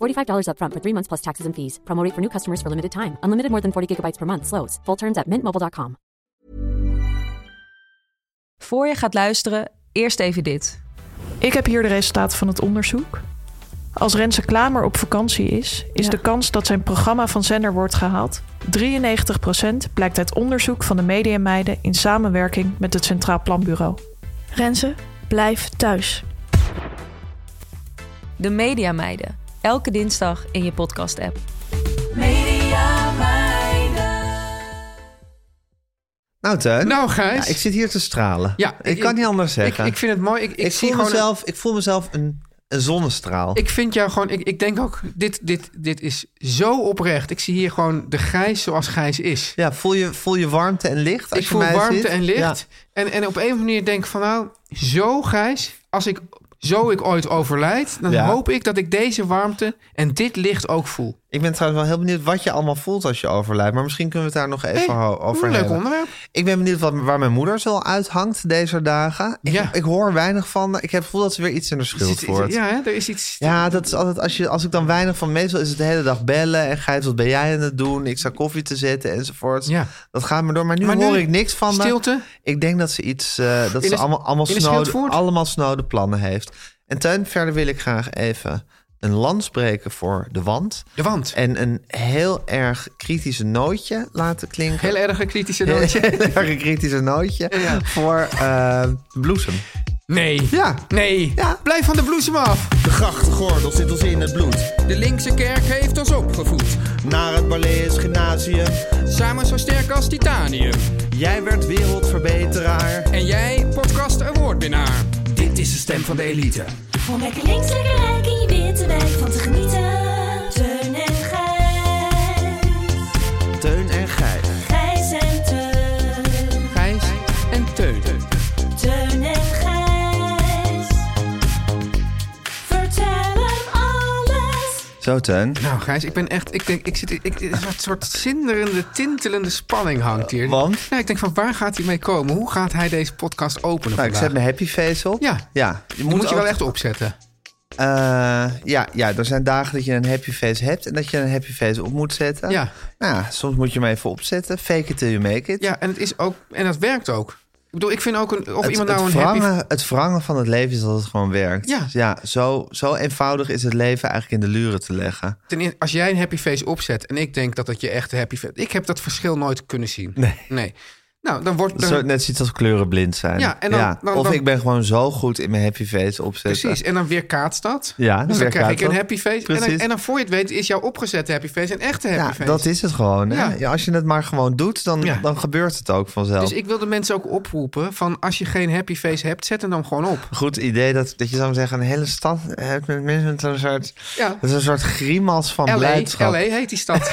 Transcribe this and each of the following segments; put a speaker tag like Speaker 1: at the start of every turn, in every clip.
Speaker 1: $45 upfront for three months plus taxes and fees. Promo rate for new customers for limited time. Unlimited more than 40 gigabytes per month. Slows. Full terms at mintmobile.com.
Speaker 2: Voor je gaat luisteren, eerst even dit.
Speaker 3: Ik heb hier de resultaten van het onderzoek. Als Renze Klamer op vakantie is, is
Speaker 2: Ja.
Speaker 3: de kans dat zijn programma van zender wordt gehaald 93% blijkt uit onderzoek van de Mediameiden in samenwerking met het Centraal Planbureau. Renze, blijf thuis.
Speaker 2: De Media Meiden. Elke dinsdag in je podcast-app.
Speaker 4: Nou, Teun.
Speaker 5: Nou, Gijs.
Speaker 4: Ja, ik zit hier te stralen.
Speaker 5: Ja,
Speaker 4: ik, kan niet anders zeggen.
Speaker 5: Ik, ik vind het mooi. Ik, ik,
Speaker 4: Ik
Speaker 5: zie
Speaker 4: voel,
Speaker 5: gewoon een-
Speaker 4: mezelf, ik voel mezelf een, een zonnestraal.
Speaker 5: ik vind jou gewoon. Ik, ik denk ook. Dit, dit, dit is zo oprecht. Ik zie hier gewoon de Gijs zoals Gijs is.
Speaker 4: ja, voel, je, voel je warmte en licht? Als
Speaker 5: ik
Speaker 4: je
Speaker 5: voel
Speaker 4: mij
Speaker 5: warmte
Speaker 4: ziet?
Speaker 5: en licht.
Speaker 4: Ja.
Speaker 5: En, en op een of andere manier denk ik van nou, zo Gijs, als ik zo ik ooit overlijd, dan
Speaker 4: Ja.
Speaker 5: hoop ik dat ik deze warmte en dit licht ook voel.
Speaker 4: Ik ben trouwens wel heel benieuwd wat je allemaal voelt als je overlijdt. Maar misschien kunnen we het daar nog even
Speaker 5: Hey,
Speaker 4: ho- over
Speaker 5: een leuk
Speaker 4: hebben.
Speaker 5: onderwerp.
Speaker 4: Ik ben benieuwd wat, waar mijn moeder zo uithangt deze dagen. Ik,
Speaker 5: Ja.
Speaker 4: ik hoor weinig van. haar. Ik heb het gevoel dat ze weer iets in haar
Speaker 5: Is
Speaker 4: schild
Speaker 5: iets-
Speaker 4: wordt.
Speaker 5: ja, hè, er is iets.
Speaker 4: Ja, dat is altijd, als, je, als ik dan weinig van meestal is het de hele dag bellen en Gijs, wat ben jij aan het doen? Ik sta koffie te zetten enzovoort.
Speaker 5: Ja.
Speaker 4: Dat gaat me door, maar nu
Speaker 5: Maar nu-
Speaker 4: hoor ik niks van haar.
Speaker 5: stilte?
Speaker 4: Ik denk dat ze iets, eh, dat ze
Speaker 5: In de-
Speaker 4: allemaal, allemaal,
Speaker 5: in de
Speaker 4: snode,
Speaker 5: Schildvoort?
Speaker 4: allemaal snode plannen heeft. En Tuin, verder wil ik graag even een lans breken voor de wand.
Speaker 5: De wand.
Speaker 4: En een heel erg kritische nootje laten klinken.
Speaker 5: Heel erg een kritische nootje.
Speaker 4: Heel erg een kritische nootje
Speaker 5: Ja.
Speaker 4: voor eh, de bloesem.
Speaker 5: Nee.
Speaker 4: Ja.
Speaker 5: Nee.
Speaker 4: Ja.
Speaker 5: Blijf van de bloesem af.
Speaker 6: De grachtgordel zit ons in het bloed.
Speaker 7: De linkse kerk heeft ons opgevoed.
Speaker 6: Naar het Barlees Gymnasium.
Speaker 7: Samen zo sterk als titanium.
Speaker 6: Jij werd wereldverbeteraar.
Speaker 7: En jij, podcast awardwinnaar. Dit is de stem van de elite.
Speaker 8: Om lekker links, lekker rijk in je witte wijk van te genieten. Teun en Gijs.
Speaker 6: Teun en Gijs.
Speaker 8: Gijs en Teun.
Speaker 7: Gijs en Teun.
Speaker 8: Teun en Gijs. Vertel hem alles.
Speaker 4: Zo, Teun.
Speaker 5: Nou, Gijs, ik ben echt. Ik denk, ik zit. Ik, een soort- soort zinderende, tintelende spanning hangt hier.
Speaker 4: Want?
Speaker 5: Nou, ik denk van waar gaat hij mee komen? Hoe gaat hij deze podcast openen?
Speaker 4: Nou, ik
Speaker 5: vandaag?
Speaker 4: zet mijn happy face op.
Speaker 5: Ja.
Speaker 4: ja.
Speaker 5: Die moet, je
Speaker 4: ook-
Speaker 5: wel echt opzetten.
Speaker 4: Eh, ja, ja, er zijn dagen dat je een happy face hebt en dat je een happy face op moet zetten.
Speaker 5: Ja.
Speaker 4: Nou ja, soms moet je hem even opzetten. Fake it till you make it.
Speaker 5: Ja, en het is ook. En dat werkt ook. Ik bedoel, ik vind ook een. Of
Speaker 4: het,
Speaker 5: iemand nou
Speaker 4: het,
Speaker 5: een happy.
Speaker 4: wrangen, het wrangen van het leven is dat het gewoon werkt.
Speaker 5: Ja.
Speaker 4: zo, zo eenvoudig is het leven eigenlijk in de luren te leggen.
Speaker 5: Ten eerste, als jij een happy face opzet en ik denk dat dat je echt een happy face. Ik heb dat verschil nooit kunnen zien.
Speaker 4: Nee.
Speaker 5: Nou, dan wordt.
Speaker 4: Dat is
Speaker 5: Dan,
Speaker 4: zo- net zoiets als kleurenblind zijn.
Speaker 5: Ja, en dan- dan-
Speaker 4: of
Speaker 5: dan-
Speaker 4: ik ben gewoon zo goed in mijn happy face opzetten.
Speaker 5: Precies, en dan weer kaatst dat.
Speaker 4: Ja, dan
Speaker 5: dus dan krijg
Speaker 4: weerkaatst
Speaker 5: ik een
Speaker 4: dat.
Speaker 5: happy face. En dan,
Speaker 4: Precies.
Speaker 5: en dan voor je het weet is jouw opgezette happy face een echte happy
Speaker 4: Ja,
Speaker 5: face.
Speaker 4: dat is het gewoon. hè.
Speaker 5: Ja.
Speaker 4: Ja, als je het maar gewoon doet, dan,
Speaker 5: Ja.
Speaker 4: dan gebeurt het ook vanzelf.
Speaker 5: Dus ik wil de mensen ook oproepen van als je geen happy face hebt, zet hem dan gewoon op.
Speaker 4: Goed idee dat, dat je zou zeggen, een hele stad hebt met mensen met zo'n soort,
Speaker 5: Ja.
Speaker 4: met zo'n soort grimas van
Speaker 5: LA,
Speaker 4: blijdschap.
Speaker 5: LA heet die stad.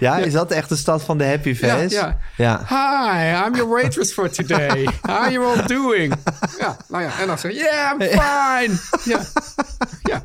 Speaker 4: Ja, is dat echt de stad van de happy
Speaker 5: ja,
Speaker 4: face?
Speaker 5: ja.
Speaker 4: Ja.
Speaker 5: Hi, I'm your waitress for today. How are you all doing? Ja, nou ja, en dan zeg je, yeah, I'm fine. Ja, ja.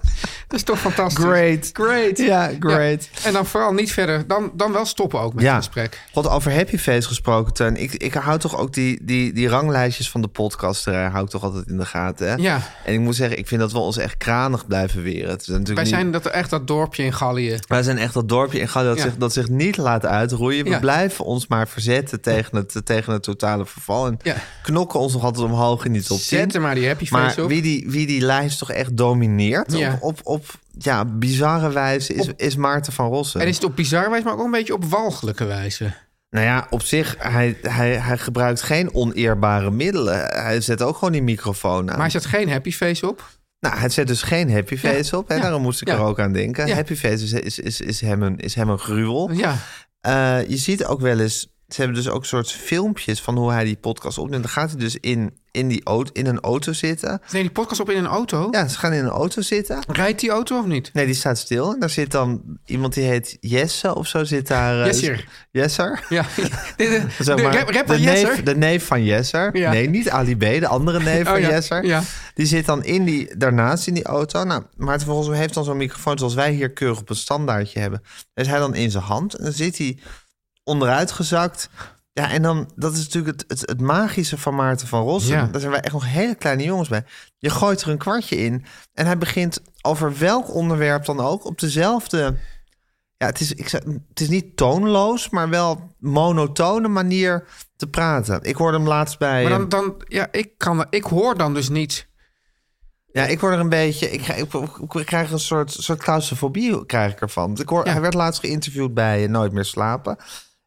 Speaker 5: Dat is toch fantastisch.
Speaker 4: Great.
Speaker 5: Great.
Speaker 4: Ja, great.
Speaker 5: Ja. En dan vooral niet verder. Dan, dan wel stoppen ook met
Speaker 4: Ja.
Speaker 5: het gesprek.
Speaker 4: God, over Happy Face gesproken, Teun. Ik, ik hou toch ook die, die, die ranglijstjes van de podcast, eh, hou ik toch altijd in de gaten. Hè?
Speaker 5: Ja.
Speaker 4: En ik moet zeggen, ik vind dat we ons echt kranig blijven weren. Het is natuurlijk
Speaker 5: Wij
Speaker 4: niet-
Speaker 5: zijn dat, echt dat dorpje in Gallië.
Speaker 4: Wij zijn echt dat dorpje in Gouda dat,
Speaker 5: Ja.
Speaker 4: zich, dat zich niet laat uitroeien. We
Speaker 5: Ja.
Speaker 4: blijven ons maar verzetten tegen het, tegen het totale verval. En
Speaker 5: Ja.
Speaker 4: knokken ons nog altijd omhoog in die top 10.
Speaker 5: Zet er maar die happy
Speaker 4: Maar
Speaker 5: face op.
Speaker 4: wie die, wie die lijst toch echt domineert
Speaker 5: Ja.
Speaker 4: op, op, op ja, bizarre wijze is, is Maarten van Rossen.
Speaker 5: En is het op bizar wijze, maar ook een beetje op walgelijke wijze.
Speaker 4: Nou ja, op zich, hij, hij, hij gebruikt geen oneerbare middelen. Hij zet ook gewoon die microfoon aan.
Speaker 5: Maar hij zet geen happy face op.
Speaker 4: Nou, hij zet dus geen happy face op. En
Speaker 5: ja,
Speaker 4: daarom moest ik
Speaker 5: ja.
Speaker 4: er ook aan denken.
Speaker 5: Ja.
Speaker 4: Happy face is, is, is, is, hem een, is hem een gruwel.
Speaker 5: Ja,
Speaker 4: Eh, je ziet ook wel eens, ze hebben dus ook soort filmpjes van hoe hij die podcast opneemt. Dan gaat hij dus in, in, die auto, in een auto zitten.
Speaker 5: neem die podcast op in een auto.
Speaker 4: Ja, ze gaan in een auto zitten.
Speaker 5: Rijdt die auto of niet?
Speaker 4: Nee, die staat stil. En daar zit dan iemand die heet Jesse of zo zit daar. eh,
Speaker 5: Jesser.
Speaker 4: Jesser.
Speaker 5: Ja, de, de,
Speaker 4: Zeg maar,
Speaker 5: rap- rapper
Speaker 4: de,
Speaker 5: Jesser.
Speaker 4: neef, de neef van Jesser.
Speaker 5: Ja.
Speaker 4: Nee, niet Ali B, de andere neef
Speaker 5: Oh
Speaker 4: van
Speaker 5: ja,
Speaker 4: Jesser.
Speaker 5: ja.
Speaker 4: Die zit dan in die, daarnaast in die auto. Nou, Maarten volgens mij heeft dan zo'n microfoon zoals wij hier keurig op een standaardje hebben. Is hij dan in zijn hand en dan zit hij onderuitgezakt. Ja, en dan, dat is natuurlijk het, het, het magische van Maarten van Rossum.
Speaker 5: Ja.
Speaker 4: Daar zijn wij echt nog hele kleine jongens bij. Je gooit er een kwartje in en hij begint over welk onderwerp dan ook op dezelfde... Ja, het is, ik zou- het is niet toonloos, maar wel monotone manier te praten. Ik hoorde hem laatst bij...
Speaker 5: Maar
Speaker 4: eh,
Speaker 5: dan, dan, ja, ik, kan, ik hoor dan dus niet.
Speaker 4: Ja, ik word er een beetje. Ik, ga- ik, ik krijg een soort, soort claustrofobie krijg ik ervan. Want Ik hoor,
Speaker 5: Ja.
Speaker 4: Hij werd laatst geïnterviewd bij eh, Nooit meer slapen.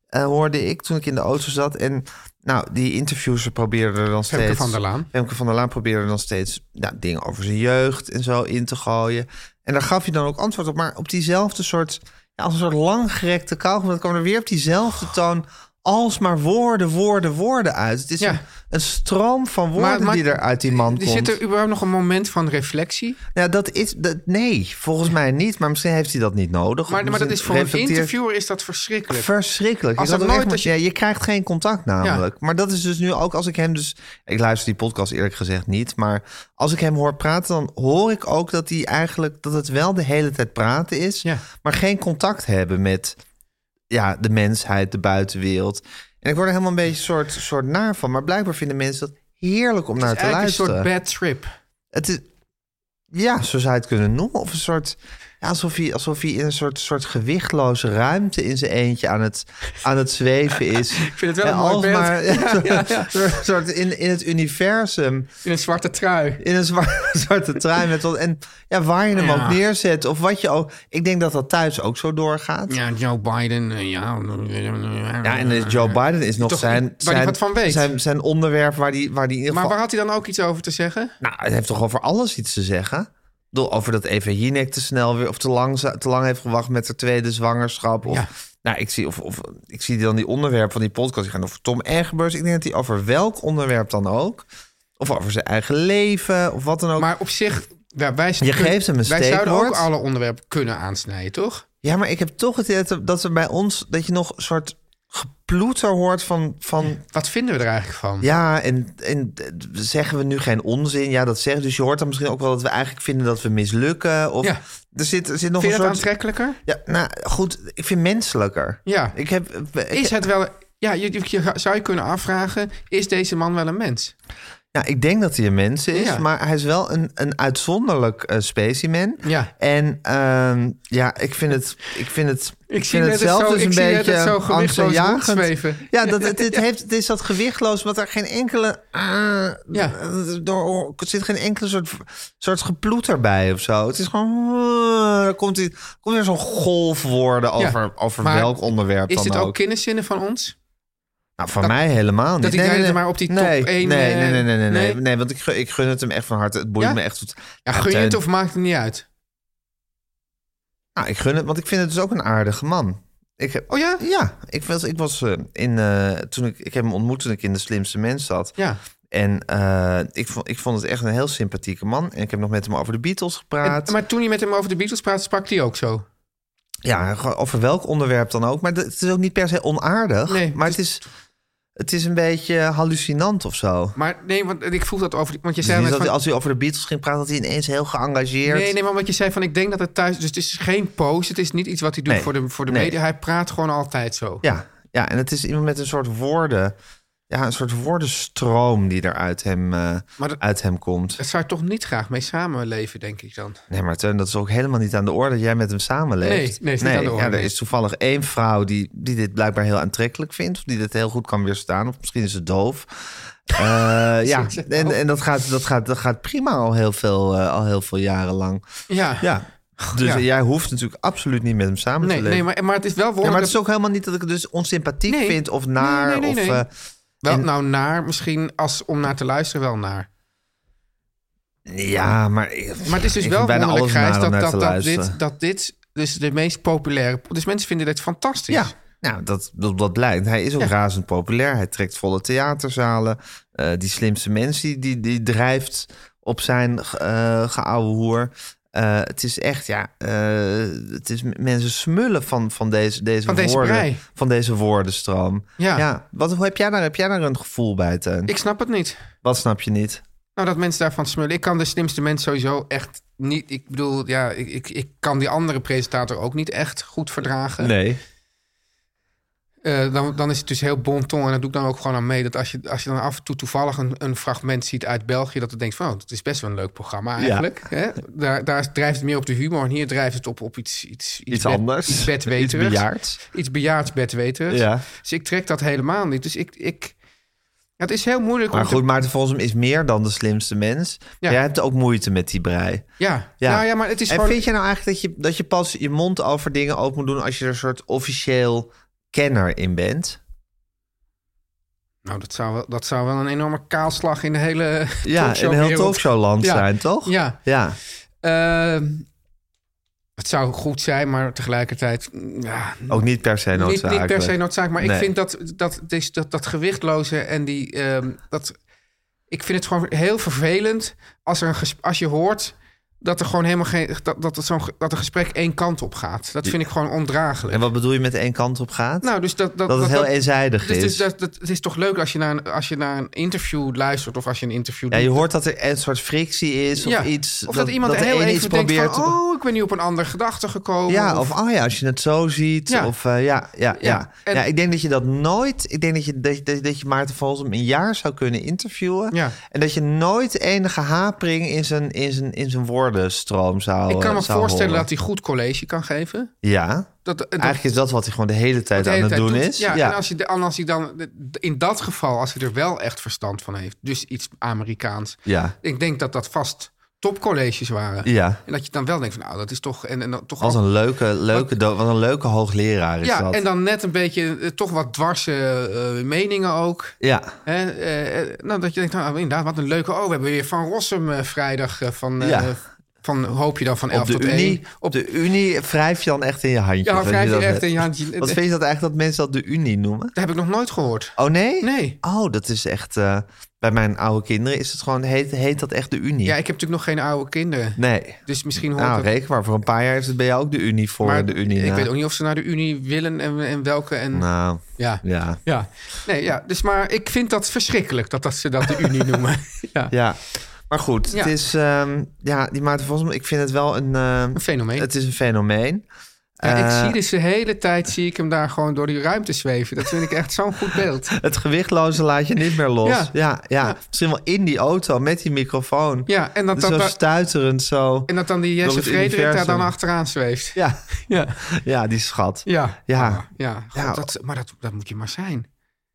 Speaker 4: Eh, hoorde ik toen ik in de auto zat. En nou, die interviewers probeerden er dan
Speaker 5: Femke
Speaker 4: steeds.
Speaker 5: van der Laan.
Speaker 4: Femke van der Laan probeerde er dan steeds nou, dingen over zijn jeugd en zo in te gooien. En daar gaf je dan ook antwoord op. Maar op diezelfde soort. Ja, als een soort langgerekte kauwgom. Dan kwam er weer op diezelfde toon. Alsmaar woorden, woorden, woorden uit. Het is
Speaker 5: Ja.
Speaker 4: een, een stroom van woorden die er uit die man
Speaker 5: die
Speaker 4: komt.
Speaker 5: Zit er überhaupt nog een moment van reflectie?
Speaker 4: Nou, dat is. Dat, nee, volgens mij niet. Maar misschien heeft hij dat niet nodig.
Speaker 5: Maar, maar dat is voor een
Speaker 4: Reflecteert-
Speaker 5: interviewer is dat verschrikkelijk.
Speaker 4: Verschrikkelijk.
Speaker 5: Als
Speaker 4: Ik had
Speaker 5: dat
Speaker 4: ook
Speaker 5: nooit
Speaker 4: echt-
Speaker 5: als
Speaker 4: ja, je krijgt geen contact namelijk. Maar dat is dus nu ook als ik hem dus... Ik luister die podcast eerlijk gezegd niet. Maar als ik hem hoor praten, dan hoor ik ook dat hij eigenlijk... dat het wel de hele tijd praten is.
Speaker 5: Ja.
Speaker 4: Maar geen contact hebben met ja, de mensheid, de buitenwereld. En ik word er helemaal een beetje soort, soort naar van. Maar blijkbaar vinden mensen dat heerlijk om naar te
Speaker 5: Eigenlijk
Speaker 4: luisteren.
Speaker 5: een soort bad trip.
Speaker 4: Het is, ja, zo zou je het kunnen noemen. Of een soort, ja, alsof, hij, alsof hij in een soort, soort gewichtloze ruimte in zijn eentje aan het, aan het zweven is. Ik
Speaker 5: vind het wel een mooi beeld.
Speaker 4: Een soort in, in het universum,
Speaker 5: In een zwarte trui.
Speaker 4: in een zwa- zwarte trui. Met wat, en ja, waar je hem
Speaker 5: Ja.
Speaker 4: ook neerzet of wat je ook... Ik denk dat dat thuis ook zo doorgaat.
Speaker 5: Ja, Joe Biden. eh, Ja,
Speaker 4: Ja, en eh, Joe Biden is nog
Speaker 5: Toch
Speaker 4: zijn,
Speaker 5: waar die
Speaker 4: zijn,
Speaker 5: wat van weet.
Speaker 4: zijn, zijn onderwerp waar die, waar die in ieder
Speaker 5: Maar
Speaker 4: geval
Speaker 5: waar had hij dan ook iets over te zeggen?
Speaker 4: Nou, het heeft toch over alles iets te zeggen? Ik bedoel, Over dat Eva Jinek te snel weer of te lang, za- te lang heeft gewacht met haar tweede zwangerschap. Of,
Speaker 5: Ja.
Speaker 4: nou, ik, zie, of, of, ik zie dan die onderwerpen van die podcast. Die gaan over Tom Egbers. Ik denk dat hij over welk onderwerp dan ook. Of over zijn eigen leven of wat dan ook.
Speaker 5: Maar op zich, ja, wij,
Speaker 4: Je geeft hem een
Speaker 5: wij zouden ook
Speaker 4: steekwoord.
Speaker 5: alle onderwerpen kunnen aansnijden, toch?
Speaker 4: Ja, maar ik heb toch het idee dat er- dat er bij ons dat je nog een soort geploeter hoort van, van
Speaker 5: Wat vinden we er eigenlijk van?
Speaker 4: Ja, en, en d- zeggen we nu geen onzin? Ja, dat zeggen. Dus je hoort dan misschien ook wel dat we eigenlijk vinden dat we mislukken. Of
Speaker 5: Ja.
Speaker 4: er zit, er zit nog
Speaker 5: Vind je dat
Speaker 4: een soort.
Speaker 5: aantrekkelijker?
Speaker 4: Ja, nou goed, ik vind menselijker.
Speaker 5: Ja.
Speaker 4: Ik heb. ik-
Speaker 5: Is het wel... Ja, je, je- je zou je kunnen afvragen, is deze man wel een mens?
Speaker 4: Nou, ik denk dat hij een mens is,
Speaker 5: Ja.
Speaker 4: maar hij is wel een, een uitzonderlijk eh, specimen.
Speaker 5: Ja.
Speaker 4: En ehm, ja, ik vind het, ik vind het, ik
Speaker 5: zie
Speaker 4: vind
Speaker 5: net
Speaker 4: het
Speaker 5: het
Speaker 4: zelf
Speaker 5: zo-
Speaker 4: dus
Speaker 5: ik
Speaker 4: een
Speaker 5: zie net het
Speaker 4: beetje
Speaker 5: zo gewichtloos
Speaker 4: angstaanjagend.
Speaker 5: rondzweven.
Speaker 4: Ja, dat, het, het, heeft, het is dat gewichtloos, want er geen enkele, ah,
Speaker 5: Ja.
Speaker 4: door, oh, er zit geen enkele soort, soort geploeter bij of zo. Het is gewoon, ah, er komt, die, komt weer zo'n golf worden
Speaker 5: Ja.
Speaker 4: over, over
Speaker 5: Maar
Speaker 4: welk onderwerp
Speaker 5: Is
Speaker 4: dan
Speaker 5: dit ook,
Speaker 4: ook.
Speaker 5: kinderzinnen van ons?
Speaker 4: Nou, van mij helemaal niet.
Speaker 5: dat hij daar maar op die top
Speaker 4: nee,
Speaker 5: één,
Speaker 4: Nee,
Speaker 5: eh,
Speaker 4: nee, nee, nee, nee, nee,
Speaker 5: nee?
Speaker 4: nee, want ik, gun- ik gun het hem echt van harte. Het boeit
Speaker 5: Ja?
Speaker 4: me echt. tot-
Speaker 5: Ja, gun je
Speaker 4: Teun.
Speaker 5: het of maakt het niet uit?
Speaker 4: Nou, ik gun het, want ik vind het dus ook een aardige man. Ik heb,
Speaker 5: Oh ja?
Speaker 4: ja, ik was, ik was eh, in, eh, toen ik, ik heb hem ontmoet toen ik in de slimste mens zat.
Speaker 5: Ja.
Speaker 4: En eh, ik, vond, ik vond het echt een heel sympathieke man. En ik heb nog met hem over de Beatles gepraat.
Speaker 5: En- maar toen je met hem over de Beatles praatte, sprak hij ook zo.
Speaker 4: Ja, gewoon over welk onderwerp dan ook. Maar dat- het is ook niet per se onaardig.
Speaker 5: Nee,
Speaker 4: maar
Speaker 5: het
Speaker 4: het is, Het is een beetje hallucinant of zo.
Speaker 5: Maar nee, want ik voel dat over... die- Want je
Speaker 4: Dus
Speaker 5: zei
Speaker 4: niet
Speaker 5: net
Speaker 4: dat hij-
Speaker 5: van-
Speaker 4: als hij over de Beatles ging praten, dat hij ineens heel geëngageerd.
Speaker 5: Nee, nee, maar wat je zei van ik denk dat het thuis... Dus het is geen pose, het is niet iets wat hij doet
Speaker 4: Nee.
Speaker 5: voor de, voor de
Speaker 4: Nee.
Speaker 5: media. Hij praat gewoon altijd zo.
Speaker 4: Ja, ja, en het is iemand met een soort woorden. Ja, een soort woordenstroom die er uit hem, eh,
Speaker 5: Maar dat-
Speaker 4: uit hem komt.
Speaker 5: Daar zou je toch niet graag mee samenleven, denk ik dan.
Speaker 4: Nee, maar Teun, dat is ook helemaal niet aan de orde dat jij met hem samenleeft.
Speaker 5: Nee, nee, het is niet aan de orde,
Speaker 4: Ja, er
Speaker 5: nee.
Speaker 4: is toevallig één vrouw die, die dit blijkbaar heel aantrekkelijk vindt. Of die dit heel goed kan weerstaan. Of misschien is ze doof. Eh, ja,
Speaker 5: ze
Speaker 4: en,
Speaker 5: doof?
Speaker 4: en dat, gaat, dat, gaat, dat gaat prima al heel veel, eh, al heel veel jaren lang.
Speaker 5: Ja.
Speaker 4: Ja, dus
Speaker 5: Ja.
Speaker 4: jij hoeft natuurlijk absoluut niet met hem samen
Speaker 5: Nee,
Speaker 4: te leven.
Speaker 5: nee maar, maar het is wel
Speaker 4: Ja,
Speaker 5: wonderlijk.
Speaker 4: maar het is ook helemaal niet dat ik het dus onsympathiek
Speaker 5: Nee.
Speaker 4: vind of naar.
Speaker 5: Nee, nee, nee, nee.
Speaker 4: of, eh,
Speaker 5: Wel,
Speaker 4: En-
Speaker 5: nou, naar misschien, als, om naar te luisteren, wel naar.
Speaker 4: eh, ja, maar,
Speaker 5: Maar het is dus
Speaker 4: ik
Speaker 5: wel
Speaker 4: vind bijna
Speaker 5: wonderlijk,
Speaker 4: alles naar
Speaker 5: Gijs,
Speaker 4: om
Speaker 5: dat,
Speaker 4: naar
Speaker 5: dat,
Speaker 4: te
Speaker 5: dat,
Speaker 4: luisteren.
Speaker 5: dit, dat dit dus de meest populaire... Dus mensen vinden dit fantastisch.
Speaker 4: Ja, nou, dat, dat, dat blijkt. Hij is ook
Speaker 5: Ja.
Speaker 4: razend populair. Hij trekt volle theaterzalen. Eh, die slimste mens die, die, die drijft op zijn eh geouwe hoer. Eh, het is echt, ja, eh, het is, mensen smullen van, van deze, deze
Speaker 5: Van deze
Speaker 4: woorden.
Speaker 5: brei.
Speaker 4: Van deze woordenstroom.
Speaker 5: Ja.
Speaker 4: Wat, hoe heb, jij daar, heb jij daar een gevoel bij, Teun?
Speaker 5: Ik snap het niet.
Speaker 4: Wat snap je niet?
Speaker 5: Nou, dat mensen daarvan smullen. Ik kan de slimste mens sowieso echt niet... Ik bedoel, ja, ik, ik, ik kan die andere presentator ook niet echt goed verdragen.
Speaker 4: Nee.
Speaker 5: Eh, dan, dan is het dus heel bonton. En dat doe ik dan ook gewoon aan mee. Dat als je, als je dan af en toe toevallig een, een fragment ziet uit België... dat je denkt van, oh, dat is best wel een leuk programma eigenlijk. Hè? Daar, daar drijft het meer op de humor. En hier drijft het op, op iets... Iets,
Speaker 4: Iets
Speaker 5: bed-
Speaker 4: anders.
Speaker 5: Iets
Speaker 4: Iets
Speaker 5: bedweterigs.
Speaker 4: bejaards.
Speaker 5: Iets bejaards bedweterigs.
Speaker 4: Ja.
Speaker 5: Dus ik trek dat helemaal niet. Dus ik... ik ja, het is heel moeilijk.
Speaker 4: Maar
Speaker 5: om te-
Speaker 4: goed, Maarten Volsum is meer dan de slimste mens.
Speaker 5: Ja.
Speaker 4: Jij hebt ook moeite met die brei.
Speaker 5: ja. Ja. Nou ja, maar het is
Speaker 4: en
Speaker 5: gewoon...
Speaker 4: vind je nou eigenlijk dat je, dat je pas je mond over dingen open moet doen... als je er een soort officieel kenner in bent?
Speaker 5: Nou, dat zou, wel, dat zou wel een enorme kaalslag in de hele
Speaker 4: Ja, in heel talkshowland
Speaker 5: Ja.
Speaker 4: zijn, toch?
Speaker 5: Ja.
Speaker 4: Ja,
Speaker 5: Ehm, het zou goed zijn, maar tegelijkertijd... mm, Ja,
Speaker 4: ook niet per se
Speaker 5: niet,
Speaker 4: noodzakelijk.
Speaker 5: niet per se noodzaak. Maar
Speaker 4: Nee.
Speaker 5: ik vind dat, dat, dus dat, dat gewichtloze en die... ehm, dat, ik vind het gewoon heel vervelend als, er een ges- als je hoort... Dat er gewoon helemaal geen. Dat, dat, het zo'n ge- dat een gesprek één kant op gaat. Dat vind ik gewoon ondraaglijk.
Speaker 4: En wat bedoel je met één kant op gaat?
Speaker 5: Nou, dus dat, dat,
Speaker 4: dat het heel eenzijdig
Speaker 5: Dus,
Speaker 4: is.
Speaker 5: dus dat, dat, het is toch leuk als je, naar een, als je naar een interview luistert of als je een interview
Speaker 4: ja, je
Speaker 5: doet.
Speaker 4: hoort dat er een soort frictie is of
Speaker 5: Ja,
Speaker 4: iets.
Speaker 5: Of dat, iemand
Speaker 4: de een
Speaker 5: heel even
Speaker 4: iets
Speaker 5: denkt
Speaker 4: probeert
Speaker 5: van,
Speaker 4: te-
Speaker 5: oh, ik ben nu op een andere gedachte gekomen.
Speaker 4: Ja, of oh ja, als je het zo ziet.
Speaker 5: Ja.
Speaker 4: Of eh, ja, ja, ja.
Speaker 5: Ja, en-
Speaker 4: ja, ik denk dat je dat nooit. Ik denk dat je, dat, dat, dat je Maarten Volsum een jaar zou kunnen interviewen.
Speaker 5: Ja.
Speaker 4: En dat je nooit enige hapering in zijn, in zijn, in zijn woordenstroom zou.
Speaker 5: ik kan me
Speaker 4: eh, zou
Speaker 5: voorstellen
Speaker 4: horen.
Speaker 5: dat hij goed college kan geven.
Speaker 4: Ja.
Speaker 5: Dat, dat-
Speaker 4: Eigenlijk is dat wat hij gewoon de hele tijd
Speaker 5: de
Speaker 4: aan
Speaker 5: hele
Speaker 4: het
Speaker 5: tijd
Speaker 4: doen
Speaker 5: doet.
Speaker 4: is.
Speaker 5: Ja, En als hij, de- en als hij dan, in dat geval, als hij er wel echt verstand van heeft, dus iets Amerikaans.
Speaker 4: ja.
Speaker 5: Ik denk dat dat vast topcolleges waren.
Speaker 4: Ja.
Speaker 5: En dat je dan wel denkt van, nou, dat is toch... En, en dan toch
Speaker 4: Wat
Speaker 5: ook-
Speaker 4: een leuke, leuke, do- wat een leuke hoogleraar is
Speaker 5: ja,
Speaker 4: dat.
Speaker 5: en dan net een beetje eh, toch wat dwarse eh, meningen ook.
Speaker 4: Ja.
Speaker 5: Hè, eh, eh, nou, dat je denkt, nou, inderdaad, wat een leuke. Oh, we hebben weer Van Rossum eh, vrijdag eh, van, eh,
Speaker 4: Ja.
Speaker 5: van, hoop je dan van 11
Speaker 4: Op de,
Speaker 5: tot
Speaker 4: unie,
Speaker 5: 1.
Speaker 4: op de Unie wrijf je dan echt in je handje.
Speaker 5: Ja,
Speaker 4: Vind
Speaker 5: wrijf je
Speaker 4: dat
Speaker 5: echt
Speaker 4: net?
Speaker 5: in je handje.
Speaker 4: Wat vind je dat eigenlijk dat mensen dat de Unie noemen?
Speaker 5: Dat heb ik nog nooit gehoord.
Speaker 4: Oh nee?
Speaker 5: Nee.
Speaker 4: Oh, dat is echt. eh, bij mijn oude kinderen is het gewoon. Heet, heet dat echt de Unie?
Speaker 5: Ja, ik heb natuurlijk nog geen oude kinderen.
Speaker 4: Nee.
Speaker 5: Dus misschien hoort
Speaker 4: Nou,
Speaker 5: dat-
Speaker 4: reken maar. Voor een paar jaar is het bij jou ook de Unie voor
Speaker 5: maar
Speaker 4: de Unie.
Speaker 5: ik
Speaker 4: na.
Speaker 5: weet ook niet of ze naar de Unie willen en, en welke. En,
Speaker 4: Nou,
Speaker 5: ja. ja.
Speaker 4: ja.
Speaker 5: Nee, ja. Dus maar ik vind dat verschrikkelijk dat, dat ze dat de Unie noemen. Ja.
Speaker 4: Ja. Maar goed,
Speaker 5: Ja.
Speaker 4: het is. ehm, ja, die Maarten Vosma, ik vind het wel een. eh,
Speaker 5: Een fenomeen.
Speaker 4: het is een fenomeen.
Speaker 5: Ja,
Speaker 4: Eh,
Speaker 5: ik zie dus de hele tijd zie ik hem daar gewoon door die ruimte zweven. Dat vind ik echt zo'n goed beeld.
Speaker 4: Het gewichtloze laat je niet meer los. Ja,
Speaker 5: Ja.
Speaker 4: ja,
Speaker 5: Ja.
Speaker 4: Misschien wel in die auto met die microfoon.
Speaker 5: Ja, en dat,
Speaker 4: zo
Speaker 5: dat, dat,
Speaker 4: stuiterend zo.
Speaker 5: en dat dan die
Speaker 4: Door
Speaker 5: Jesse
Speaker 4: het
Speaker 5: Frederik daar
Speaker 4: universum.
Speaker 5: dan achteraan zweeft.
Speaker 4: Ja,
Speaker 5: Ja.
Speaker 4: ja, die schat.
Speaker 5: Ja.
Speaker 4: Ja.
Speaker 5: ja. God,
Speaker 4: Ja.
Speaker 5: Dat, maar dat, dat moet je maar zijn.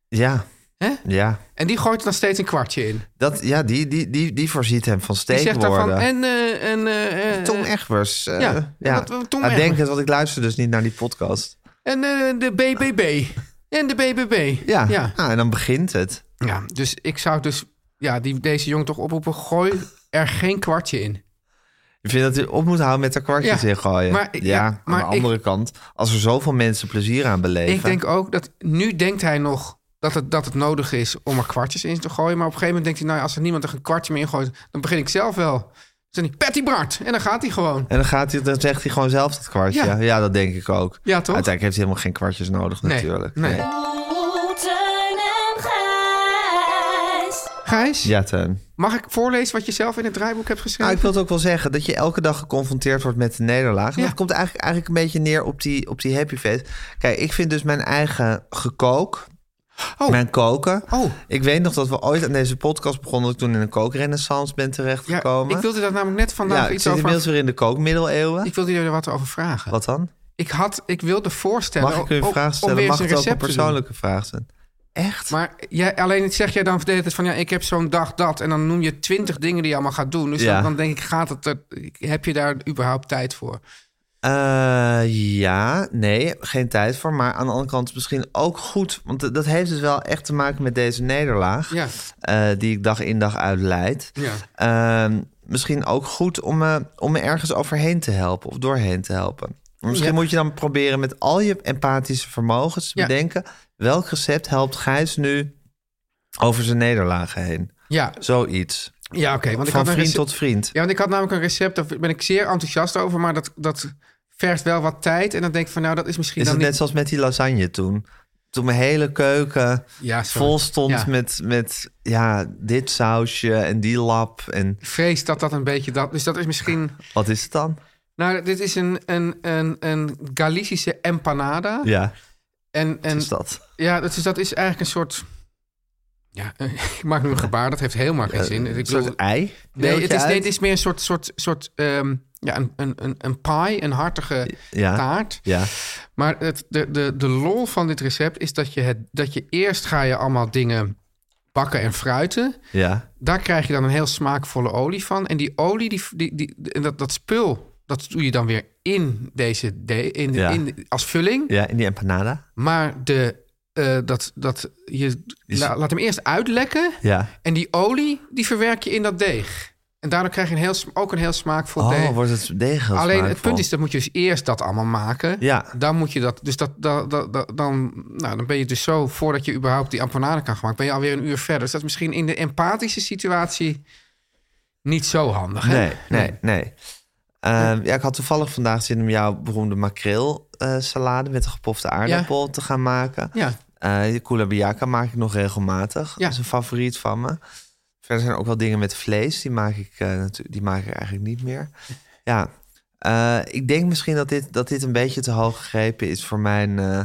Speaker 4: Ja,
Speaker 5: Hè?
Speaker 4: ja.
Speaker 5: En die gooit er dan steeds een kwartje in.
Speaker 4: Dat, ja, die, die, die, die voorziet hem van
Speaker 5: Die zegt daarvan...
Speaker 4: steekwoorden.
Speaker 5: En, eh, en, eh, eh,
Speaker 4: Tom Egbers. eh,
Speaker 5: Ja,
Speaker 4: ja,
Speaker 5: ja, wat- wat Tom
Speaker 4: Ah,
Speaker 5: Egbers.
Speaker 4: denk het, want ik luister dus niet naar die podcast.
Speaker 5: en eh, de BBB. En de BBB.
Speaker 4: Ja,
Speaker 5: Ja.
Speaker 4: Ah, en dan begint het.
Speaker 5: Ja, dus ik zou dus ja, die, deze jongen toch oproepen... gooi er geen kwartje in.
Speaker 4: Ik vind dat hij op moet houden met er kwartjes
Speaker 5: Ja,
Speaker 4: in gooien.
Speaker 5: maar
Speaker 4: ja,
Speaker 5: ik- ja,
Speaker 4: aan
Speaker 5: maar
Speaker 4: de
Speaker 5: ik-
Speaker 4: andere kant, als er zoveel mensen plezier aan beleven...
Speaker 5: Ik denk ook dat... Nu denkt hij nog dat het, dat het nodig is om er kwartjes in te gooien. Maar op een gegeven moment denkt hij... nou, ja, als er niemand er een kwartje meer in gooit... dan begin ik zelf wel. Dus dan Patty Bart. En dan gaat hij gewoon.
Speaker 4: En dan, gaat hij, dan zegt hij gewoon zelf dat kwartje. Ja,
Speaker 5: Ja.
Speaker 4: dat denk ik ook.
Speaker 5: Ja, toch?
Speaker 4: Uiteindelijk heeft hij helemaal geen kwartjes nodig
Speaker 5: Nee,
Speaker 4: natuurlijk.
Speaker 5: nee.
Speaker 8: Teun en Gijs.
Speaker 5: Gijs,
Speaker 4: Ja, Teun.
Speaker 5: mag ik voorlezen wat je zelf in het draaiboek hebt
Speaker 4: Nou,
Speaker 5: geschreven?
Speaker 4: ik wil het ook wel zeggen dat je elke dag geconfronteerd wordt met de nederlaag. En
Speaker 5: Ja.
Speaker 4: Dat komt eigenlijk, eigenlijk een beetje neer op die, op die happy face. Kijk, ik vind dus mijn eigen gekook,
Speaker 5: Oh.
Speaker 4: mijn koken.
Speaker 5: Oh.
Speaker 4: Ik weet nog dat we ooit aan deze podcast begonnen... dat ik toen in een kookrenaissance ben
Speaker 5: Ja,
Speaker 4: terechtgekomen.
Speaker 5: ik wilde daar namelijk net vandaag
Speaker 4: ja, ik
Speaker 5: iets
Speaker 4: zit
Speaker 5: over...
Speaker 4: inmiddels weer in de kookmiddeleeuwen.
Speaker 5: Ik wilde jullie er wat over vragen.
Speaker 4: Wat dan?
Speaker 5: Ik, had, ik wilde voorstellen...
Speaker 4: Mag ik u
Speaker 5: om-
Speaker 4: een
Speaker 5: om
Speaker 4: vraag
Speaker 5: weer
Speaker 4: stellen?
Speaker 5: eens
Speaker 4: Mag
Speaker 5: een
Speaker 4: het ook een
Speaker 5: recept te doen.
Speaker 4: persoonlijke vraag zijn? Echt?
Speaker 5: Maar jij, alleen zeg jij dan verdedigd van ja, ik heb zo'n dag dat. En dan noem je twintig dingen die je allemaal gaat doen. Dus
Speaker 4: Ja.
Speaker 5: dan, dan denk ik, gaat het er, heb je daar überhaupt tijd voor?
Speaker 4: Eh, ja, nee, geen tijd voor. Maar aan de andere kant misschien ook goed. Want d- dat heeft dus wel echt te maken met deze nederlaag.
Speaker 5: Ja.
Speaker 4: eh, die ik dag in dag uit leid.
Speaker 5: Ja.
Speaker 4: Ehm, misschien ook goed om me, om me ergens overheen te helpen. Of doorheen te helpen. Maar Misschien
Speaker 5: Ja.
Speaker 4: moet je dan proberen met al je empathische vermogens te
Speaker 5: Ja.
Speaker 4: bedenken... welk recept helpt Gijs nu over zijn nederlagen heen?
Speaker 5: Ja,
Speaker 4: Zoiets.
Speaker 5: ja oké. want ik
Speaker 4: Van
Speaker 5: had een
Speaker 4: vriend
Speaker 5: rece-
Speaker 4: tot vriend.
Speaker 5: Ja, want ik had namelijk een recept, daar ben ik zeer enthousiast over. Maar dat, dat vergt wel wat tijd. En dan denk ik van nou, dat is misschien
Speaker 4: Is het
Speaker 5: dan
Speaker 4: net
Speaker 5: niet...
Speaker 4: zoals met die lasagne toen? Toen mijn hele keuken
Speaker 5: Ja, sorry.
Speaker 4: vol stond
Speaker 5: Ja.
Speaker 4: met, met ja, dit sausje en die lap. En
Speaker 5: Ik vrees dat dat een beetje dat... Dus dat is misschien...
Speaker 4: wat is het dan?
Speaker 5: Nou, dit is een, een, een, een Galicische empanada.
Speaker 4: Ja,
Speaker 5: En, en
Speaker 4: is dat.
Speaker 5: Ja, dat is, dat is eigenlijk een soort. Ja, ik maak nu een gebaar, dat heeft helemaal geen zin. Ik
Speaker 4: Een
Speaker 5: bedoel,
Speaker 4: soort ei?
Speaker 5: nee,
Speaker 4: Beeld
Speaker 5: het
Speaker 4: je
Speaker 5: is, nee,
Speaker 4: uit?
Speaker 5: het is meer een soort. soort, soort ehm, ja, een, een, een, een pie, een hartige
Speaker 4: Ja.
Speaker 5: taart.
Speaker 4: Ja,
Speaker 5: Maar het, de, de, de lol van dit recept is dat je, het, dat je eerst ga je allemaal dingen bakken en fruiten.
Speaker 4: ja,
Speaker 5: Daar krijg je dan een heel smaakvolle olie van. En die olie, die, die, die, en dat, dat spul, dat doe je dan weer in deze. De, in, de-
Speaker 4: Ja.
Speaker 5: in, de- als vulling.
Speaker 4: ja, in die empanada.
Speaker 5: Maar de, eh, dat, dat, je la- laat hem eerst uitlekken.
Speaker 4: Ja.
Speaker 5: En die olie, die verwerk je in dat deeg. En daardoor krijg je een heel, sm- ook een heel smaakvol
Speaker 4: Oh,
Speaker 5: deeg.
Speaker 4: wordt het degelijk
Speaker 5: Alleen het punt is, dat moet je dus eerst dat allemaal maken.
Speaker 4: Ja.
Speaker 5: Dan moet je dat, dus dat, dat, dat, dat- dan, nou, dan ben je dus zo, voordat je überhaupt die empanade kan gaan maken, ben je alweer een uur verder. Dus dat is misschien in de empathische situatie niet zo handig. Hè?
Speaker 4: Nee, nee, nee. Ehm, ja, ik had toevallig vandaag zin om jouw beroemde makreel eh, salade met een gepofte aardappel te gaan maken.
Speaker 5: Ja.
Speaker 4: Eh, de koelabiaka maak ik nog regelmatig.
Speaker 5: Ja.
Speaker 4: Dat is een favoriet van me. Verder zijn er ook wel dingen met vlees. Die maak ik, eh, natu- die maak ik eigenlijk niet meer. Ja, eh, ik denk misschien dat dit, dat dit een beetje te hoog gegrepen is voor mijn, eh, eh,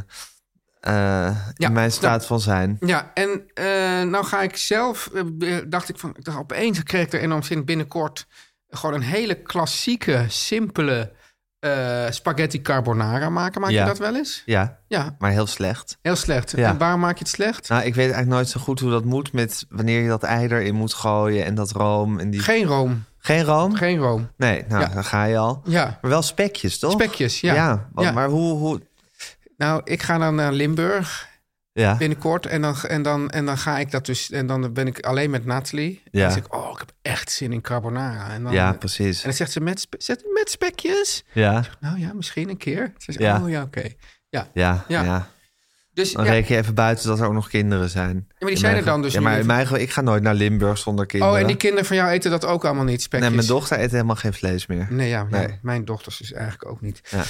Speaker 5: Ja,
Speaker 4: in mijn
Speaker 5: nou-
Speaker 4: staat van zijn.
Speaker 5: Ja, en eh, nou ga ik zelf, eh, be- dacht ik van, ik dacht, opeens kreeg ik er enorm zin binnenkort gewoon een hele klassieke, simpele eh, spaghetti carbonara maken. Maak
Speaker 4: Ja.
Speaker 5: je dat wel eens?
Speaker 4: Ja,
Speaker 5: Ja,
Speaker 4: maar heel slecht.
Speaker 5: heel slecht.
Speaker 4: Ja.
Speaker 5: En waarom maak je het slecht?
Speaker 4: Nou, ik weet eigenlijk nooit zo goed hoe dat moet met wanneer je dat ei erin moet gooien en dat room en die.
Speaker 5: Geen room,
Speaker 4: Geen room?
Speaker 5: geen room.
Speaker 4: Nee, nou,
Speaker 5: Ja.
Speaker 4: dan ga je al.
Speaker 5: Ja.
Speaker 4: Maar wel spekjes, toch?
Speaker 5: Spekjes, ja.
Speaker 4: wat-
Speaker 5: Ja.
Speaker 4: maar hoe... hoe
Speaker 5: Nou, ik ga dan naar Limburg
Speaker 4: ja.
Speaker 5: binnenkort en dan, en, dan, en dan ga ik dat dus, en dan ben ik alleen met Nathalie. En
Speaker 4: Ja.
Speaker 5: dan zeg ik, oh, ik heb echt zin in carbonara. En dan,
Speaker 4: ja,
Speaker 5: en
Speaker 4: precies.
Speaker 5: dan zegt ze, met, spe- zegt ze, met spekjes?
Speaker 4: Ja,
Speaker 5: Nou ja, misschien een keer. Ze zegt,
Speaker 4: Ja.
Speaker 5: oh ja, oké. Ja.
Speaker 4: ja, ja.
Speaker 5: Ja. Dus ja,
Speaker 4: Dan reken je even buiten dat er ook nog kinderen zijn. Ja,
Speaker 5: die zijn er dan dus
Speaker 4: Ja,
Speaker 5: niet
Speaker 4: maar in
Speaker 5: even.
Speaker 4: mijn geval, ik ga nooit naar Limburg zonder kinderen.
Speaker 5: Oh, en die kinderen van jou eten dat ook allemaal niet, spekjes?
Speaker 4: Nee, mijn dochter eet helemaal geen vlees meer.
Speaker 5: Nee, ja, ja,
Speaker 4: Nee.
Speaker 5: mijn dochters dus eigenlijk ook niet.
Speaker 4: Ja.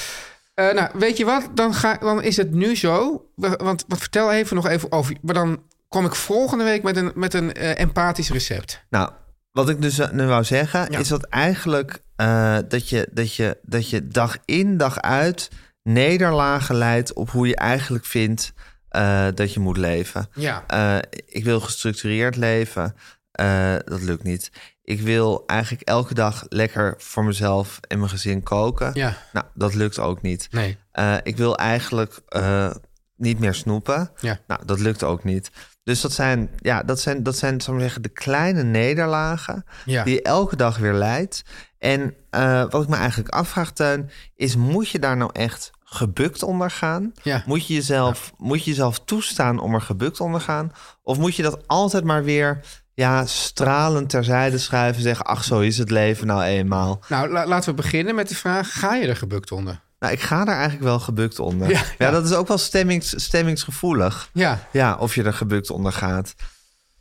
Speaker 5: Eh, nou, weet je wat? Dan, ga, dan is het nu zo. We- Want wat vertel even nog even over... Maar dan kom ik volgende week met een, met een eh, empathisch recept.
Speaker 4: Nou, wat ik dus eh, nu wou zeggen,
Speaker 5: Ja.
Speaker 4: is dat eigenlijk eh, dat, je, dat, je, dat je dag in, dag uit nederlagen leidt op hoe je eigenlijk vindt eh, dat je moet leven.
Speaker 5: Ja.
Speaker 4: Eh, ik wil gestructureerd leven. Eh, dat lukt niet. Ik wil eigenlijk elke dag lekker voor mezelf en mijn gezin koken.
Speaker 5: Ja.
Speaker 4: Nou, dat lukt ook niet.
Speaker 5: Nee.
Speaker 4: Eh, ik wil eigenlijk eh, niet meer snoepen.
Speaker 5: Ja.
Speaker 4: Nou, dat lukt ook niet. Dus dat zijn, ja, dat zijn, dat zijn zal ik maar zeggen, de kleine nederlagen
Speaker 5: Ja.
Speaker 4: die je elke dag weer leidt. En eh, wat ik me eigenlijk afvraag, Teun, is moet je daar nou echt gebukt onder gaan?
Speaker 5: Ja.
Speaker 4: Moet, je jezelf, moet je jezelf toestaan om er gebukt onder gaan? Of moet je dat altijd maar weer ja, stralend terzijde schuiven en zeggen... ach, zo is het leven nou eenmaal.
Speaker 5: Nou, la- laten we beginnen met de vraag... Ga je er gebukt onder?
Speaker 4: Nou, ik ga daar eigenlijk wel gebukt onder. Ja,
Speaker 5: Ja, ja.
Speaker 4: dat is ook wel stemmings, stemmingsgevoelig.
Speaker 5: Ja.
Speaker 4: Ja, of je er gebukt onder gaat.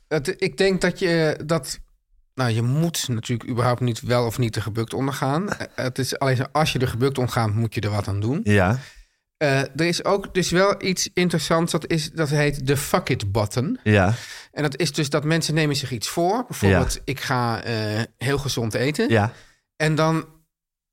Speaker 5: Het- ik denk dat je dat... Nou, je moet natuurlijk überhaupt niet wel of niet er gebukt onder gaan. Eh, Het is alleen zo, als je er gebukt onder gaat, moet je er wat aan doen.
Speaker 4: Ja,
Speaker 5: Eh, er is ook dus wel iets interessants, dat, is, dat heet de fuck it button.
Speaker 4: Ja,
Speaker 5: En dat is dus dat mensen nemen zich iets voor. Bijvoorbeeld, ik ga eh, heel gezond eten.
Speaker 4: ja,
Speaker 5: En dan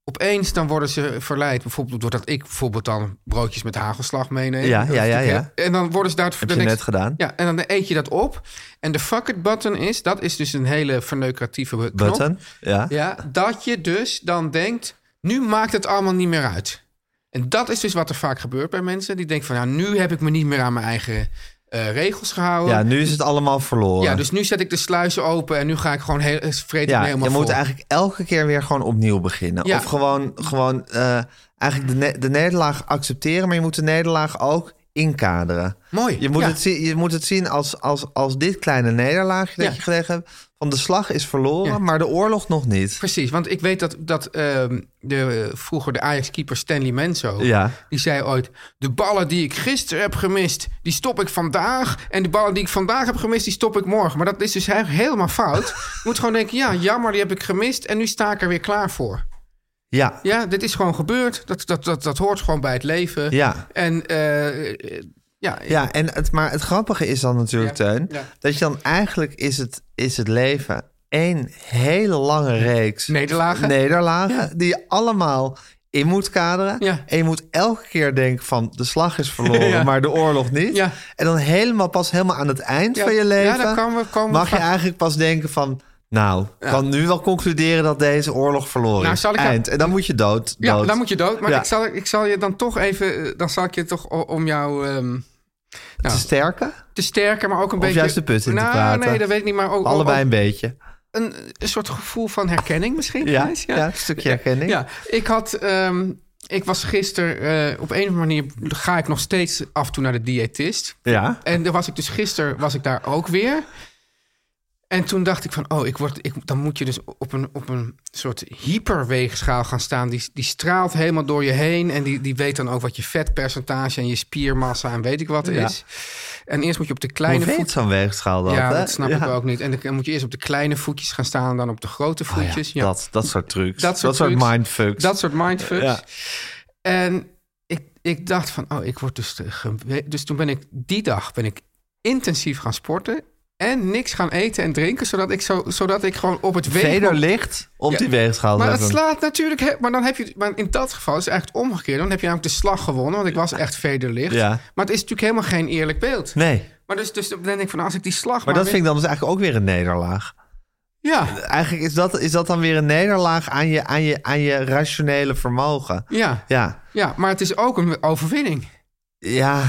Speaker 5: opeens dan worden ze verleid. Bijvoorbeeld doordat ik bijvoorbeeld dan broodjes met hagelslag meeneem.
Speaker 4: Ja,
Speaker 5: Dat is
Speaker 4: ja, ja,
Speaker 5: natuurlijk- En dan worden ze daar...
Speaker 4: heb je net gedaan.
Speaker 5: Ja, en dan eet je dat op. En de fuck it button is, dat is dus een hele verneukeratieve knop.
Speaker 4: Button, ja.
Speaker 5: Ja, dat je dus dan denkt, nu maakt het allemaal niet meer uit. En dat is dus wat er vaak gebeurt bij mensen. Die denken van, nou, nu heb ik me niet meer aan mijn eigen eh, regels gehouden.
Speaker 4: Ja, nu is het allemaal verloren.
Speaker 5: Ja, dus nu zet ik de sluizen open en nu ga ik gewoon heel, eh, vreet ik me
Speaker 4: Ja, je
Speaker 5: helemaal
Speaker 4: moet
Speaker 5: vol.
Speaker 4: eigenlijk elke keer weer gewoon opnieuw beginnen.
Speaker 5: Ja.
Speaker 4: Of gewoon, gewoon eh, eigenlijk de, ne- de nederlaag accepteren, maar je moet de nederlaag ook inkaderen.
Speaker 5: Mooi,
Speaker 4: Je moet,
Speaker 5: ja.
Speaker 4: het, zien, je moet het zien als, als, als dit kleine nederlaagje dat
Speaker 5: Ja.
Speaker 4: je gelegen hebt. Van de slag is verloren,
Speaker 5: Ja.
Speaker 4: maar de oorlog nog niet.
Speaker 5: Precies, want ik weet dat, dat ehm, de, eh, vroeger de Ajax-keeper Stanley Menzo...
Speaker 4: Ja.
Speaker 5: die zei ooit... de ballen die ik gisteren heb gemist, die stop ik vandaag... en de ballen die ik vandaag heb gemist, die stop ik morgen. Maar dat is dus he- helemaal fout. Je moet gewoon denken, ja, jammer, die heb ik gemist... en nu sta ik er weer klaar voor.
Speaker 4: Ja,
Speaker 5: Ja, dit is gewoon gebeurd. Dat, dat, dat, dat hoort gewoon bij het leven.
Speaker 4: Ja.
Speaker 5: En eh, eh, ja,
Speaker 4: ja en het, maar het grappige is dan natuurlijk,
Speaker 5: Ja,
Speaker 4: Teun...
Speaker 5: ja.
Speaker 4: dat je dan eigenlijk is het, is het leven één hele lange reeks...
Speaker 5: Nederlagen.
Speaker 4: nederlagen die je allemaal in moet kaderen.
Speaker 5: Ja.
Speaker 4: En je moet elke keer denken van de slag is verloren,
Speaker 5: Ja.
Speaker 4: maar de oorlog niet.
Speaker 5: Ja.
Speaker 4: En dan helemaal pas helemaal aan het eind
Speaker 5: Ja.
Speaker 4: van je
Speaker 5: Ja,
Speaker 4: leven...
Speaker 5: dan komen we- komen we
Speaker 4: mag je
Speaker 5: vaak-
Speaker 4: eigenlijk pas denken van... Nou, kan nu wel concluderen dat deze oorlog verloren
Speaker 5: Nou,
Speaker 4: is.
Speaker 5: zal ik-
Speaker 4: Eind. En dan moet je dood.
Speaker 5: Ja,
Speaker 4: dood.
Speaker 5: dan moet je dood. Maar
Speaker 4: Ja.
Speaker 5: ik, zal, ik zal je dan toch even... eh, Dan zal ik je toch o- om jou... ehm,
Speaker 4: Te sterken?
Speaker 5: te sterker, maar ook een
Speaker 4: Of
Speaker 5: beetje...
Speaker 4: juist de put in te
Speaker 5: nou,
Speaker 4: praten.
Speaker 5: Nee, dat weet ik niet, maar ook,
Speaker 4: Allebei
Speaker 5: ook
Speaker 4: een beetje.
Speaker 5: een, een soort gevoel van herkenning misschien.
Speaker 4: Ja,
Speaker 5: Gijs?
Speaker 4: ja, een stukje herkenning.
Speaker 5: Ja, ik had... ehm, ik was gisteren... eh, op een of andere manier ga ik nog steeds af en toe naar de diëtist.
Speaker 4: Ja.
Speaker 5: En daar was ik dus gisteren was ik daar ook weer. En toen dacht ik van, oh, ik word, ik, dan moet je dus op een, op een soort hyperweegschaal gaan staan. Die, die straalt helemaal door je heen. En die, die weet dan ook wat je vetpercentage en je spiermassa en weet ik wat
Speaker 4: Ja.
Speaker 5: is. En eerst moet je op de
Speaker 4: Hoe
Speaker 5: kleine
Speaker 4: weet
Speaker 5: voet-
Speaker 4: zo'n weegschaal dat?
Speaker 5: ja,
Speaker 4: hè?
Speaker 5: dat snap
Speaker 4: Ja.
Speaker 5: ik ook niet. En dan moet je eerst op de kleine voetjes gaan staan en dan op de grote
Speaker 4: Oh ja,
Speaker 5: voetjes. ja.
Speaker 4: Dat, dat soort trucs.
Speaker 5: Dat
Speaker 4: Dat
Speaker 5: soort
Speaker 4: soort,
Speaker 5: trucs.
Speaker 4: mindfucks.
Speaker 5: Dat soort mindfucks.
Speaker 4: Ja.
Speaker 5: En ik, ik dacht van, oh, ik word dus... te gewe- Dus toen ben ik die dag ben ik intensief gaan sporten... en niks gaan eten en drinken... zodat ik, zo, zodat ik gewoon op het
Speaker 4: Veder
Speaker 5: weeg...
Speaker 4: licht op
Speaker 5: Ja.
Speaker 4: die weegschaal
Speaker 5: Maar dat
Speaker 4: zetten.
Speaker 5: slaat natuurlijk... he- Maar, dan heb je, maar in dat geval is het eigenlijk het omgekeerde. Dan heb je namelijk de slag gewonnen, want ik was echt vederlicht.
Speaker 4: Ja.
Speaker 5: Maar het is natuurlijk helemaal geen eerlijk beeld.
Speaker 4: Nee, maar,
Speaker 5: Maar dus, dus dan denk ik van, als ik die slag... Maar,
Speaker 4: dat vind
Speaker 5: weer-
Speaker 4: ik dan dus eigenlijk ook weer een nederlaag.
Speaker 5: Ja,
Speaker 4: Eigenlijk is dat, is dat dan weer een nederlaag aan je, aan je, aan je rationele vermogen.
Speaker 5: ja,
Speaker 4: Ja,
Speaker 5: ja, maar het is ook een overwinning.
Speaker 4: ja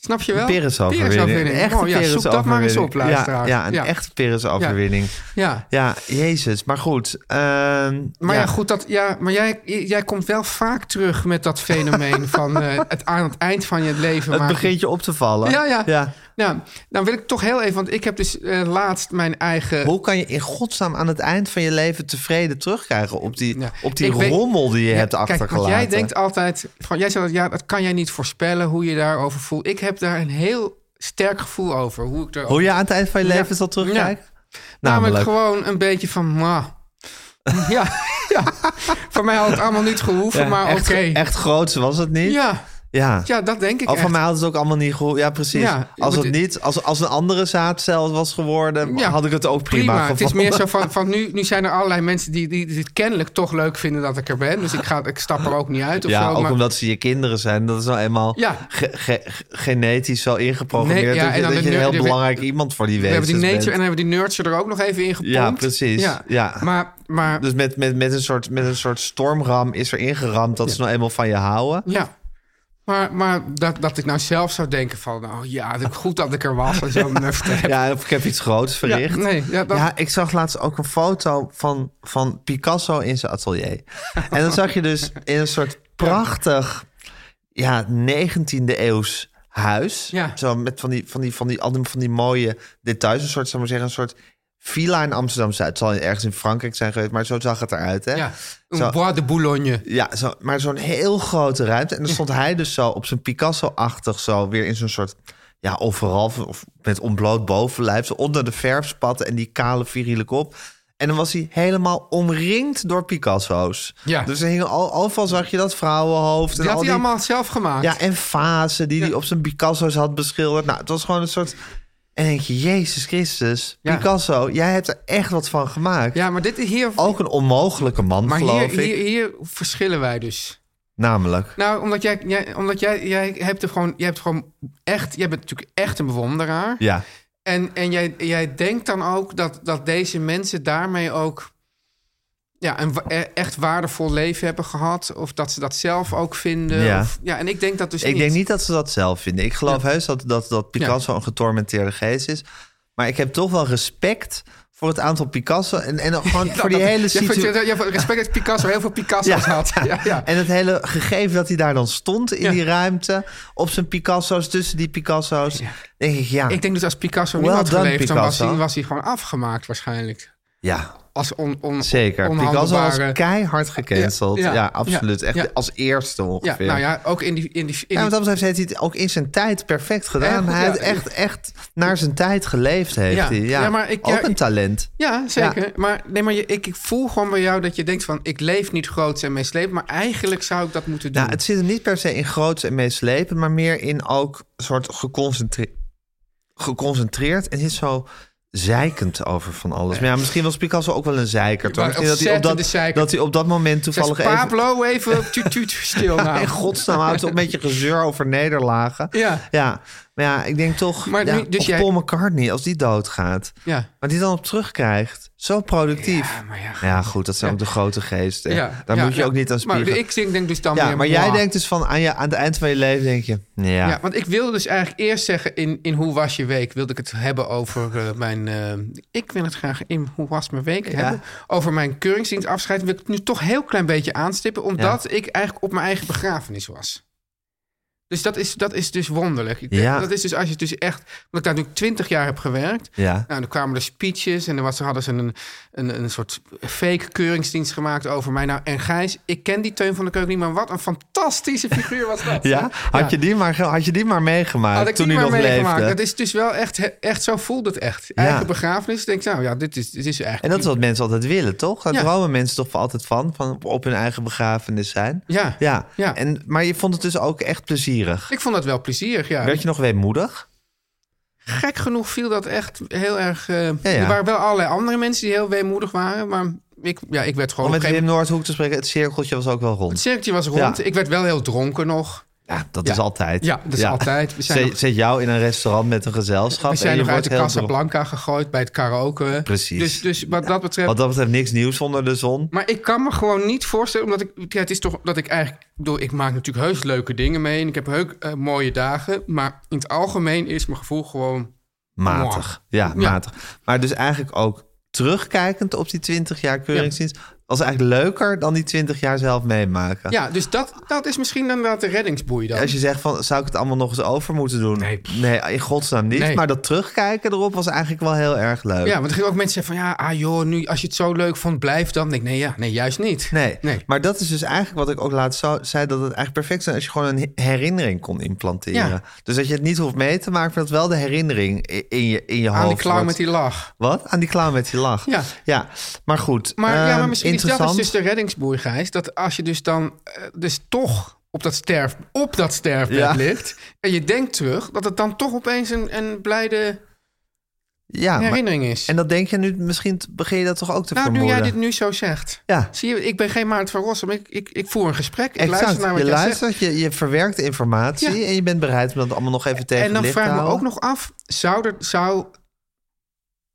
Speaker 5: Snap je
Speaker 4: een
Speaker 5: wel?
Speaker 4: Peres-overwinning. Een echte
Speaker 5: Oh, ja, zoek dat maar eens op,
Speaker 4: Peres-overwinning.
Speaker 5: luisteraars.
Speaker 4: Ja, ja, een
Speaker 5: ja.
Speaker 4: echte Peres-overwinning.
Speaker 5: Ja.
Speaker 4: Ja. jezus. Maar goed. ehm,
Speaker 5: Maar ja, goed, dat, ja, maar jij, jij komt wel vaak terug met dat fenomeen van eh, het, aan het eind van je leven.
Speaker 4: Het
Speaker 5: maak je-
Speaker 4: begint je op te vallen.
Speaker 5: Ja, ja.
Speaker 4: ja.
Speaker 5: Nou, dan wil ik toch heel even, want ik heb dus eh, laatst mijn eigen...
Speaker 4: Hoe kan je in godsnaam aan het eind van je leven tevreden terugkrijgen op die,
Speaker 5: Ja,
Speaker 4: op die
Speaker 5: ik weet-
Speaker 4: rommel die je
Speaker 5: Ja,
Speaker 4: hebt
Speaker 5: Kijk,
Speaker 4: achtergelaten?
Speaker 5: want jij denkt altijd, van, jij zegt, dat, ja, dat kan jij niet voorspellen hoe je daarover voelt. Ik heb daar een heel sterk gevoel over, hoe ik daarover...
Speaker 4: Hoe je aan het eind van je
Speaker 5: Ja.
Speaker 4: leven zal terugkijken? Nou,
Speaker 5: Namelijk
Speaker 4: Namelijk.
Speaker 5: gewoon een beetje van, mwah. ja, ja, voor mij had het allemaal niet gehoeven,
Speaker 4: Ja,
Speaker 5: maar oké.
Speaker 4: echt, echt groots was het niet?
Speaker 5: Ja,
Speaker 4: ja.
Speaker 5: ja, dat denk ik
Speaker 4: Al van
Speaker 5: echt.
Speaker 4: mij had het ook allemaal niet gehoord. Ja, precies.
Speaker 5: Ja, je
Speaker 4: als,
Speaker 5: moet-
Speaker 4: het niet, als, als een andere zaadcel was geworden,
Speaker 5: Ja,
Speaker 4: had ik het ook prima,
Speaker 5: Het is
Speaker 4: gevonden.
Speaker 5: meer zo van, van nu, nu zijn er allerlei mensen die, die, die het kennelijk toch leuk vinden dat ik er ben. Dus ik, ga, ik stap er ook niet uit of
Speaker 4: Ja,
Speaker 5: zo.
Speaker 4: ook
Speaker 5: maar-
Speaker 4: omdat ze je kinderen zijn. Dat is nou eenmaal
Speaker 5: Ja.
Speaker 4: ge- ge- ge- genetisch zo ingeprogrammeerd.
Speaker 5: Nee, ja,
Speaker 4: dat
Speaker 5: en
Speaker 4: je,
Speaker 5: dan
Speaker 4: dat
Speaker 5: de
Speaker 4: je een
Speaker 5: neur-
Speaker 4: heel
Speaker 5: de-
Speaker 4: belangrijk iemand voor die
Speaker 5: we hebben
Speaker 4: wezens
Speaker 5: die nature en
Speaker 4: bent.
Speaker 5: dan hebben we die nurture er ook nog even in gepompt.
Speaker 4: Ja, precies. Ja.
Speaker 5: Maar, maar
Speaker 4: Dus met, met, met, een soort, met een soort stormram is er ingeramd dat ze nou eenmaal van je houden.
Speaker 5: ja. Maar, maar dat, dat ik nou zelf zou denken van, nou ja, dat- goed dat ik er was en zo.
Speaker 4: Ja, of ik heb iets groots verricht. Ja,
Speaker 5: nee, ja, dat-
Speaker 4: ik zag laatst ook een foto van, van Picasso in zijn atelier. En dan zag je dus in een soort prachtig ja, 19e eeuws huis.
Speaker 5: Ja.
Speaker 4: Zo met van die, van, die, van, die, allemaal van die mooie details. Een soort, zou maar zeggen, een soort villa in Amsterdam-Zuid. Het zal ergens in Frankrijk zijn geweest, maar zo zag het eruit. Hè?
Speaker 5: ja.
Speaker 4: Zo-
Speaker 5: Een bois de Boulogne.
Speaker 4: Ja, zo, maar zo'n heel grote ruimte. En dan stond hij dus zo op zijn Picasso-achtig zo weer in zo'n soort... Ja, overal of met ontbloot bovenlijf. Zo onder de verfspatten en die kale viriele kop. En dan was hij helemaal omringd door Picasso's.
Speaker 5: Ja.
Speaker 4: Dus er hingen al, overal zag je dat vrouwenhoofd. en
Speaker 5: Die had
Speaker 4: al
Speaker 5: hij allemaal zelf gemaakt.
Speaker 4: Ja, en fasen die hij op zijn Picasso's had beschilderd. Nou, het was gewoon een soort... En denk je, Jezus Christus,
Speaker 5: Ja.
Speaker 4: Picasso, jij hebt er echt wat van gemaakt.
Speaker 5: Ja, maar dit is hier...
Speaker 4: Ook een onmogelijke man,
Speaker 5: maar
Speaker 4: geloof
Speaker 5: hier,
Speaker 4: ik.
Speaker 5: hier, hier verschillen wij dus.
Speaker 4: Namelijk.
Speaker 5: Nou, omdat jij, jij, omdat jij, jij hebt er gewoon, jij hebt gewoon echt, jij bent natuurlijk echt een bewonderaar.
Speaker 4: Ja.
Speaker 5: En, en jij, jij denkt dan ook dat, dat deze mensen daarmee ook ja, een wa- e- echt waardevol leven hebben gehad. Of dat ze dat zelf ook vinden.
Speaker 4: Ja.
Speaker 5: Of, ja en ik denk dat dus
Speaker 4: ik denk niet dat ze dat zelf vinden. Ik geloof heus dat, dat, dat Picasso een getormenteerde geest is. Maar ik heb toch wel respect voor het aantal Picasso... en, en ook gewoon
Speaker 5: Ja,
Speaker 4: voor die
Speaker 5: dat-
Speaker 4: hele
Speaker 5: ja, voor-
Speaker 4: situatie.
Speaker 5: ja, voor- respect dat Picasso heel veel Picasso's had. Ja, ja.
Speaker 4: En het hele gegeven dat hij daar dan stond in
Speaker 5: Ja.
Speaker 4: die ruimte... op zijn Picasso's, tussen die Picasso's. denk ik, ja,
Speaker 5: Ik denk dus als Picasso nu
Speaker 4: Well
Speaker 5: had
Speaker 4: done,
Speaker 5: geleefd, dan was
Speaker 4: Picasso.
Speaker 5: hij, was hij gewoon afgemaakt waarschijnlijk.
Speaker 4: ja
Speaker 5: Als on, on,
Speaker 4: zeker. Picasso was
Speaker 5: onhandelbare-
Speaker 4: keihard gecanceld. Ja,
Speaker 5: Ja, ja,
Speaker 4: absoluut.
Speaker 5: ja,
Speaker 4: Echt
Speaker 5: ja.
Speaker 4: als eerste
Speaker 5: Ja,
Speaker 4: ongeveer.
Speaker 5: nou ja, ook in die... In die, in
Speaker 4: Ja,
Speaker 5: die-
Speaker 4: wat dat betreft heeft hij het ook in zijn tijd perfect gedaan.
Speaker 5: Echt,
Speaker 4: hij heeft
Speaker 5: ja.
Speaker 4: echt, echt naar zijn tijd geleefd, heeft
Speaker 5: Ja.
Speaker 4: hij. Ja,
Speaker 5: Ja, maar ik-
Speaker 4: ook
Speaker 5: ja,
Speaker 4: een
Speaker 5: ik-
Speaker 4: talent.
Speaker 5: Ja, zeker. Maar, nee, maar je, ik, ik voel gewoon bij jou dat je denkt van... ik leef niet groots en meesleep, maar eigenlijk zou ik dat moeten doen.
Speaker 4: Nou, het zit hem niet per se in groots en meeslepend, maar meer in ook een soort geconcentreerd. Geconcentreerd en zit zo zeikend over van alles. Maar ja, misschien was Picasso ook wel een zeiker. Toch?
Speaker 5: Maar
Speaker 4: Misschien dat, hij op
Speaker 5: ontzettende
Speaker 4: dat,
Speaker 5: zeiker.
Speaker 4: dat hij op dat moment
Speaker 5: Zegt
Speaker 4: toevallig even...
Speaker 5: Pablo even, tuut, tuut, stil nou.
Speaker 4: In godsnaam houdt het een beetje gezeur over nederlagen.
Speaker 5: Ja.
Speaker 4: ja. Maar ja, ik denk toch...
Speaker 5: Maar
Speaker 4: ja,
Speaker 5: nu- dus
Speaker 4: of
Speaker 5: jij-
Speaker 4: Paul McCartney, als die doodgaat.
Speaker 5: Ja.
Speaker 4: Maar die dan op terugkrijgt. Zo productief.
Speaker 5: Ja, maar ja,
Speaker 4: goed, dat zijn ook de grote geesten.
Speaker 5: Ja,
Speaker 4: Daar
Speaker 5: ja,
Speaker 4: moet je
Speaker 5: ja.
Speaker 4: ook niet aan
Speaker 5: Maar
Speaker 4: spiegelen.
Speaker 5: ik denk, denk dus dan
Speaker 4: ja,
Speaker 5: weer...
Speaker 4: maar jij
Speaker 5: moi.
Speaker 4: denkt dus van aan, je, aan het eind van je leven denk je... Ja,
Speaker 5: Ja, want ik wilde dus eigenlijk eerst zeggen in, in Hoe was je week? Wilde ik het hebben over eh, mijn... eh, ik wil het graag in Hoe was mijn week hebben. Over mijn keuringsdienstafscheid wil ik het nu toch heel klein beetje aanstippen. Omdat ik eigenlijk op mijn eigen begrafenis was. Dus dat is, dat is dus wonderlijk. Ik denk,
Speaker 4: Ja.
Speaker 5: Dat is dus als je het dus echt... Want ik daar natuurlijk twintig jaar heb gewerkt.
Speaker 4: Ja.
Speaker 5: Nou, er kwamen er speeches en er was, hadden ze een, een, een soort fake keuringsdienst gemaakt over mij. Nou, en Gijs, ik ken die Teun van de Keuken niet, maar wat een fantastische figuur was dat.
Speaker 4: Ja? Had,
Speaker 5: Ja.
Speaker 4: Je die maar, ge- had je die maar meegemaakt
Speaker 5: Had ik
Speaker 4: toen
Speaker 5: die
Speaker 4: hij
Speaker 5: maar
Speaker 4: nog
Speaker 5: meegemaakt.
Speaker 4: leefde?
Speaker 5: Dat is dus wel echt, echt zo voelt het echt.
Speaker 4: Ja.
Speaker 5: Eigen begrafenis. Denk ik, nou ja, dit is, dit is
Speaker 4: En
Speaker 5: eigenlijk...
Speaker 4: dat is wat mensen altijd willen, toch? Daar
Speaker 5: Ja.
Speaker 4: dromen mensen toch voor altijd van, van op hun eigen begrafenis zijn.
Speaker 5: Ja.
Speaker 4: ja.
Speaker 5: Ja.
Speaker 4: En, maar je vond het dus ook echt plezierig.
Speaker 5: Ik vond dat wel plezierig, ja. Oh,
Speaker 4: Werd je nog weemoedig?
Speaker 5: Gek genoeg viel dat echt heel erg... eh,
Speaker 4: ja.
Speaker 5: Er waren wel allerlei andere mensen die heel weemoedig waren. Maar ik, ja, ik werd
Speaker 4: Om
Speaker 5: gewoon... op
Speaker 4: Oh, met
Speaker 5: een gegeven
Speaker 4: Wim
Speaker 5: moment-
Speaker 4: Noordhoek te spreken, het cirkeltje was ook wel
Speaker 5: Het
Speaker 4: rond.
Speaker 5: cirkeltje was rond.
Speaker 4: Ja.
Speaker 5: Ik werd wel heel dronken nog.
Speaker 4: Ja, dat
Speaker 5: Ja.
Speaker 4: is altijd.
Speaker 5: Ja, dat is altijd. We zijn
Speaker 4: zet,
Speaker 5: nog-
Speaker 4: zet jou in een restaurant met een gezelschap.
Speaker 5: We
Speaker 4: en
Speaker 5: zijn
Speaker 4: Oh, je
Speaker 5: nog uit
Speaker 4: wordt
Speaker 5: de
Speaker 4: heel dronken.
Speaker 5: Casablanca gegooid bij het karaoke.
Speaker 4: Precies.
Speaker 5: Dus, dus wat dat betreft...
Speaker 4: Wat dat betreft niks nieuws onder de zon.
Speaker 5: Maar ik kan me gewoon niet voorstellen, omdat ik, ja, het is toch dat ik eigenlijk, ik bedoel, ik maak natuurlijk heus leuke dingen mee en ik heb heuk eh, mooie dagen, maar in het algemeen is mijn gevoel gewoon,
Speaker 4: Matig. Ja,
Speaker 5: Ja.
Speaker 4: matig. Maar dus eigenlijk ook terugkijkend op die 20 jaar keuringsdienst... was eigenlijk leuker dan die 20 jaar zelf meemaken.
Speaker 5: ja, dus dat, dat is misschien dan wel de reddingsboei dan.
Speaker 4: Als je zegt van, zou ik het allemaal nog eens over moeten doen?
Speaker 5: Nee.
Speaker 4: in godsnaam niet.
Speaker 5: Nee.
Speaker 4: Maar dat terugkijken erop was eigenlijk wel heel erg leuk.
Speaker 5: Ja, want er gingen ook mensen zeggen van, ja, ah joh, nu als je het zo leuk vond, blijf dan. denk ik, nee, ja, nee, juist niet.
Speaker 4: Nee.
Speaker 5: nee.
Speaker 4: maar dat is dus eigenlijk wat ik ook laatst zo- zei... dat het eigenlijk perfect zou zijn als je gewoon een he- herinnering kon implanteren.
Speaker 5: Ja.
Speaker 4: Dus dat je het niet hoeft mee te maken... maar dat wel de herinnering i- in je, in je hoofd
Speaker 5: Aan die clown
Speaker 4: wordt.
Speaker 5: met die lach.
Speaker 4: Wat? Aan die clown met die lach.
Speaker 5: Ja.
Speaker 4: ja. Maar goed,
Speaker 5: Maar, ja, maar
Speaker 4: ehm,
Speaker 5: misschien is dat
Speaker 4: interessant.
Speaker 5: is dus de reddingsboei, Gijs, dat als je dus dan, eh, dus toch op dat, sterf, op dat sterfbed
Speaker 4: Ja.
Speaker 5: ligt en je denkt terug, dat het dan toch opeens een, een blijde...
Speaker 4: ja, maar-
Speaker 5: herinnering is.
Speaker 4: en dat denk je nu, misschien begin je dat toch ook te
Speaker 5: nou, nu
Speaker 4: vermoeden?
Speaker 5: jij dit nu zo zegt.
Speaker 4: Ja.
Speaker 5: Zie je, ik ben geen Maarten van Rossum. Ik, ik, ik voer een gesprek. Ik
Speaker 4: Exact.
Speaker 5: luister naar wat
Speaker 4: je
Speaker 5: jij
Speaker 4: luistert, je, je verwerkt informatie
Speaker 5: Ja.
Speaker 4: en je bent bereid om dat allemaal nog even
Speaker 5: zegt.
Speaker 4: tegen
Speaker 5: En dan
Speaker 4: licht te
Speaker 5: vraag ik me
Speaker 4: houden.
Speaker 5: ook nog af, zou, er, zou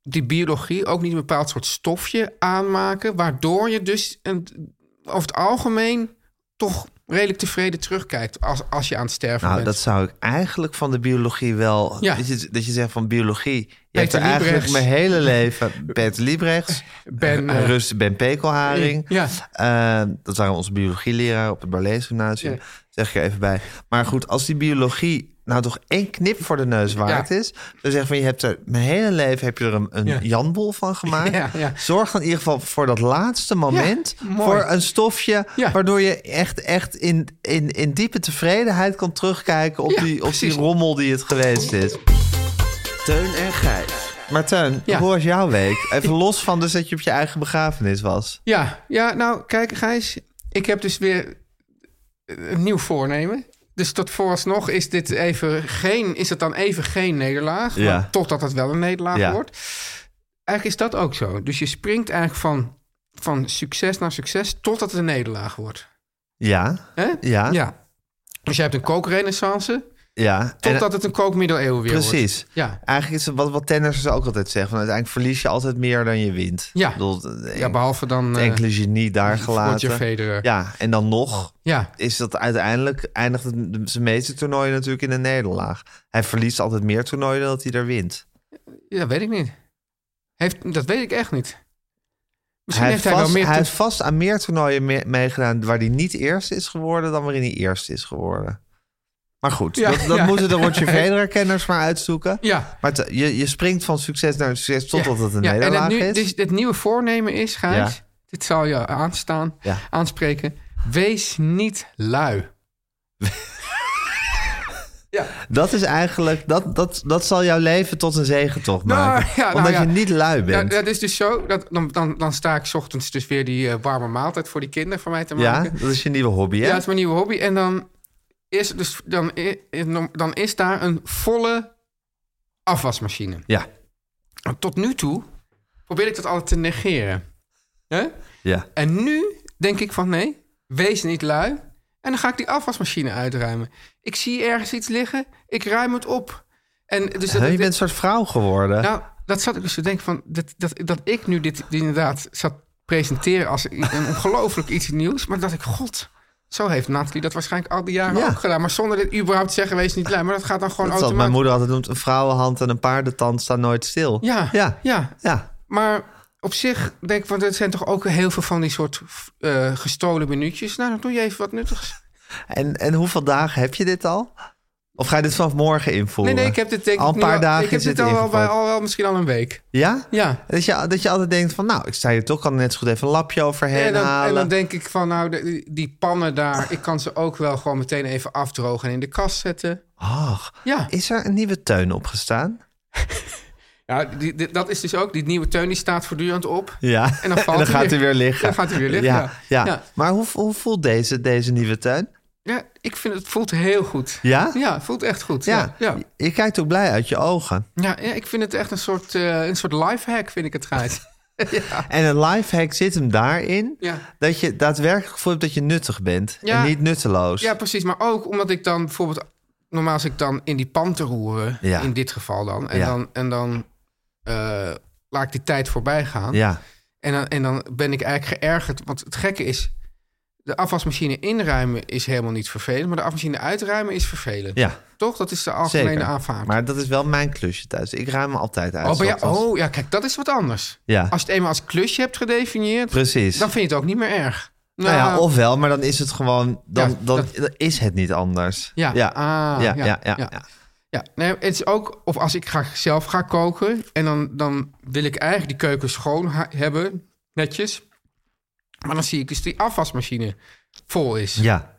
Speaker 5: die biologie ook niet een bepaald soort stofje aanmaken, waardoor je dus een, over het algemeen toch redelijk tevreden terugkijkt als, als je aan het sterven
Speaker 4: Nou,
Speaker 5: bent?
Speaker 4: dat zou ik eigenlijk van de biologie wel...
Speaker 5: Ja.
Speaker 4: Dat, je, dat je zegt van biologie... Je hebt
Speaker 5: Peter
Speaker 4: er eigenlijk
Speaker 5: Liebrechts.
Speaker 4: mijn hele leven... Peter Liebrechts,
Speaker 5: Ben,
Speaker 4: eh,
Speaker 5: eh,
Speaker 4: Rust Ben Pekelharing.
Speaker 5: Ja.
Speaker 4: Eh, dat waren onze biologieleraar op het Barlees Gymnasium.
Speaker 5: Ja.
Speaker 4: Zeg ik er even bij. Maar goed, als die biologie nou toch één knip voor de neus waard
Speaker 5: Ja.
Speaker 4: is... dan zeg je van, je hebt er mijn hele leven heb je er een, een
Speaker 5: Ja.
Speaker 4: janbol van gemaakt.
Speaker 5: Ja, ja.
Speaker 4: Zorg dan in ieder geval voor dat laatste moment...
Speaker 5: mooi.
Speaker 4: voor een stofje
Speaker 5: Ja.
Speaker 4: waardoor je echt, echt in, in, in diepe tevredenheid kan terugkijken... op,
Speaker 5: Ja,
Speaker 4: die, op die
Speaker 5: precies.
Speaker 4: rommel die het geweest is.
Speaker 6: Teun en Gijs.
Speaker 4: Maar Teun,
Speaker 5: Ja.
Speaker 4: hoe was jouw week? Even los van dus dat je op je eigen begrafenis was.
Speaker 5: Ja, ja, nou kijk Gijs, ik heb dus weer eh, een nieuw voornemen. Dus tot vooralsnog is dit even geen, is het dan even geen nederlaag.
Speaker 4: Ja.
Speaker 5: want Totdat het wel een nederlaag
Speaker 4: Ja.
Speaker 5: wordt. Eigenlijk is dat ook zo. Dus je springt eigenlijk van, van succes naar succes totdat het een nederlaag wordt.
Speaker 4: Ja,
Speaker 5: Hè?
Speaker 4: ja, ja.
Speaker 5: Ja. Dus je hebt een kookrenaissance
Speaker 4: En- eh,
Speaker 5: totdat het een kookmiddeleeuwen weer wordt.
Speaker 4: Precies.
Speaker 5: Ja.
Speaker 4: Eigenlijk is het wat, wat tennissers ook altijd zeggen. Van uiteindelijk verlies je altijd meer dan je wint.
Speaker 5: Ja.
Speaker 4: Ik bedoel, de
Speaker 5: Ja,
Speaker 4: en-
Speaker 5: behalve dan
Speaker 4: het
Speaker 5: eh
Speaker 4: enkele genie daar
Speaker 5: Roger
Speaker 4: gelaten.
Speaker 5: Federer. Ja.
Speaker 4: Ja, en dan nog
Speaker 5: Ja.
Speaker 4: is dat uiteindelijk eindigt het, de- zijn meeste toernooien natuurlijk in een nederlaag. Hij verliest altijd meer toernooien dan dat hij er wint.
Speaker 5: dat weet ik niet. Heeft, dat weet ik echt niet. Misschien
Speaker 4: Hij heeft,
Speaker 5: heeft hij wel
Speaker 4: vast,
Speaker 5: meer...
Speaker 4: hij
Speaker 5: te-
Speaker 4: heeft vast aan meer toernooien me- meegedaan waar hij niet eerste is geworden dan waarin hij eerste is geworden. Maar goed,
Speaker 5: Ja,
Speaker 4: dat, dat
Speaker 5: ja.
Speaker 4: moeten de Roger Federer-kenners maar uitzoeken.
Speaker 5: Ja.
Speaker 4: Maar te- je, je springt van succes naar succes totdat het een
Speaker 5: Ja, en
Speaker 4: nederlaag
Speaker 5: het, nu,
Speaker 4: is.
Speaker 5: dus het nieuwe voornemen is, Gijs,
Speaker 4: Ja.
Speaker 5: dit zal je aanstaan,
Speaker 4: Ja.
Speaker 5: aanspreken. Wees niet lui.
Speaker 4: Dat is eigenlijk, dat, dat, dat zal jouw leven tot een zegentocht
Speaker 5: Nou,
Speaker 4: maken.
Speaker 5: ja, nou
Speaker 4: Omdat
Speaker 5: ja.
Speaker 4: je niet lui
Speaker 5: Ja,
Speaker 4: bent. Ja,
Speaker 5: dat is dus zo, dat, dan, dan, dan sta ik 's ochtends dus weer die eh, warme maaltijd voor die kinderen van mij te maken.
Speaker 4: dat is je nieuwe hobby, hè?
Speaker 5: Ja, dat is mijn nieuwe hobby. En dan is, er dus, dan, i- i- dan is daar een volle afwasmachine.
Speaker 4: Ja,
Speaker 5: Tot nu toe probeer ik dat altijd te negeren. Hè?
Speaker 4: ja.
Speaker 5: En nu denk ik van nee, wees niet lui. En dan ga ik die afwasmachine uitruimen. Ik zie ergens iets liggen, ik ruim het op. En dus dat,
Speaker 4: Hè, je bent een soort vrouw geworden.
Speaker 5: nou, dat zat ik dus te denken van dat, dat, dat ik nu dit inderdaad zat presenteren als een ongelooflijk iets nieuws. Maar dat ik, god, zo heeft Nathalie dat waarschijnlijk al die jaren
Speaker 4: Ja.
Speaker 5: ook gedaan. Maar zonder dit überhaupt te zeggen, wees niet lui. Maar dat gaat dan gewoon
Speaker 4: dat is wat mijn
Speaker 5: automatisch.
Speaker 4: moeder altijd noemt. Een vrouwenhand en een paardentand staan nooit stil.
Speaker 5: Ja, ja,
Speaker 4: Ja.
Speaker 5: ja.
Speaker 4: Ja.
Speaker 5: Maar op zich denk ik, want er zijn toch ook heel veel van die soort eh, gestolen minuutjes. Nou, dan doe je even wat nuttigs.
Speaker 4: En, en hoeveel dagen heb je dit al? Of ga je dit vanaf morgen invoeren?
Speaker 5: Nee, nee, ik heb dit denk ik
Speaker 4: Al een
Speaker 5: nu
Speaker 4: paar dagen
Speaker 5: Ik heb
Speaker 4: is
Speaker 5: dit
Speaker 4: het
Speaker 5: al, al, bij-
Speaker 4: ingepakt.
Speaker 5: al, wel misschien al een week.
Speaker 4: Ja?
Speaker 5: Ja.
Speaker 4: Dat je, dat je altijd denkt van, nou, ik sta hier toch, kan er net zo goed even een lapje overheen
Speaker 5: En dan,
Speaker 4: halen.
Speaker 5: en dan denk ik van, nou, de- die pannen daar, ik kan ze ook wel gewoon meteen even afdrogen en in de kast zetten.
Speaker 4: Ach,
Speaker 5: Ja,
Speaker 4: is er een nieuwe teun opgestaan?
Speaker 5: ja die, die- dat is dus ook, die nieuwe teun die staat voortdurend op.
Speaker 4: Ja,
Speaker 5: En dan valt hij
Speaker 4: gaat
Speaker 5: weer.
Speaker 4: hij weer liggen.
Speaker 5: Dan gaat hij weer liggen, ja.
Speaker 4: ja.
Speaker 5: Ja.
Speaker 4: Maar hoe, hoe voelt deze, deze nieuwe tuin?
Speaker 5: Ja, ik vind het voelt heel goed.
Speaker 4: Ja?
Speaker 5: Ja, het voelt echt goed. Ja,
Speaker 4: Ja.
Speaker 5: ja.
Speaker 4: Je kijkt ook blij uit je ogen.
Speaker 5: ja, ja, ik vind het echt een soort, eh een soort lifehack, vind ik het Gijs.
Speaker 4: En een lifehack zit hem daarin...
Speaker 5: Ja.
Speaker 4: dat je daadwerkelijk voelt dat je nuttig bent.
Speaker 5: Ja.
Speaker 4: En niet nutteloos.
Speaker 5: Ja, precies. Maar ook omdat ik dan bijvoorbeeld... Normaal als ik dan in die pan te roeren,
Speaker 4: Ja.
Speaker 5: in dit geval dan. En
Speaker 4: Ja.
Speaker 5: dan, en dan eh, laat ik die tijd voorbij gaan.
Speaker 4: Ja.
Speaker 5: En, dan, en dan ben ik eigenlijk geërgerd. Want het gekke is, de afwasmachine inruimen is helemaal niet vervelend. Maar de afwasmachine uitruimen is vervelend.
Speaker 4: Ja,
Speaker 5: Toch? Dat is de algemene
Speaker 4: zeker.
Speaker 5: aanvaarding.
Speaker 4: Maar dat is wel mijn klusje thuis. Ik ruim me altijd uit.
Speaker 5: Oh, maar ja,
Speaker 4: ochtends.
Speaker 5: oh, ja, kijk, dat is wat anders.
Speaker 4: Ja.
Speaker 5: Als je het eenmaal als klusje hebt gedefinieerd,
Speaker 4: Precies.
Speaker 5: dan vind je het ook niet meer erg.
Speaker 4: nou ja, ofwel, maar dan is het gewoon... Dan,
Speaker 5: Ja,
Speaker 4: dan,
Speaker 5: dat-
Speaker 4: dan is het niet anders.
Speaker 5: Ja,
Speaker 4: ja,
Speaker 5: ah,
Speaker 4: ja,
Speaker 5: ja,
Speaker 4: ja, ja,
Speaker 5: ja.
Speaker 4: ja.
Speaker 5: Ja, nee, het is ook, of als ik ga, zelf ga koken en dan, dan wil ik eigenlijk die keuken schoon ha- hebben, netjes. Maar dan zie ik dus die afwasmachine vol is
Speaker 4: Ja.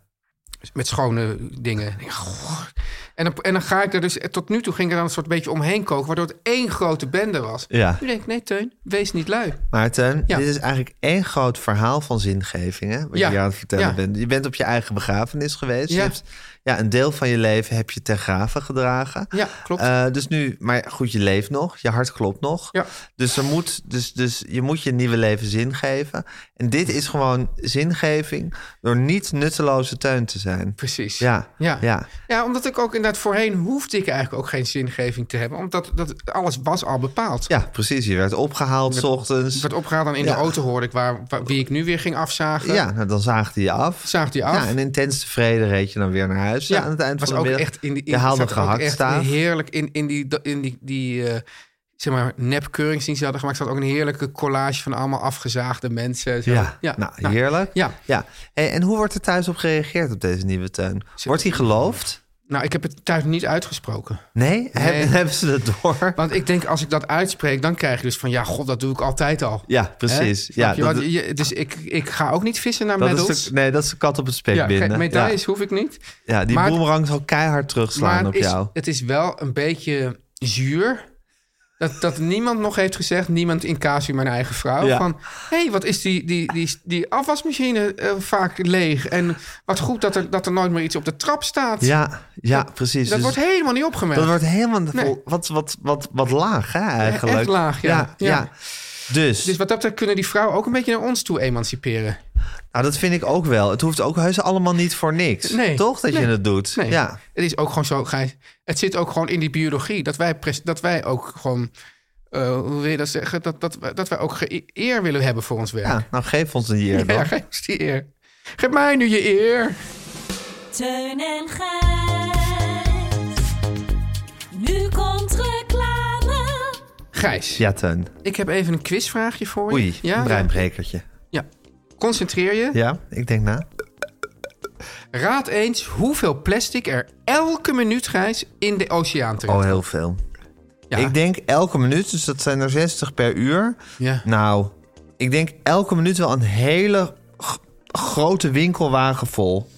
Speaker 5: met schone dingen. Ik denk, goh. En dan, en dan ga ik er dus, tot nu toe ging ik er dan een soort beetje omheen koken, waardoor het één grote bende was.
Speaker 4: Ja.
Speaker 5: Nu denk ik, nee Teun, wees niet lui.
Speaker 4: Maarten,
Speaker 5: Ja.
Speaker 4: dit is eigenlijk één groot verhaal van zingeving, hè? Wat
Speaker 5: Ja.
Speaker 4: je hier aan het vertellen
Speaker 5: Ja.
Speaker 4: bent. Je bent op je eigen begrafenis geweest.
Speaker 5: Ja.
Speaker 4: Je hebt, ja, een deel van je leven heb je ter graven gedragen.
Speaker 5: Ja, klopt.
Speaker 4: Eh, dus nu, maar goed, je leeft nog. Je hart klopt nog.
Speaker 5: Ja.
Speaker 4: Dus, er moet, dus, dus je moet je nieuwe leven zin geven. En dit is gewoon zingeving door niet nutteloze tuin te zijn.
Speaker 5: Precies.
Speaker 4: Ja,
Speaker 5: Ja.
Speaker 4: ja.
Speaker 5: Ja, omdat ik ook inderdaad voorheen hoefde ik eigenlijk ook geen zingeving te hebben. Omdat dat, alles was al bepaald.
Speaker 4: Ja, precies. Je werd opgehaald s
Speaker 5: Ik
Speaker 4: ochtends.
Speaker 5: werd opgehaald en in
Speaker 4: Ja.
Speaker 5: de auto hoorde ik waar, waar- wie ik nu weer ging afzagen.
Speaker 4: Ja, nou, dan zaagde je af.
Speaker 5: Zaagde je af.
Speaker 4: Ja, en intens tevreden reed je dan weer naar huis aan het eind
Speaker 5: was
Speaker 4: van de
Speaker 5: ook
Speaker 4: middag.
Speaker 5: echt in die... In,
Speaker 4: je haalde
Speaker 5: zat ook
Speaker 4: gehakt
Speaker 5: echt
Speaker 4: staaf.
Speaker 5: heerlijk in, in die, in die, die eh, zeg maar, nepkeuringsdienst die ze hadden gemaakt. Zat ook een heerlijke collage van allemaal afgezaagde mensen. Zo.
Speaker 4: Ja, nou, heerlijk.
Speaker 5: ja.
Speaker 4: ja. Hey, en hoe wordt er thuis op gereageerd op deze nieuwe tuin? Wordt hij geloofd?
Speaker 5: Nou, ik heb het thuis niet uitgesproken.
Speaker 4: Nee? Hebben- hebben ze dat door?
Speaker 5: Want ik denk, als ik dat uitspreek, dan krijg je dus van... Ja, god, dat doe ik altijd al.
Speaker 4: Ja, precies.
Speaker 5: Hè?
Speaker 4: Ja,
Speaker 5: Snap je?
Speaker 4: dat,
Speaker 5: Want je- dus ik, ik ga ook niet vissen naar
Speaker 4: dat
Speaker 5: medals.
Speaker 4: is de, nee, dat is de kat op het spek
Speaker 5: ja,
Speaker 4: binnen.
Speaker 5: geen-
Speaker 4: Ja.
Speaker 5: medailles hoef ik niet.
Speaker 4: ja. die
Speaker 5: maar-
Speaker 4: boemerang zal keihard terugslaan
Speaker 5: maar
Speaker 4: op
Speaker 5: het is,
Speaker 4: jou.
Speaker 5: het is wel een beetje zuur Dat, dat niemand nog heeft gezegd, niemand in casu mijn eigen vrouw.
Speaker 4: Ja.
Speaker 5: Van, hé, hey, wat is die, die, die, die afwasmachine eh, vaak leeg. En wat goed dat er, dat er nooit meer iets op de trap staat.
Speaker 4: Ja, ja precies.
Speaker 5: dat
Speaker 4: Dus
Speaker 5: wordt helemaal niet opgemerkt.
Speaker 4: dat wordt helemaal
Speaker 5: Nee.
Speaker 4: wat, wat, wat, wat laag, hè, eigenlijk.
Speaker 5: echt laag, ja.
Speaker 4: ja,
Speaker 5: Ja.
Speaker 4: Dus,
Speaker 5: Dus wat dat betreft kunnen die vrouwen ook een beetje naar ons toe emanciperen.
Speaker 4: nou, dat vind ik ook wel. Het hoeft ook heus allemaal niet voor niks.
Speaker 5: Nee.
Speaker 4: Toch dat je
Speaker 5: Nee.
Speaker 4: het doet?
Speaker 5: Nee,
Speaker 4: Ja.
Speaker 5: het is ook gewoon zo, Gijs. Het zit ook gewoon in die biologie. Dat wij, pres- dat wij ook gewoon, eh, hoe wil je dat zeggen? Dat, dat, wij- dat wij ook ge- eer willen hebben voor ons werk.
Speaker 4: ja, nou geef ons een eer dan.
Speaker 5: Ja, geef ons die eer. Geef mij nu je eer.
Speaker 8: Teun en Gijs. Nu komt reclame.
Speaker 5: Gijs,
Speaker 4: Ja, Teun.
Speaker 5: ik heb even een quizvraagje voor je.
Speaker 4: Oei,
Speaker 5: ja,
Speaker 4: een
Speaker 5: ja,
Speaker 4: breinbrekertje.
Speaker 5: ja. Concentreer je.
Speaker 4: Ja, ik denk na.
Speaker 5: Raad eens hoeveel plastic er elke minuut, Gijs, in de oceaan terecht.
Speaker 4: Oh, heel veel.
Speaker 5: ja.
Speaker 4: Ik denk elke minuut, dus dat zijn er 60 per uur.
Speaker 5: Ja.
Speaker 4: Nou, ik denk elke minuut wel een hele g- grote winkelwagen vol.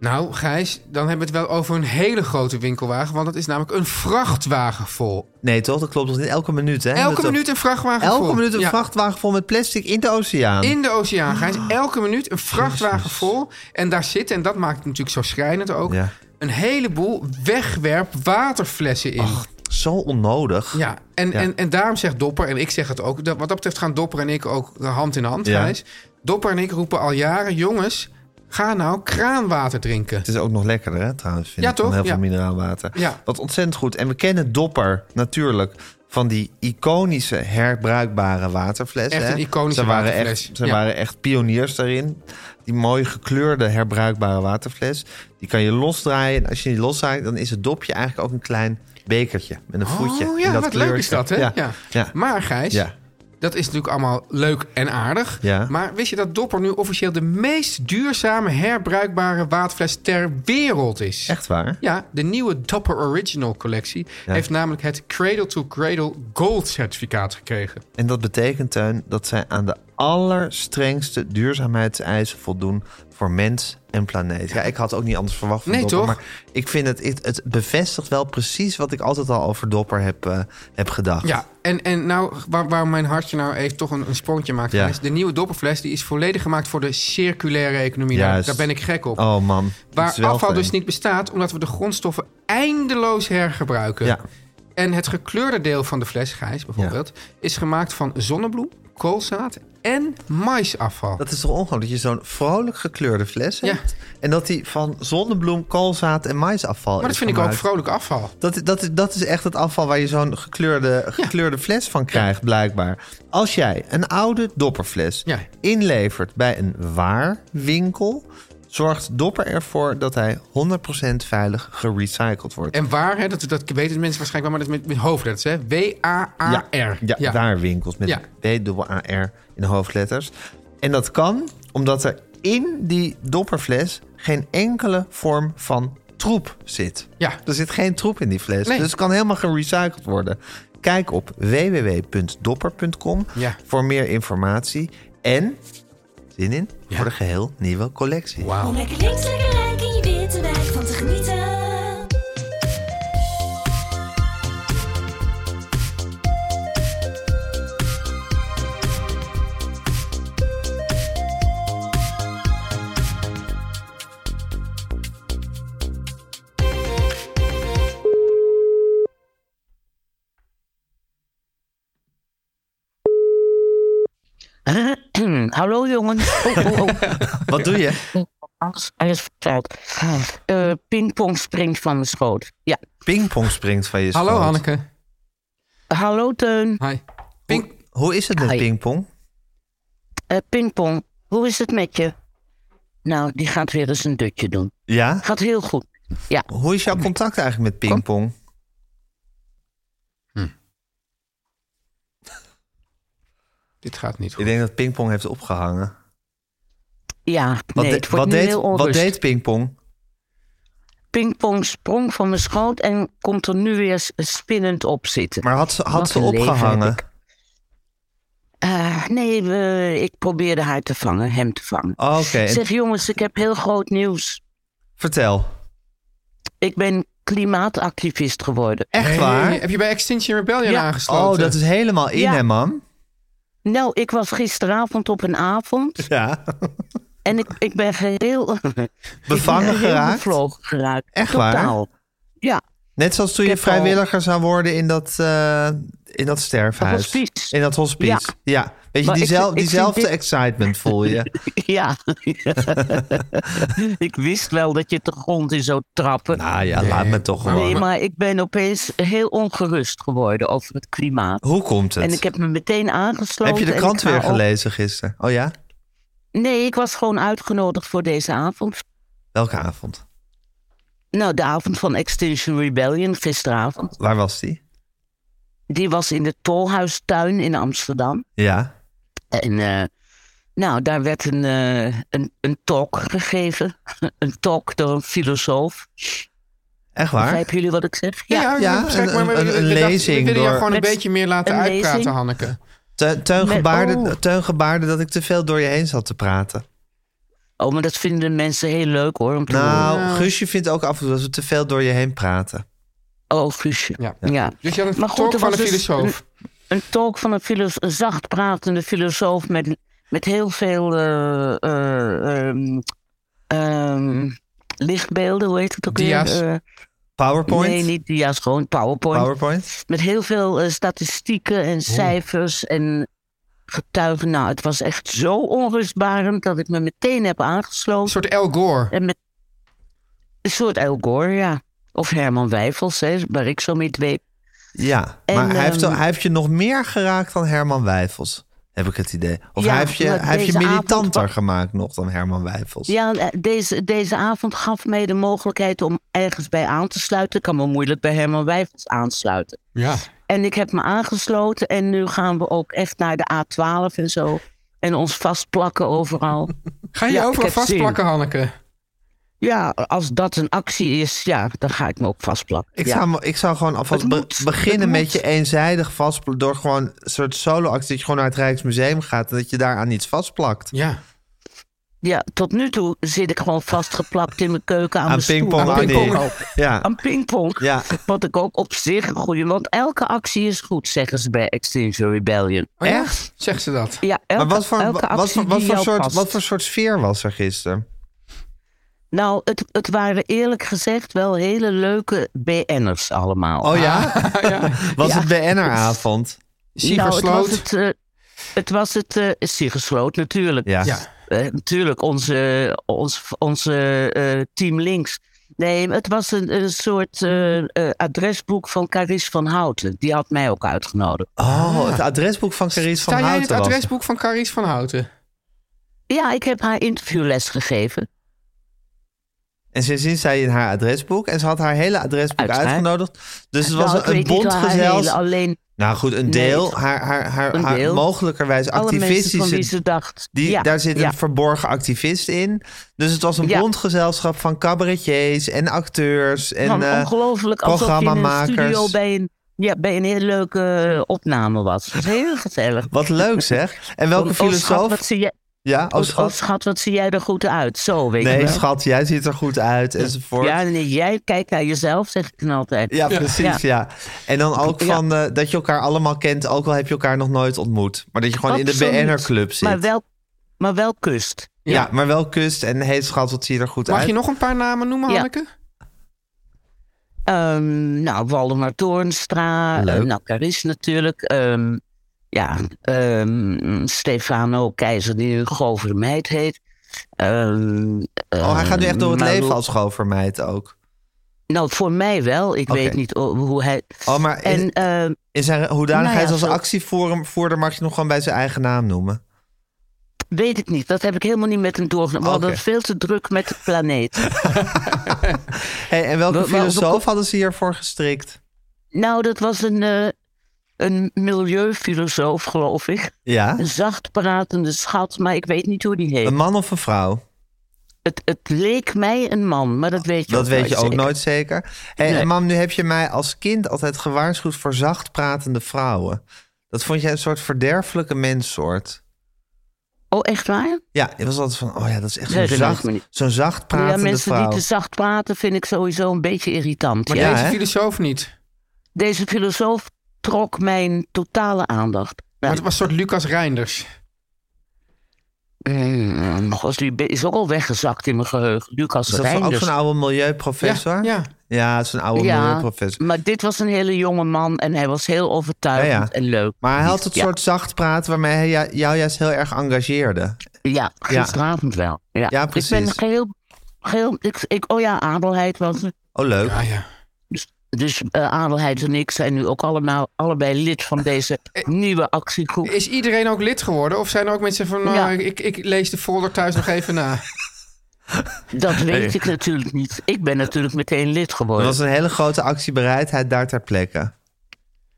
Speaker 5: Nou, Gijs, dan hebben we het wel over een hele grote winkelwagen. Want het is namelijk een vrachtwagen vol.
Speaker 4: Nee, toch? Dat klopt toch niet? Elke minuut, hè?
Speaker 5: Elke
Speaker 4: Dat-
Speaker 5: minuut een vrachtwagen vol.
Speaker 4: Elke minuut een
Speaker 5: Ja.
Speaker 4: vrachtwagen Oh. vol met plastic in de oceaan.
Speaker 5: In de oceaan, Gijs. Elke minuut een vrachtwagen vol. En daar zit, en dat maakt het natuurlijk zo schrijnend ook...
Speaker 4: Ja.
Speaker 5: een heleboel wegwerp waterflessen in.
Speaker 4: Zo onnodig.
Speaker 5: Ja, en,
Speaker 4: Ja.
Speaker 5: En, en daarom zegt Dopper, en ik zeg het ook... dat- wat dat betreft gaan Dopper en ik ook eh, hand in hand,
Speaker 4: Ja.
Speaker 5: Gijs. Dopper en ik roepen al jaren... jongens, ga nou kraanwater drinken.
Speaker 4: Het is ook nog lekkerder, hè, trouwens, vind
Speaker 5: Ja,
Speaker 4: ik, dan
Speaker 5: toch?
Speaker 4: heel veel
Speaker 5: Ja.
Speaker 4: mineraalwater.
Speaker 5: Ja.
Speaker 4: Wat ontzettend goed. En we kennen Dopper natuurlijk van die iconische herbruikbare waterflessen.
Speaker 5: Echt een
Speaker 4: hè.
Speaker 5: iconische
Speaker 4: Ze waren
Speaker 5: waterfles.
Speaker 4: Echt, ze
Speaker 5: Ja.
Speaker 4: waren echt pioniers daarin. Die mooi gekleurde herbruikbare waterfles. Die kan je losdraaien. En als je die losdraait, dan is het dopje eigenlijk ook een klein bekertje met een voetje.
Speaker 5: Oh
Speaker 4: in
Speaker 5: ja,
Speaker 4: dat
Speaker 5: wat leuk
Speaker 4: kleurtje.
Speaker 5: is dat, hè?
Speaker 4: Ja,
Speaker 5: Ja.
Speaker 4: ja.
Speaker 5: Maar Gijs,
Speaker 4: Ja.
Speaker 5: dat is natuurlijk allemaal leuk en aardig.
Speaker 4: Ja.
Speaker 5: Maar wist je dat Dopper nu officieel de meest duurzame herbruikbare waterfles ter wereld is?
Speaker 4: Echt waar?
Speaker 5: Ja, de nieuwe Dopper Original collectie
Speaker 4: Ja.
Speaker 5: heeft namelijk het Cradle to Cradle Gold certificaat gekregen.
Speaker 4: En dat betekent, Teun, dat zij aan de allerstrengste duurzaamheidseisen voldoen voor mens en planeet. Ja, ik had ook niet anders verwacht van
Speaker 5: Nee,
Speaker 4: Dopper.
Speaker 5: toch?
Speaker 4: Maar ik vind het, het, het bevestigt wel precies wat ik altijd al over Dopper heb, eh, heb gedacht.
Speaker 5: Ja, en, en nou, waar, waar mijn hartje nou even toch een, een sprongetje maakt.
Speaker 4: Ja.
Speaker 5: Gijs, De nieuwe dopperfles die is volledig gemaakt voor de circulaire economie. Daar,
Speaker 4: Juist.
Speaker 5: daar ben ik gek op.
Speaker 4: Oh man.
Speaker 5: Waar
Speaker 4: het is wel
Speaker 5: afval
Speaker 4: fijn.
Speaker 5: dus niet bestaat, omdat we de grondstoffen eindeloos hergebruiken.
Speaker 4: Ja.
Speaker 5: En het gekleurde deel van de fles, Gijs bijvoorbeeld, is gemaakt van zonnebloem, koolzaad en maïsafval.
Speaker 4: Dat is toch ongewoon dat je zo'n vrolijk gekleurde fles
Speaker 5: Ja.
Speaker 4: hebt. En dat die van zonnebloem, koolzaad en maïsafval
Speaker 5: maar dat
Speaker 4: is
Speaker 5: vind ik ook
Speaker 4: gemaakt.
Speaker 5: vrolijk afval.
Speaker 4: Dat, dat, dat is echt het afval waar je zo'n gekleurde, gekleurde fles van krijgt, blijkbaar. Als jij een oude dopperfles
Speaker 5: Ja.
Speaker 4: inlevert bij een waarwinkel... zorgt Dopper ervoor dat hij 100% veilig gerecycled wordt.
Speaker 5: En waar, hè, dat, dat weten de mensen waarschijnlijk wel, maar dat is met, met hoofdletters. hè?
Speaker 4: ja,
Speaker 5: W-A-A-R.
Speaker 4: ja, daar winkels met
Speaker 5: Ja.
Speaker 4: W-A-R in de hoofdletters. En dat kan omdat er in die dopperfles... geen enkele vorm van troep zit.
Speaker 5: Ja.
Speaker 4: Er zit geen troep in die fles.
Speaker 5: Nee.
Speaker 4: Dus het kan helemaal gerecycled worden. Kijk op www.dopper.com
Speaker 5: Ja.
Speaker 4: voor meer informatie. En, zin in,
Speaker 5: Ja.
Speaker 4: voor de geheel nieuwe collectie.
Speaker 5: Wauw.
Speaker 8: Om lekker links, lekker rijk in je witte wijk van te genieten.
Speaker 9: Hallo jongens. Oh, oh, oh.
Speaker 4: Wat doe je?
Speaker 9: Hij is verteld. Eh pingpong springt van de schoot. Ja.
Speaker 4: Pingpong springt van je
Speaker 5: Hallo
Speaker 4: schoot.
Speaker 5: Hanneke.
Speaker 9: Hallo Teun.
Speaker 5: Hi. Pink.
Speaker 4: Hoe is het met
Speaker 9: Hi.
Speaker 4: pingpong?
Speaker 9: Eh pingpong, hoe is het met je? Nou, die gaat weer eens een dutje doen.
Speaker 4: Ja?
Speaker 9: Gaat heel goed. Ja.
Speaker 4: Hoe is jouw contact eigenlijk met pingpong?
Speaker 5: Dit gaat niet
Speaker 4: Ik
Speaker 5: goed.
Speaker 4: denk dat pingpong heeft opgehangen.
Speaker 9: Ja, nee,
Speaker 4: de-
Speaker 9: het wordt
Speaker 4: wat,
Speaker 9: nu
Speaker 4: deed,
Speaker 9: heel
Speaker 4: wat
Speaker 9: onrustig.
Speaker 4: deed pingpong?
Speaker 9: Pingpong sprong van mijn schoot en komt er nu weer s- spinnend op zitten.
Speaker 4: Maar had ze, had
Speaker 9: Wat
Speaker 4: ze
Speaker 9: een leven heb
Speaker 4: opgehangen?
Speaker 9: ik. Eh, nee, we- ik probeerde haar te vangen, hem te vangen.
Speaker 4: Oh, Oké, en-
Speaker 9: Zeg jongens, ik heb heel groot nieuws.
Speaker 4: vertel.
Speaker 9: Ik ben klimaatactivist geworden.
Speaker 4: Echt waar?
Speaker 5: Heb je bij Extinction Rebellion
Speaker 9: Ja.
Speaker 5: aangesloten?
Speaker 4: Oh, dat is helemaal in,
Speaker 9: Ja.
Speaker 4: hè, man?
Speaker 9: Nou, ik was gisteravond op een avond
Speaker 4: Ja.
Speaker 9: en ik, ik ben geheel
Speaker 4: Bevangen
Speaker 9: ik ben heel
Speaker 4: geraakt?
Speaker 9: bevlogen geraakt.
Speaker 4: Echt waar?
Speaker 9: Totaal. Ja,
Speaker 4: Net zoals toen
Speaker 9: Ik
Speaker 4: je
Speaker 9: heb al-
Speaker 4: vrijwilliger zou worden in dat, eh, in dat sterfhuis.
Speaker 9: Dat hospice.
Speaker 4: In dat hospice. Ja.
Speaker 9: Ja.
Speaker 4: Weet je,
Speaker 9: Maar ik
Speaker 4: diezel-
Speaker 9: vind- ik vind
Speaker 4: diezelfde
Speaker 9: dit-
Speaker 4: excitement voel je.
Speaker 9: ja. ik wist wel dat je de grond in zou trappen.
Speaker 4: nou ja, laat me toch gewoon.
Speaker 9: Nee, maar ik ben opeens heel ongerust geworden over het klimaat.
Speaker 4: Hoe komt het?
Speaker 9: En ik heb me meteen aangesloten.
Speaker 4: Heb je de
Speaker 9: en
Speaker 4: krant
Speaker 9: ik ga
Speaker 4: weer
Speaker 9: ook-
Speaker 4: gelezen gisteren? Oh ja?
Speaker 9: Nee, ik was gewoon uitgenodigd voor deze avond.
Speaker 4: Welke avond?
Speaker 9: Nou, de avond van Extinction Rebellion gisteravond.
Speaker 4: Waar was die?
Speaker 9: Die was in de Tolhuistuin in Amsterdam.
Speaker 4: Ja.
Speaker 9: En eh, nou, daar werd een, eh, een, een talk gegeven. een talk door een filosoof.
Speaker 4: Echt waar?
Speaker 9: Begrijpen jullie wat ik zeg?
Speaker 5: Ja, ja,
Speaker 4: Ja,
Speaker 5: begrijp,
Speaker 4: een-
Speaker 5: maar we-
Speaker 4: een-
Speaker 5: we-
Speaker 4: een
Speaker 5: we- we-
Speaker 4: lezing
Speaker 5: We willen
Speaker 4: door-
Speaker 5: je gewoon een
Speaker 9: Met
Speaker 5: beetje meer laten
Speaker 9: een
Speaker 5: uitpraten,
Speaker 9: lezing.
Speaker 5: Hanneke.
Speaker 4: Teun, Teun
Speaker 9: Met-
Speaker 4: gebaarde,
Speaker 9: oh.
Speaker 4: Teun gebaarde dat ik te veel door je heen zat te praten.
Speaker 9: Oh, maar dat vinden mensen heel leuk hoor. Om te
Speaker 4: Nou,
Speaker 5: Ja.
Speaker 4: Guusje vindt ook af en toe dat we te veel door je heen praten.
Speaker 9: horen. Oh, Guusje.
Speaker 5: Ja.
Speaker 9: Ja.
Speaker 5: Dus je had een
Speaker 9: Maar goed,
Speaker 5: talk
Speaker 9: er
Speaker 5: van
Speaker 9: was
Speaker 5: een
Speaker 9: dus
Speaker 5: filosoof.
Speaker 9: Een talk van een, filos- een zacht pratende filosoof met, met heel veel eh, eh, ehm, ehm, lichtbeelden, hoe heet het ook
Speaker 5: Dia's.
Speaker 9: weer? Eh,
Speaker 4: PowerPoint?
Speaker 9: nee, niet dia's, gewoon PowerPoint.
Speaker 4: PowerPoint?
Speaker 9: Met heel veel eh, statistieken en cijfers en getuigen. Nou, het was echt zo onrustbarend dat ik me meteen heb
Speaker 5: Een
Speaker 9: aangesloten.
Speaker 5: soort El Gore.
Speaker 9: En met een soort El Gore, ja. Of Herman Wijfels, hè, waar ik zo mee dweep.
Speaker 4: Ja,
Speaker 9: En,
Speaker 4: maar hij, heeft,
Speaker 9: ehm,
Speaker 4: hij heeft je nog meer geraakt dan Herman Wijfels, heb ik het idee. Of
Speaker 9: Ja,
Speaker 4: hij heeft je,
Speaker 9: maar
Speaker 4: hij heeft je
Speaker 9: deze avond
Speaker 4: militanter
Speaker 9: wa-
Speaker 4: gemaakt nog dan Herman Wijfels.
Speaker 9: Ja, eh, deze, deze avond gaf mij de mogelijkheid om ergens bij aan te sluiten. Ik kan me moeilijk bij Herman Wijfels aansluiten.
Speaker 5: Ja.
Speaker 9: En ik heb me aangesloten en nu gaan we ook echt naar de A12 en zo. En ons vastplakken overal.
Speaker 5: Ga je
Speaker 9: Ja, ik
Speaker 5: overal
Speaker 9: heb zin.
Speaker 5: vastplakken, Hanneke?
Speaker 9: Ja, als dat een actie is, ja, dan ga ik me ook vastplakken.
Speaker 4: Ik,
Speaker 9: ja.
Speaker 4: zou, me- ik zou gewoon alvast
Speaker 9: Het
Speaker 4: be-
Speaker 9: moet,
Speaker 4: beginnen
Speaker 9: het
Speaker 4: met
Speaker 9: moet.
Speaker 4: je eenzijdig vastplakken. Door gewoon een soort solo-actie. Dat je gewoon naar het Rijksmuseum gaat. En dat je daar aan iets vastplakt.
Speaker 5: Ja.
Speaker 9: ja, tot nu toe zit ik gewoon vastgeplakt in mijn keuken aan,
Speaker 4: Aan
Speaker 9: mijn stoel.
Speaker 4: pingpong
Speaker 9: Aan
Speaker 4: Annie.
Speaker 9: pingpong.
Speaker 4: Ja.
Speaker 9: Aan pingpong.
Speaker 4: Ja.
Speaker 9: Wat ik ook op zich een goede... Want elke actie is goed, zeggen ze bij Extinction Rebellion.
Speaker 5: Oh, ja?
Speaker 4: Echt?
Speaker 5: Zegt ze dat?
Speaker 9: Ja, elke,
Speaker 4: Maar wat voor,
Speaker 9: elke
Speaker 4: wat,
Speaker 9: actie
Speaker 4: voor, wat,
Speaker 9: die
Speaker 4: voor
Speaker 9: jou
Speaker 4: soort,
Speaker 9: past.
Speaker 4: wat voor soort sfeer was er gisteren?
Speaker 9: Nou, het, het waren eerlijk gezegd wel hele leuke BN'ers allemaal.
Speaker 4: Oh ja? Was
Speaker 9: Ja.
Speaker 4: het BN'er-avond?
Speaker 9: nou, het was
Speaker 5: Siegersloot.
Speaker 9: het, eh, het was het eh, Siegersloot natuurlijk.
Speaker 4: Ja.
Speaker 5: Ja.
Speaker 9: Eh, natuurlijk, onze, ons, onze eh, team links. Nee, het was een, een soort eh, eh, adresboek van Caris van Houten. Die had mij ook uitgenodigd.
Speaker 4: Oh,
Speaker 9: Ah.
Speaker 4: het adresboek van Carice van
Speaker 5: Sta jij in het
Speaker 4: Houten was er.
Speaker 5: adresboek van Carice van Houten?
Speaker 9: Ja, ik heb haar interviewles gegeven.
Speaker 4: En sindsdien zei je in haar adresboek. En ze had haar hele adresboek
Speaker 9: Uiteraard.
Speaker 4: uitgenodigd. Dus het was
Speaker 9: Nou, ik
Speaker 4: een
Speaker 9: weet niet wel haar hele,
Speaker 4: bondgezels.
Speaker 9: Alleen
Speaker 4: Nou goed, een
Speaker 9: Nee,
Speaker 4: deel.
Speaker 9: het-
Speaker 4: haar, haar, haar,
Speaker 9: een
Speaker 4: haar
Speaker 9: deel.
Speaker 4: mogelijkerwijs
Speaker 9: alle mensen van wie
Speaker 4: activistische
Speaker 9: ze dacht.
Speaker 4: Die,
Speaker 9: ja,
Speaker 4: daar zit
Speaker 9: ja.
Speaker 4: een verborgen activist in. Dus het was een
Speaker 9: Ja.
Speaker 4: bondgezelschap van cabaretiers en acteurs. En,
Speaker 9: Van
Speaker 4: eh,
Speaker 9: ongelooflijk alsof je in een
Speaker 4: programmamakers.
Speaker 9: studio bij een, ja, bij een hele leuke eh, opname was. Het was heel gezellig.
Speaker 4: wat leuk zeg. En welke
Speaker 9: Want, oh,
Speaker 4: filosoof?
Speaker 9: schat, wat zie jij,
Speaker 4: ja,
Speaker 9: oh,
Speaker 4: oh schat.
Speaker 9: oh, schat, wat zie jij er goed uit? Zo, weet je
Speaker 4: nee,
Speaker 9: wel.
Speaker 4: schat, jij ziet er goed uit enzovoort.
Speaker 9: Ja,
Speaker 4: Ja,
Speaker 9: nee, jij kijkt naar jezelf, zeg ik dan altijd.
Speaker 4: precies, ja. En dan ook
Speaker 9: Ja.
Speaker 4: van eh, dat je elkaar allemaal kent, ook al heb je elkaar nog nooit ontmoet. Maar dat je gewoon in de
Speaker 9: Absoluut.
Speaker 4: BNR-club zit.
Speaker 9: Maar wel, maar wel kust.
Speaker 4: ja. maar wel kust en hey schat, wat zie je er goed
Speaker 5: Mag
Speaker 4: uit.
Speaker 5: je nog een paar namen noemen,
Speaker 9: Ja.
Speaker 5: Hanneke?
Speaker 9: Ehm, nou, Waldemar Toornstra,
Speaker 4: Leuk.
Speaker 9: eh, nou, Caris natuurlijk. ehm, ja, ehm, Stefano Keizer, die nu Grover de Meid heet. Ehm,
Speaker 4: Oh, hij gaat nu echt door het
Speaker 9: ehm,
Speaker 4: leven
Speaker 9: Malou-
Speaker 4: als schoolvermeid ook.
Speaker 9: Nou, voor mij wel. Ik
Speaker 4: Oké.
Speaker 9: weet niet o- hoe hij.
Speaker 4: Oh, maar in,
Speaker 9: En eh,
Speaker 4: in zijn hoedanigheid
Speaker 9: Nou ja,
Speaker 4: als
Speaker 9: zo-
Speaker 4: actievoerder mag je nog gewoon bij zijn eigen naam noemen.
Speaker 9: weet ik niet. Dat heb ik helemaal niet met hem doorgenomen. We hadden
Speaker 4: Oké.
Speaker 9: het veel te druk met de planeet.
Speaker 4: Hey, en welke
Speaker 9: Wel- wel-
Speaker 4: filosoof hadden ze hiervoor gestrikt?
Speaker 9: nou, dat was een, eh, een milieufilosoof, geloof ik.
Speaker 4: Ja.
Speaker 9: Een zacht pratende schat, maar ik weet niet hoe die heet.
Speaker 4: Een man of een vrouw?
Speaker 9: Het, het leek mij een man, maar dat weet je
Speaker 4: Dat
Speaker 9: ook
Speaker 4: weet
Speaker 9: nooit
Speaker 4: je ook
Speaker 9: zeker.
Speaker 4: nooit zeker. Hey,
Speaker 9: Nee.
Speaker 4: En mam, nu heb je mij als kind altijd gewaarschuwd voor zacht pratende vrouwen. Dat vond jij een soort verderfelijke menssoort.
Speaker 9: Oh, echt waar?
Speaker 4: Ja, ik was altijd van, oh ja, dat is echt
Speaker 9: Nee,
Speaker 4: zo'n
Speaker 9: dat lijkt
Speaker 4: zacht,
Speaker 9: me niet.
Speaker 4: zo'n zacht pratende
Speaker 9: ja, mensen
Speaker 4: vrouw.
Speaker 9: die te zacht praten vind ik sowieso een beetje irritant.
Speaker 5: Maar
Speaker 9: ja.
Speaker 5: deze filosoof niet.
Speaker 9: Deze filosoof trok mijn totale aandacht.
Speaker 5: Maar het was een soort Lucas Reinders.
Speaker 9: Eh, nog als die be- is ook al weggezakt in mijn geheugen. Lucas
Speaker 4: Is Dus dat zo- ook
Speaker 9: Reinders.
Speaker 4: zo'n oude milieuprofessor?
Speaker 5: Ja, ja.
Speaker 4: Ja, het is een oude
Speaker 9: dus- Ja.
Speaker 4: milieuprofessor.
Speaker 9: Maar dit was een hele jonge man en hij was heel overtuigend
Speaker 4: Ja, ja.
Speaker 9: en leuk.
Speaker 4: Maar hij had
Speaker 9: Ja.
Speaker 4: het soort zacht praten waarmee hij jou- jou juist heel erg engageerde.
Speaker 9: Ja, gisteravond wel. Ja,
Speaker 4: Ja,
Speaker 9: Ik
Speaker 4: precies.
Speaker 9: ben geheel... geheel ik, ik, oh ja, Adelheid was het.
Speaker 4: Oh, leuk.
Speaker 5: Ah ja.
Speaker 9: Dus, dus eh, Adelheid en ik zijn nu ook allemaal, allebei lid van deze nieuwe actiegroep.
Speaker 5: Is iedereen ook lid geworden? Of zijn er ook mensen van, nou,
Speaker 9: Ja.
Speaker 5: ik, ik lees de folder thuis nog even na.
Speaker 9: Dat weet ik natuurlijk niet. Ik ben natuurlijk meteen lid
Speaker 4: Er
Speaker 9: geworden.
Speaker 4: was een hele grote actiebereidheid daar ter plekke.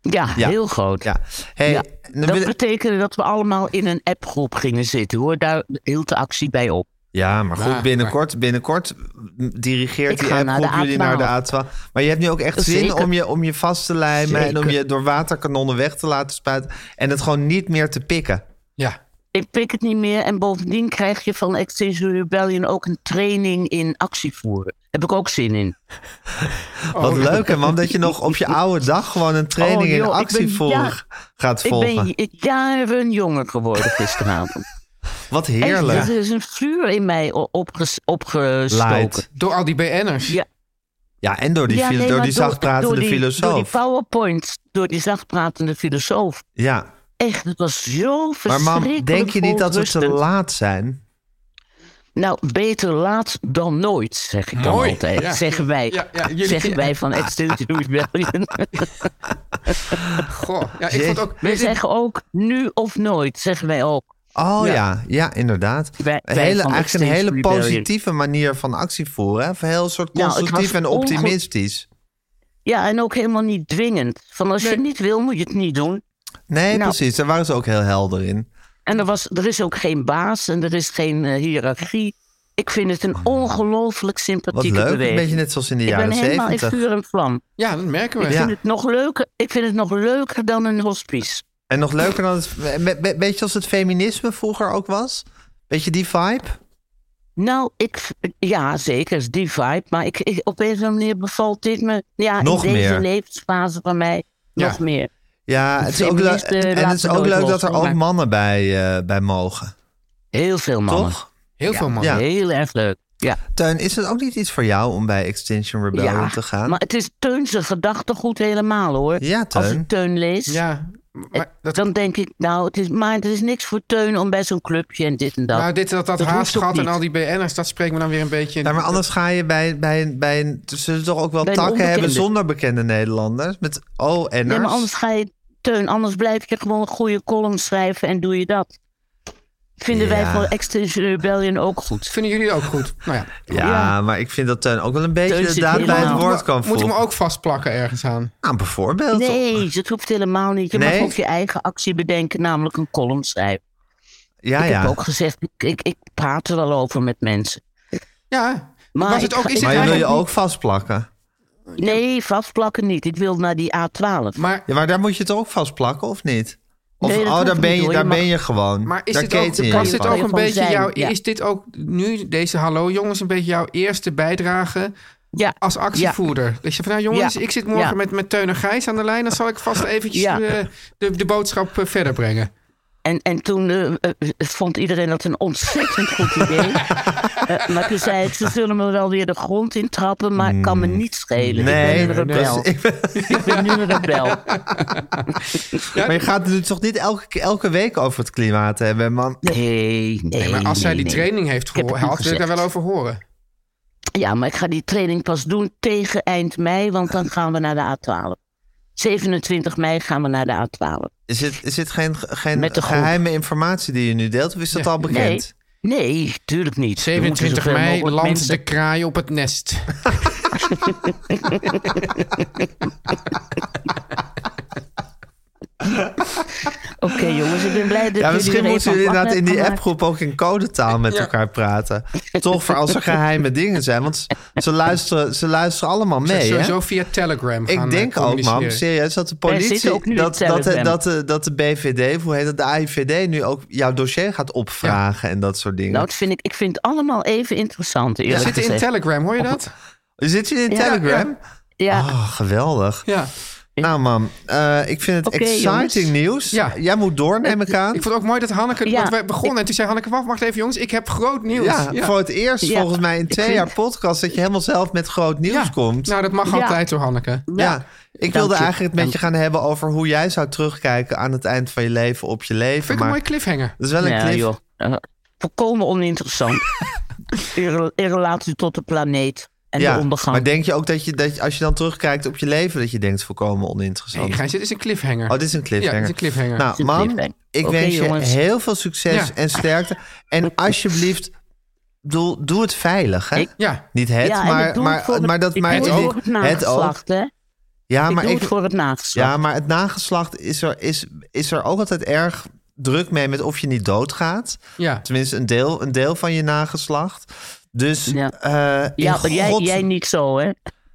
Speaker 9: Ja,
Speaker 4: Ja.
Speaker 9: heel groot.
Speaker 4: Ja. Hey,
Speaker 9: Ja.
Speaker 4: dan
Speaker 9: Dat
Speaker 4: wil-
Speaker 9: betekende dat we allemaal in een appgroep gingen zitten hoor. Daar hield de actie bij op.
Speaker 4: ja, maar goed,
Speaker 5: Maar-
Speaker 4: binnenkort, binnenkort
Speaker 9: Ik
Speaker 4: dirigeert die
Speaker 9: ga naar
Speaker 4: appgroep
Speaker 9: de
Speaker 4: jullie naar de
Speaker 9: A12.
Speaker 4: A12. Maar je hebt nu ook echt zin
Speaker 9: Zeker.
Speaker 4: om je, om je vast te lijmen en om
Speaker 9: Zeker.
Speaker 4: je door waterkanonnen weg te laten spuiten. En het gewoon niet meer te pikken.
Speaker 5: Ja.
Speaker 9: Ik pik het niet meer. En bovendien krijg je van Extinction Rebellion ook een training in actievoeren. Heb ik ook zin in.
Speaker 4: Wat leuk, hè, man, dat je nog op je oude dag gewoon een training
Speaker 9: Oh, joh, ik
Speaker 4: in
Speaker 9: ben-
Speaker 4: actie volg-
Speaker 9: ja.
Speaker 4: gaat
Speaker 9: Ik
Speaker 4: volgen.
Speaker 9: ben j- jaren jonger geworden gisteravond.
Speaker 4: Wat
Speaker 9: Echt,
Speaker 4: heerlijk.
Speaker 9: Er is een vuur in mij o- opges- opgestoken.
Speaker 4: Light.
Speaker 5: Door al die BN'ers.
Speaker 9: Ja.
Speaker 4: Ja, en door die, fil-
Speaker 9: nee,
Speaker 4: door
Speaker 9: maar
Speaker 4: die zachtpratende
Speaker 9: door die-
Speaker 4: filosoof.
Speaker 9: Door die PowerPoint, door die zachtpratende filosoof.
Speaker 4: ja,
Speaker 9: Echt, het was zo
Speaker 4: maar
Speaker 9: verschrikkelijk
Speaker 4: mam, denk je niet dat we te
Speaker 9: verontrustend.
Speaker 4: laat zijn?
Speaker 9: Nou, beter laat dan nooit, zeg ik dan
Speaker 5: Mooi,
Speaker 9: altijd.
Speaker 5: ja.
Speaker 9: Zeggen wij,
Speaker 5: Ja, ja, jullie-
Speaker 9: zeggen wij van Extinction Rebellion.
Speaker 5: Goh. Ja, ik vond ook...
Speaker 9: We zeggen ook nu of nooit, zeggen wij ook.
Speaker 4: Oh ja, ja, inderdaad.
Speaker 9: Wij-
Speaker 4: een
Speaker 9: wij
Speaker 4: hele,
Speaker 9: van
Speaker 4: eigenlijk een hele
Speaker 9: Extinction Rebellion.
Speaker 4: positieve manier van actie voeren. hè? Of Heel soort
Speaker 9: Nou, het
Speaker 4: constructief
Speaker 9: was
Speaker 4: en
Speaker 9: onge-
Speaker 4: optimistisch.
Speaker 9: Ja, en ook helemaal niet dwingend. Van als je het niet wil, moet je het niet doen.
Speaker 4: Nee,
Speaker 9: Nou.
Speaker 4: precies. Daar waren ze ook heel helder in.
Speaker 9: En er, was, er is ook geen baas en er is geen eh, hiërarchie. Ik vind het een ongelooflijk
Speaker 4: Oh. Wat
Speaker 9: sympathieke
Speaker 4: leuk. Een
Speaker 9: beweging.
Speaker 4: beetje net zoals in de
Speaker 9: ik ben
Speaker 4: jaren
Speaker 9: helemaal in
Speaker 4: zeventig.
Speaker 9: vuur en vlam.
Speaker 5: Ja, dat merken we.
Speaker 9: Ik, vind het nog leuker, ik vind het nog leuker dan een hospice.
Speaker 4: En nog leuker dan het... be- be- Beetje als het feminisme vroeger ook was. Beetje die vibe.
Speaker 9: Nou, ik, ja, zeker, die vibe. Maar ik, ik, op een of andere manier bevalt dit me ja,
Speaker 4: Nog
Speaker 9: in deze
Speaker 4: meer.
Speaker 9: levensfase van mij
Speaker 5: Ja.
Speaker 9: nog meer.
Speaker 4: Ja, het is ook, leuk-
Speaker 9: feministen
Speaker 4: en
Speaker 9: laten
Speaker 4: het is ook
Speaker 9: nooit
Speaker 4: leuk
Speaker 9: los,
Speaker 4: dat er ook
Speaker 9: maar-
Speaker 4: mannen bij, eh, bij mogen.
Speaker 9: Heel veel mannen.
Speaker 4: Toch?
Speaker 5: Heel veel mannen.
Speaker 4: Ja.
Speaker 9: Heel erg leuk. Ja.
Speaker 4: Teun, is het ook niet iets voor jou om bij Extinction Rebellion
Speaker 9: ja.
Speaker 4: te gaan?
Speaker 9: Maar het is Teun zijn gedachtegoed helemaal hoor.
Speaker 4: Ja,
Speaker 9: Als
Speaker 4: Teun.
Speaker 9: ik Teun lees, eh,
Speaker 5: Ja, maar dat,
Speaker 9: dan denk ik, nou, het is, maar er is niks voor Teun om bij zo'n clubje en dit en dat.
Speaker 5: nou, dit, dat, dat,
Speaker 9: dat hoeft ook
Speaker 5: haastgat en
Speaker 9: niet.
Speaker 5: al die BN'ers, dat spreekt me dan weer een beetje...
Speaker 4: Ja, maar anders ga je bij, bij, een- bij een... Ze zullen toch ook wel
Speaker 9: Bij een
Speaker 4: takken hebben
Speaker 9: onbekende.
Speaker 4: zonder bekende Nederlanders? Met O-enners?
Speaker 9: nee, maar anders ga je, Teun, anders blijf je gewoon een goede column schrijven en doe je dat. Vinden wij
Speaker 4: Ja.
Speaker 9: voor Extinction Rebellion ook goed.
Speaker 5: Vinden jullie dat ook goed? Nou ja.
Speaker 4: ja, maar ik vind dat Teun ook wel een beetje
Speaker 9: Teun
Speaker 4: de
Speaker 9: zit
Speaker 4: daad bij het
Speaker 9: helemaal-
Speaker 4: woord kan
Speaker 5: Moet ik
Speaker 4: voelen.
Speaker 5: hem ook vastplakken ergens aan?
Speaker 4: Nou, bijvoorbeeld.
Speaker 9: Nee, dat hoeft helemaal niet. Je
Speaker 4: Nee?
Speaker 9: mag ook je eigen actie bedenken, namelijk een column schrijven.
Speaker 4: Ja,
Speaker 9: ik heb
Speaker 4: ja.
Speaker 9: ook gezegd, ik, ik, ik praat er wel over met mensen.
Speaker 5: Ja.
Speaker 9: Maar
Speaker 5: Was het
Speaker 9: ik
Speaker 5: ook,
Speaker 9: ga-
Speaker 5: is het
Speaker 4: Maar je wil je
Speaker 5: eigenlijk
Speaker 4: ook vastplakken.
Speaker 9: Nee, vastplakken niet. Ik wil naar die A12.
Speaker 5: Maar,
Speaker 4: Ja, Oh, maar daar moet je het ook vastplakken, of niet? Of,
Speaker 9: Nee, dat
Speaker 4: oh,
Speaker 9: hoeft
Speaker 4: daar
Speaker 9: niet,
Speaker 4: ben je,
Speaker 9: hoor. Je
Speaker 4: daar
Speaker 9: mag-
Speaker 4: ben je gewoon.
Speaker 5: maar is,
Speaker 4: daar
Speaker 5: dit ook,
Speaker 4: keten je
Speaker 5: was
Speaker 4: je
Speaker 5: dit
Speaker 4: van.
Speaker 5: ook een
Speaker 9: Gewoon
Speaker 5: beetje
Speaker 9: zijn,
Speaker 5: jouw...
Speaker 9: ja.
Speaker 5: Is dit ook nu, deze hallo jongens, een beetje jouw eerste bijdrage
Speaker 9: Ja,
Speaker 5: als actievoerder? Dat je van, nou jongens,
Speaker 9: Ja.
Speaker 5: ik zit morgen
Speaker 9: Ja.
Speaker 5: met, met Teun en Gijs aan de lijn. Dan zal ik vast eventjes
Speaker 9: Ja.
Speaker 5: eh, de, de boodschap eh, verder brengen.
Speaker 9: en, en toen eh, eh, vond iedereen dat een ontzettend goed idee. Eh, maar toen zei ik, ze zullen me wel weer de grond intrappen, maar ik kan me niet schelen.
Speaker 4: Hmm. Nee,
Speaker 9: ik ben een
Speaker 4: dat is-
Speaker 9: rebel.
Speaker 4: ik ben-
Speaker 9: Ik ben nu een rebel.
Speaker 4: maar je gaat het nu toch niet elke, keer- elke week over het klimaat hebben, man?
Speaker 9: Nee, nee,
Speaker 5: Nee, maar als zij
Speaker 9: nee,
Speaker 5: die
Speaker 9: nee.
Speaker 5: training heeft
Speaker 9: heb het
Speaker 5: gehoord, had
Speaker 9: niet
Speaker 5: wil ik daar
Speaker 9: gezegd.
Speaker 5: wel over horen.
Speaker 9: Ja, maar ik ga die training pas doen tegen eind mei, want dan gaan we naar de A12. 27 mei gaan we naar de A12.
Speaker 4: Is dit, is dit geen, geen
Speaker 9: Met de groep.
Speaker 4: geheime informatie die je nu deelt? Of is dat al bekend?
Speaker 9: Nee, nee, tuurlijk niet. We moeten
Speaker 5: 27
Speaker 9: zoveel
Speaker 5: mei
Speaker 9: mogelijk
Speaker 5: landt
Speaker 9: mensen-
Speaker 5: de kraai op het nest.
Speaker 9: Oké, Oké jongens, ik ben blij dat
Speaker 4: Ja, misschien
Speaker 9: jullie er
Speaker 4: moeten
Speaker 9: even
Speaker 4: jullie
Speaker 9: aan
Speaker 4: inderdaad in die
Speaker 9: gemaakt.
Speaker 4: appgroep ook in codetaal met elkaar praten. Toch voor als er geheime dingen zijn. Want ze- ze luisteren, ze luisteren allemaal
Speaker 5: Ze
Speaker 4: mee.
Speaker 5: sowieso
Speaker 4: Hè?
Speaker 5: via Telegram gaan
Speaker 4: Ik denk
Speaker 5: eh,
Speaker 4: ook, man,
Speaker 5: communiceren.
Speaker 4: serieus, dat de
Speaker 9: Wij zitten
Speaker 4: politie,
Speaker 9: ook nu in
Speaker 4: dat, dat, de,
Speaker 9: Telegram.
Speaker 4: dat, de, dat de BVD, of hoe heet dat, de AIVD nu ook jouw dossier gaat opvragen en dat soort dingen.
Speaker 9: Nou, dat vind ik, ik vind het allemaal even interessant.
Speaker 5: We
Speaker 9: eerlijk
Speaker 5: zitten in
Speaker 9: gezegd.
Speaker 5: Telegram, hoor je dat?
Speaker 4: Zit je in
Speaker 9: Ja,
Speaker 4: Telegram?
Speaker 9: Ja,
Speaker 4: Oh, geweldig.
Speaker 5: Ja.
Speaker 4: Nou, man, eh, ik vind het
Speaker 9: Oké,
Speaker 4: exciting
Speaker 9: jongens.
Speaker 4: nieuws.
Speaker 5: Ja.
Speaker 4: Jij moet door, neem ik aan.
Speaker 5: Ik vond het ook mooi dat Hanneke,
Speaker 9: Ja.
Speaker 5: want wij begonnen en toen zei Hanneke, wacht, wacht even jongens, ik heb groot nieuws.
Speaker 4: Ja, voor het eerst
Speaker 9: Ja.
Speaker 4: volgens mij in
Speaker 9: Ik
Speaker 4: twee
Speaker 9: vind-
Speaker 4: jaar podcast dat je helemaal zelf met groot nieuws
Speaker 5: Ja.
Speaker 4: komt.
Speaker 5: Nou, dat mag
Speaker 9: Ja.
Speaker 5: altijd hoor, Hanneke.
Speaker 4: ja. ik wilde
Speaker 9: je.
Speaker 4: eigenlijk het met je gaan hebben over hoe jij zou terugkijken aan het eind van je leven op je leven.
Speaker 5: Vind ik
Speaker 4: maar
Speaker 5: een mooie cliffhanger.
Speaker 4: dat is wel een
Speaker 9: ja,
Speaker 4: cliff.
Speaker 9: joh. Eh, volkomen oninteressant. in, rel- in relatie tot de planeet en de
Speaker 4: Ja,
Speaker 9: ondergang.
Speaker 4: maar denk je ook dat je, dat je- als je dan terugkijkt op je leven, dat je denkt volkomen
Speaker 5: Nee,
Speaker 4: oninteressant?
Speaker 5: Gijs, dit is een cliffhanger.
Speaker 4: Oh, dit is een cliffhanger.
Speaker 5: Ja, dit is een cliffhanger.
Speaker 4: Nou,
Speaker 9: Dit is een
Speaker 4: man,
Speaker 9: cliffhanger.
Speaker 4: ik
Speaker 9: Oké,
Speaker 4: wens je
Speaker 9: jongens.
Speaker 4: heel veel succes
Speaker 5: Ja.
Speaker 4: en sterkte. En alsjeblieft, doe, doe het veilig, hè?
Speaker 9: Ik-
Speaker 5: Ja,
Speaker 4: Niet het,
Speaker 9: ja, en ik
Speaker 4: maar,
Speaker 9: doe het
Speaker 4: maar,
Speaker 9: voor het-
Speaker 4: maar dat
Speaker 9: ik
Speaker 4: maar
Speaker 9: doe het
Speaker 4: ook-
Speaker 9: voor het nageslacht, hè?
Speaker 4: Ja, maar
Speaker 9: ik doe
Speaker 4: ik,
Speaker 9: het voor het nageslacht.
Speaker 4: ja, maar het nageslacht is er, is, is er ook altijd erg druk mee met of je niet doodgaat.
Speaker 5: ja.
Speaker 4: Tenminste, een deel, een deel van je nageslacht. Dus
Speaker 9: Ja.
Speaker 4: eh, in
Speaker 9: Ja, maar jij,
Speaker 4: God-
Speaker 9: jij niet zo, hè?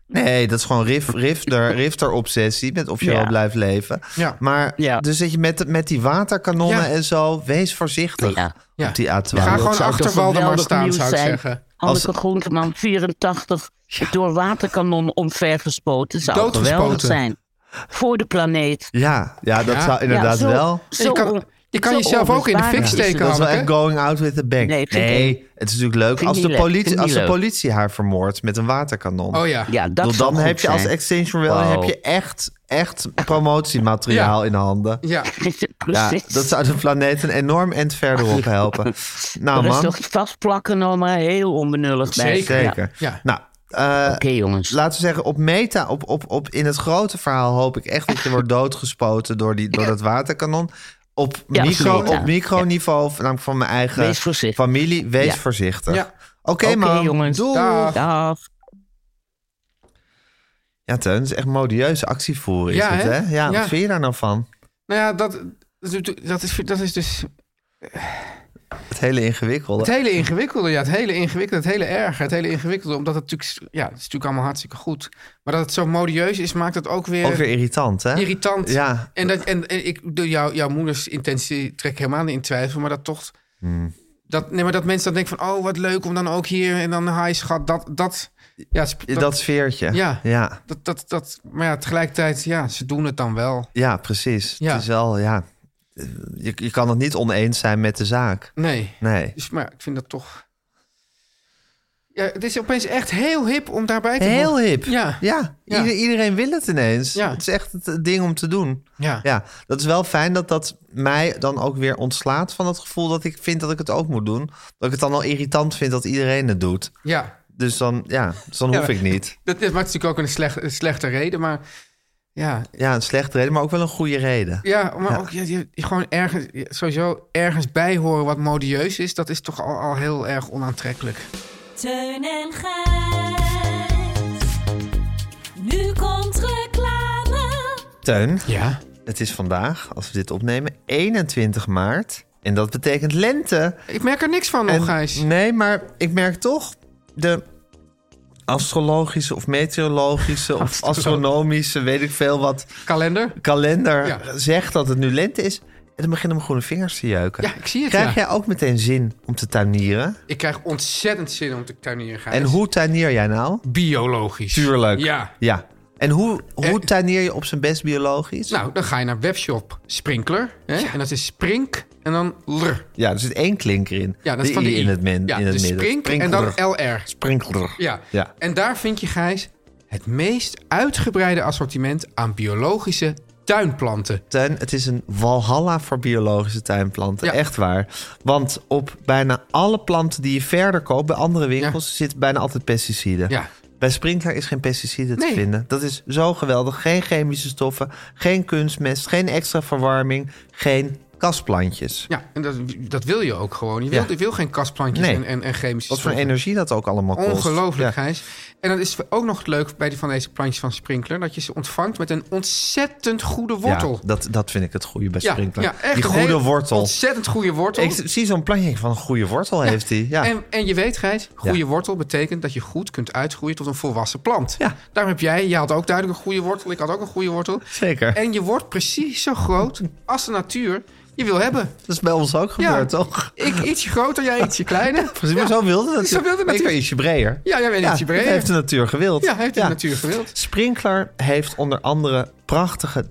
Speaker 4: Nee, dat is gewoon rif, rifter, rifter-obsessie met of je
Speaker 9: Ja.
Speaker 4: wel blijft leven.
Speaker 5: Ja.
Speaker 4: Maar
Speaker 9: Ja.
Speaker 4: dus dat je met, met die waterkanonnen
Speaker 5: Ja.
Speaker 4: en zo, wees voorzichtig
Speaker 9: Ja.
Speaker 5: Ja.
Speaker 4: op die A12.
Speaker 5: Ga gewoon
Speaker 9: zou
Speaker 5: achter
Speaker 9: toch
Speaker 5: Waldemar
Speaker 9: geweldig
Speaker 5: staan,
Speaker 9: nieuws
Speaker 5: zou ik
Speaker 9: zijn.
Speaker 5: zeggen.
Speaker 9: Hanneke
Speaker 4: Als-
Speaker 9: Groenteman, 84, door waterkanon omvergespoten. Zou
Speaker 5: Doodgespoten.
Speaker 9: geweldig zijn. Voor de planeet.
Speaker 4: Ja, ja, dat
Speaker 5: Ja.
Speaker 4: zou inderdaad
Speaker 9: ja, zo,
Speaker 4: wel.
Speaker 9: zo
Speaker 5: Je kan-
Speaker 9: on-
Speaker 5: je kan
Speaker 9: zo
Speaker 5: jezelf ook in de fik
Speaker 9: onrustbaar is het.
Speaker 5: steken.
Speaker 4: Dat is wel
Speaker 5: Hanneke.
Speaker 4: echt going out with the bank.
Speaker 9: Nee,
Speaker 4: Nee,
Speaker 9: vind ik niet.
Speaker 4: het is natuurlijk leuk
Speaker 9: Vind
Speaker 4: als
Speaker 9: ik
Speaker 4: de,
Speaker 9: niet leuk. Vind
Speaker 4: politie,
Speaker 9: ik
Speaker 4: als
Speaker 9: niet
Speaker 4: de
Speaker 9: leuk.
Speaker 4: politie haar vermoordt met een waterkanon.
Speaker 5: Oh ja.
Speaker 9: Ja, dat
Speaker 4: Bedoel,
Speaker 9: zou
Speaker 4: dan
Speaker 9: goed
Speaker 4: heb je als
Speaker 9: zijn.
Speaker 4: Extinction Rebellion
Speaker 9: Wow.
Speaker 4: heb je echt, echt promotiemateriaal
Speaker 5: Ja.
Speaker 4: in handen.
Speaker 5: Ja.
Speaker 4: Ja,
Speaker 9: Precies.
Speaker 4: dat zou de planeet een enorm end verder op helpen. Nou
Speaker 9: Er is
Speaker 4: man,
Speaker 9: toch vastplakken al maar heel onbenullig bij.
Speaker 5: Zeker.
Speaker 9: Ja.
Speaker 4: zeker.
Speaker 5: Ja.
Speaker 4: Nou, eh,
Speaker 9: Oké jongens.
Speaker 4: laten we zeggen, op meta, op, op, op, in het grote verhaal hoop ik echt dat je wordt doodgespoten door, die, door dat waterkanon. Op,
Speaker 9: Ja,
Speaker 4: micro,
Speaker 9: meta.
Speaker 4: op microniveau, namelijk van mijn eigen
Speaker 9: Wees voorzichtig.
Speaker 4: familie, wees
Speaker 9: Ja.
Speaker 4: voorzichtig.
Speaker 5: Ja.
Speaker 4: Oké,
Speaker 9: Oké
Speaker 4: man.
Speaker 9: jongens.
Speaker 4: Doei.
Speaker 5: Dag.
Speaker 9: Dag.
Speaker 4: Ja, Teun, het is echt modieuze actievoering.
Speaker 5: Ja,
Speaker 4: is het, hè?
Speaker 5: hè?
Speaker 4: Ja,
Speaker 5: Ja.
Speaker 4: wat vind je daar nou van?
Speaker 5: Nou ja, dat, dat, is, dat is dus
Speaker 4: Het hele ingewikkelde.
Speaker 5: Het hele ingewikkelde, ja. Het hele ingewikkelde, het hele erge, het hele ingewikkelde. Omdat het natuurlijk, ja, het is natuurlijk allemaal hartstikke goed. Maar dat het zo modieus is, maakt het ook weer,
Speaker 4: Ook weer irritant, hè?
Speaker 5: irritant.
Speaker 4: Ja,
Speaker 5: En, dat, en, en ik, de, jouw- jouw moeders intentie trek ik helemaal niet in twijfel. Maar dat toch, dat, nee, maar dat mensen dan denken van, oh, wat leuk om dan ook hier en dan hi schat. Dat, dat, ja, sp- dat,
Speaker 4: dat sfeertje.
Speaker 5: Ja.
Speaker 4: ja.
Speaker 5: dat, dat, dat- maar ja, tegelijkertijd, ja, ze doen het dan wel.
Speaker 4: Ja, precies.
Speaker 5: Ja.
Speaker 4: Het is wel, ja... Je, je kan het niet oneens zijn met de zaak.
Speaker 5: Nee.
Speaker 4: Nee.
Speaker 5: Dus, maar ja, ik vind dat toch... Ja, het is opeens echt heel hip om daarbij te
Speaker 4: Heel
Speaker 5: horen.
Speaker 4: hip.
Speaker 5: Ja.
Speaker 4: Ja,
Speaker 5: Ja.
Speaker 4: ieder- iedereen wil het ineens.
Speaker 5: Ja.
Speaker 4: Het is echt het eh, ding om te doen.
Speaker 5: Ja.
Speaker 4: Ja, dat is wel fijn dat dat mij dan ook weer ontslaat van het gevoel dat ik vind dat ik het ook moet doen. Dat ik het dan al irritant vind dat iedereen het doet.
Speaker 5: ja.
Speaker 4: Dus dan, ja, dus dan
Speaker 5: Ja,
Speaker 4: hoef
Speaker 5: maar-
Speaker 4: ik niet.
Speaker 5: Dat is maakt natuurlijk ook een, slecht, een slechte reden, maar ja,
Speaker 4: Ja, een slechte reden, maar ook wel een goede reden.
Speaker 5: ja maar ook je, je- je gewoon ergens, je- sowieso ergens bij horen wat modieus is, dat is toch al, al heel erg onaantrekkelijk.
Speaker 8: Teun en Gijs. Nu komt reclame.
Speaker 4: Teun,
Speaker 5: Ja.
Speaker 4: het is vandaag, als we dit opnemen, 21 maart. En dat betekent lente.
Speaker 5: Ik merk er niks van nog,
Speaker 4: En-
Speaker 5: Oh,
Speaker 4: Mm.
Speaker 5: Gijs.
Speaker 4: Nee, maar ik merk toch de astrologische of meteorologische of astronomische, weet ik veel wat,
Speaker 5: Kalender?
Speaker 4: kalender
Speaker 5: Ja.
Speaker 4: zegt dat het nu lente is. En dan beginnen mijn groene vingers te jeuken.
Speaker 5: Ja, ik zie het,
Speaker 4: Krijg
Speaker 5: ja.
Speaker 4: jij ook meteen zin om te tuinieren?
Speaker 5: Ik krijg ontzettend zin om te tuinieren, Gijs.
Speaker 4: En hoe tuinier jij nou?
Speaker 5: Biologisch.
Speaker 4: Tuurlijk.
Speaker 5: Ja.
Speaker 4: Ja. En hoe, hoe
Speaker 5: Eh.
Speaker 4: tuinier je op zijn best biologisch?
Speaker 5: Nou, dan ga je naar webshop Sprinkler. Hè? En dat is Sprink en dan LR.
Speaker 4: Ja, er zit één klinker in.
Speaker 5: Ja, dat is
Speaker 4: de
Speaker 5: van
Speaker 4: i
Speaker 5: de I.
Speaker 4: in het, min,
Speaker 5: ja,
Speaker 4: in het
Speaker 5: dus
Speaker 4: midden.
Speaker 5: Sprink en dan
Speaker 4: Sprinkler.
Speaker 5: LR.
Speaker 4: Sprinkler.
Speaker 5: Ja.
Speaker 4: Ja.
Speaker 5: En daar vind je, Gijs, het meest uitgebreide assortiment aan biologische tuinplanten.
Speaker 4: Tuin, het is een walhalla voor biologische tuinplanten.
Speaker 5: Ja.
Speaker 4: Echt waar. Want op bijna alle planten die je verder koopt bij andere winkels zit bijna altijd pesticiden.
Speaker 5: Ja.
Speaker 4: Bij Sprinkler is geen pesticiden te
Speaker 5: Nee.
Speaker 4: vinden. Dat is zo geweldig. Geen chemische stoffen, geen kunstmest, geen extra verwarming, geen kastplantjes.
Speaker 5: Ja, en dat, dat wil je ook gewoon. Je
Speaker 4: Ja.
Speaker 5: wil, je wil geen kastplantjes
Speaker 4: Nee.
Speaker 5: en, en, en chemische
Speaker 4: Wat voor
Speaker 5: stoffen.
Speaker 4: energie dat ook allemaal kost.
Speaker 5: Ongelooflijk,
Speaker 4: Ja.
Speaker 5: Gijs. En dat is ook nog het leuk bij die van deze plantjes van Sprinkler... dat je ze ontvangt met een ontzettend goede wortel.
Speaker 4: Ja, dat, dat vind ik het goede bij
Speaker 5: Ja,
Speaker 4: Sprinkler.
Speaker 5: ja, echt
Speaker 4: die
Speaker 5: een
Speaker 4: goede
Speaker 5: hele
Speaker 4: wortel.
Speaker 5: ontzettend goede wortel.
Speaker 4: Ik zie zo'n plantje van een goede wortel heeft hij. Ja.
Speaker 5: En, en je weet, Gijs, goede
Speaker 4: Ja.
Speaker 5: wortel betekent dat je goed kunt uitgroeien tot een volwassen plant. Daarom heb jij, jij had ook duidelijk een goede wortel, ik had ook een goede wortel.
Speaker 4: Zeker.
Speaker 5: En je wordt precies zo groot als de natuur je wil hebben.
Speaker 4: Dat is bij ons ook gebeurd,
Speaker 5: Ja.
Speaker 4: toch?
Speaker 5: Ik ietsje groter, jij ietsje kleiner.
Speaker 4: Precies, maar zo wilde dat.
Speaker 5: Zo wilde
Speaker 4: ik
Speaker 5: natuurlijk.
Speaker 4: ben ietsje breder.
Speaker 5: Ja, jij bent ietsje breder.
Speaker 4: dat heeft de natuur gewild.
Speaker 5: Ja, heeft de natuur gewild.
Speaker 4: Sprinkler heeft onder andere prachtige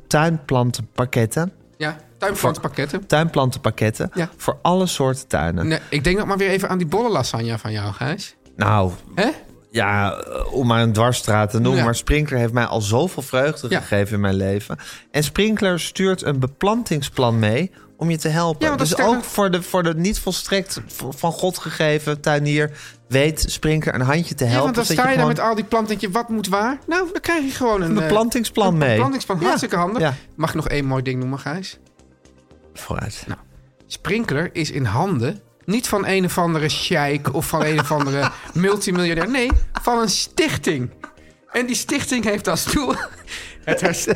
Speaker 4: tuinplantenpakketten.
Speaker 5: Ja, tuinplantpakketten.
Speaker 4: Tuinplantenpakketten
Speaker 5: Ja.
Speaker 4: voor alle soorten tuinen.
Speaker 5: Nee, ik denk nog maar weer even aan die bolle lasagne van jou, Gijs.
Speaker 4: Nou,
Speaker 5: Hè?
Speaker 4: ja, eh, om maar een dwarsstraat te noemen.
Speaker 5: Ja.
Speaker 4: Maar Sprinkler heeft mij al zoveel vreugde
Speaker 5: Ja.
Speaker 4: gegeven in mijn leven. En Sprinkler stuurt een beplantingsplan mee om je te helpen.
Speaker 5: Ja, want dat
Speaker 4: dus
Speaker 5: sterker-
Speaker 4: ook voor de, voor de niet volstrekt v- van God gegeven tuinier... weet Sprinkler een handje te
Speaker 5: Ja,
Speaker 4: helpen.
Speaker 5: want dan
Speaker 4: zodat
Speaker 5: sta je daar
Speaker 4: gewoon
Speaker 5: met al die planten en denk je, wat moet waar? Nou, dan krijg je gewoon een...
Speaker 4: een
Speaker 5: eh,
Speaker 4: beplantingsplan mee.
Speaker 5: Een plantingsplan,
Speaker 4: Ja.
Speaker 5: hartstikke handig.
Speaker 4: Ja,
Speaker 5: Mag ik nog één mooi ding noemen, Gijs?
Speaker 4: vooruit.
Speaker 5: Nou. Sprinkler is in handen niet van een of andere sheik of van een of andere multimiljardair. Nee, van een stichting. En die stichting heeft als doel... Het herst-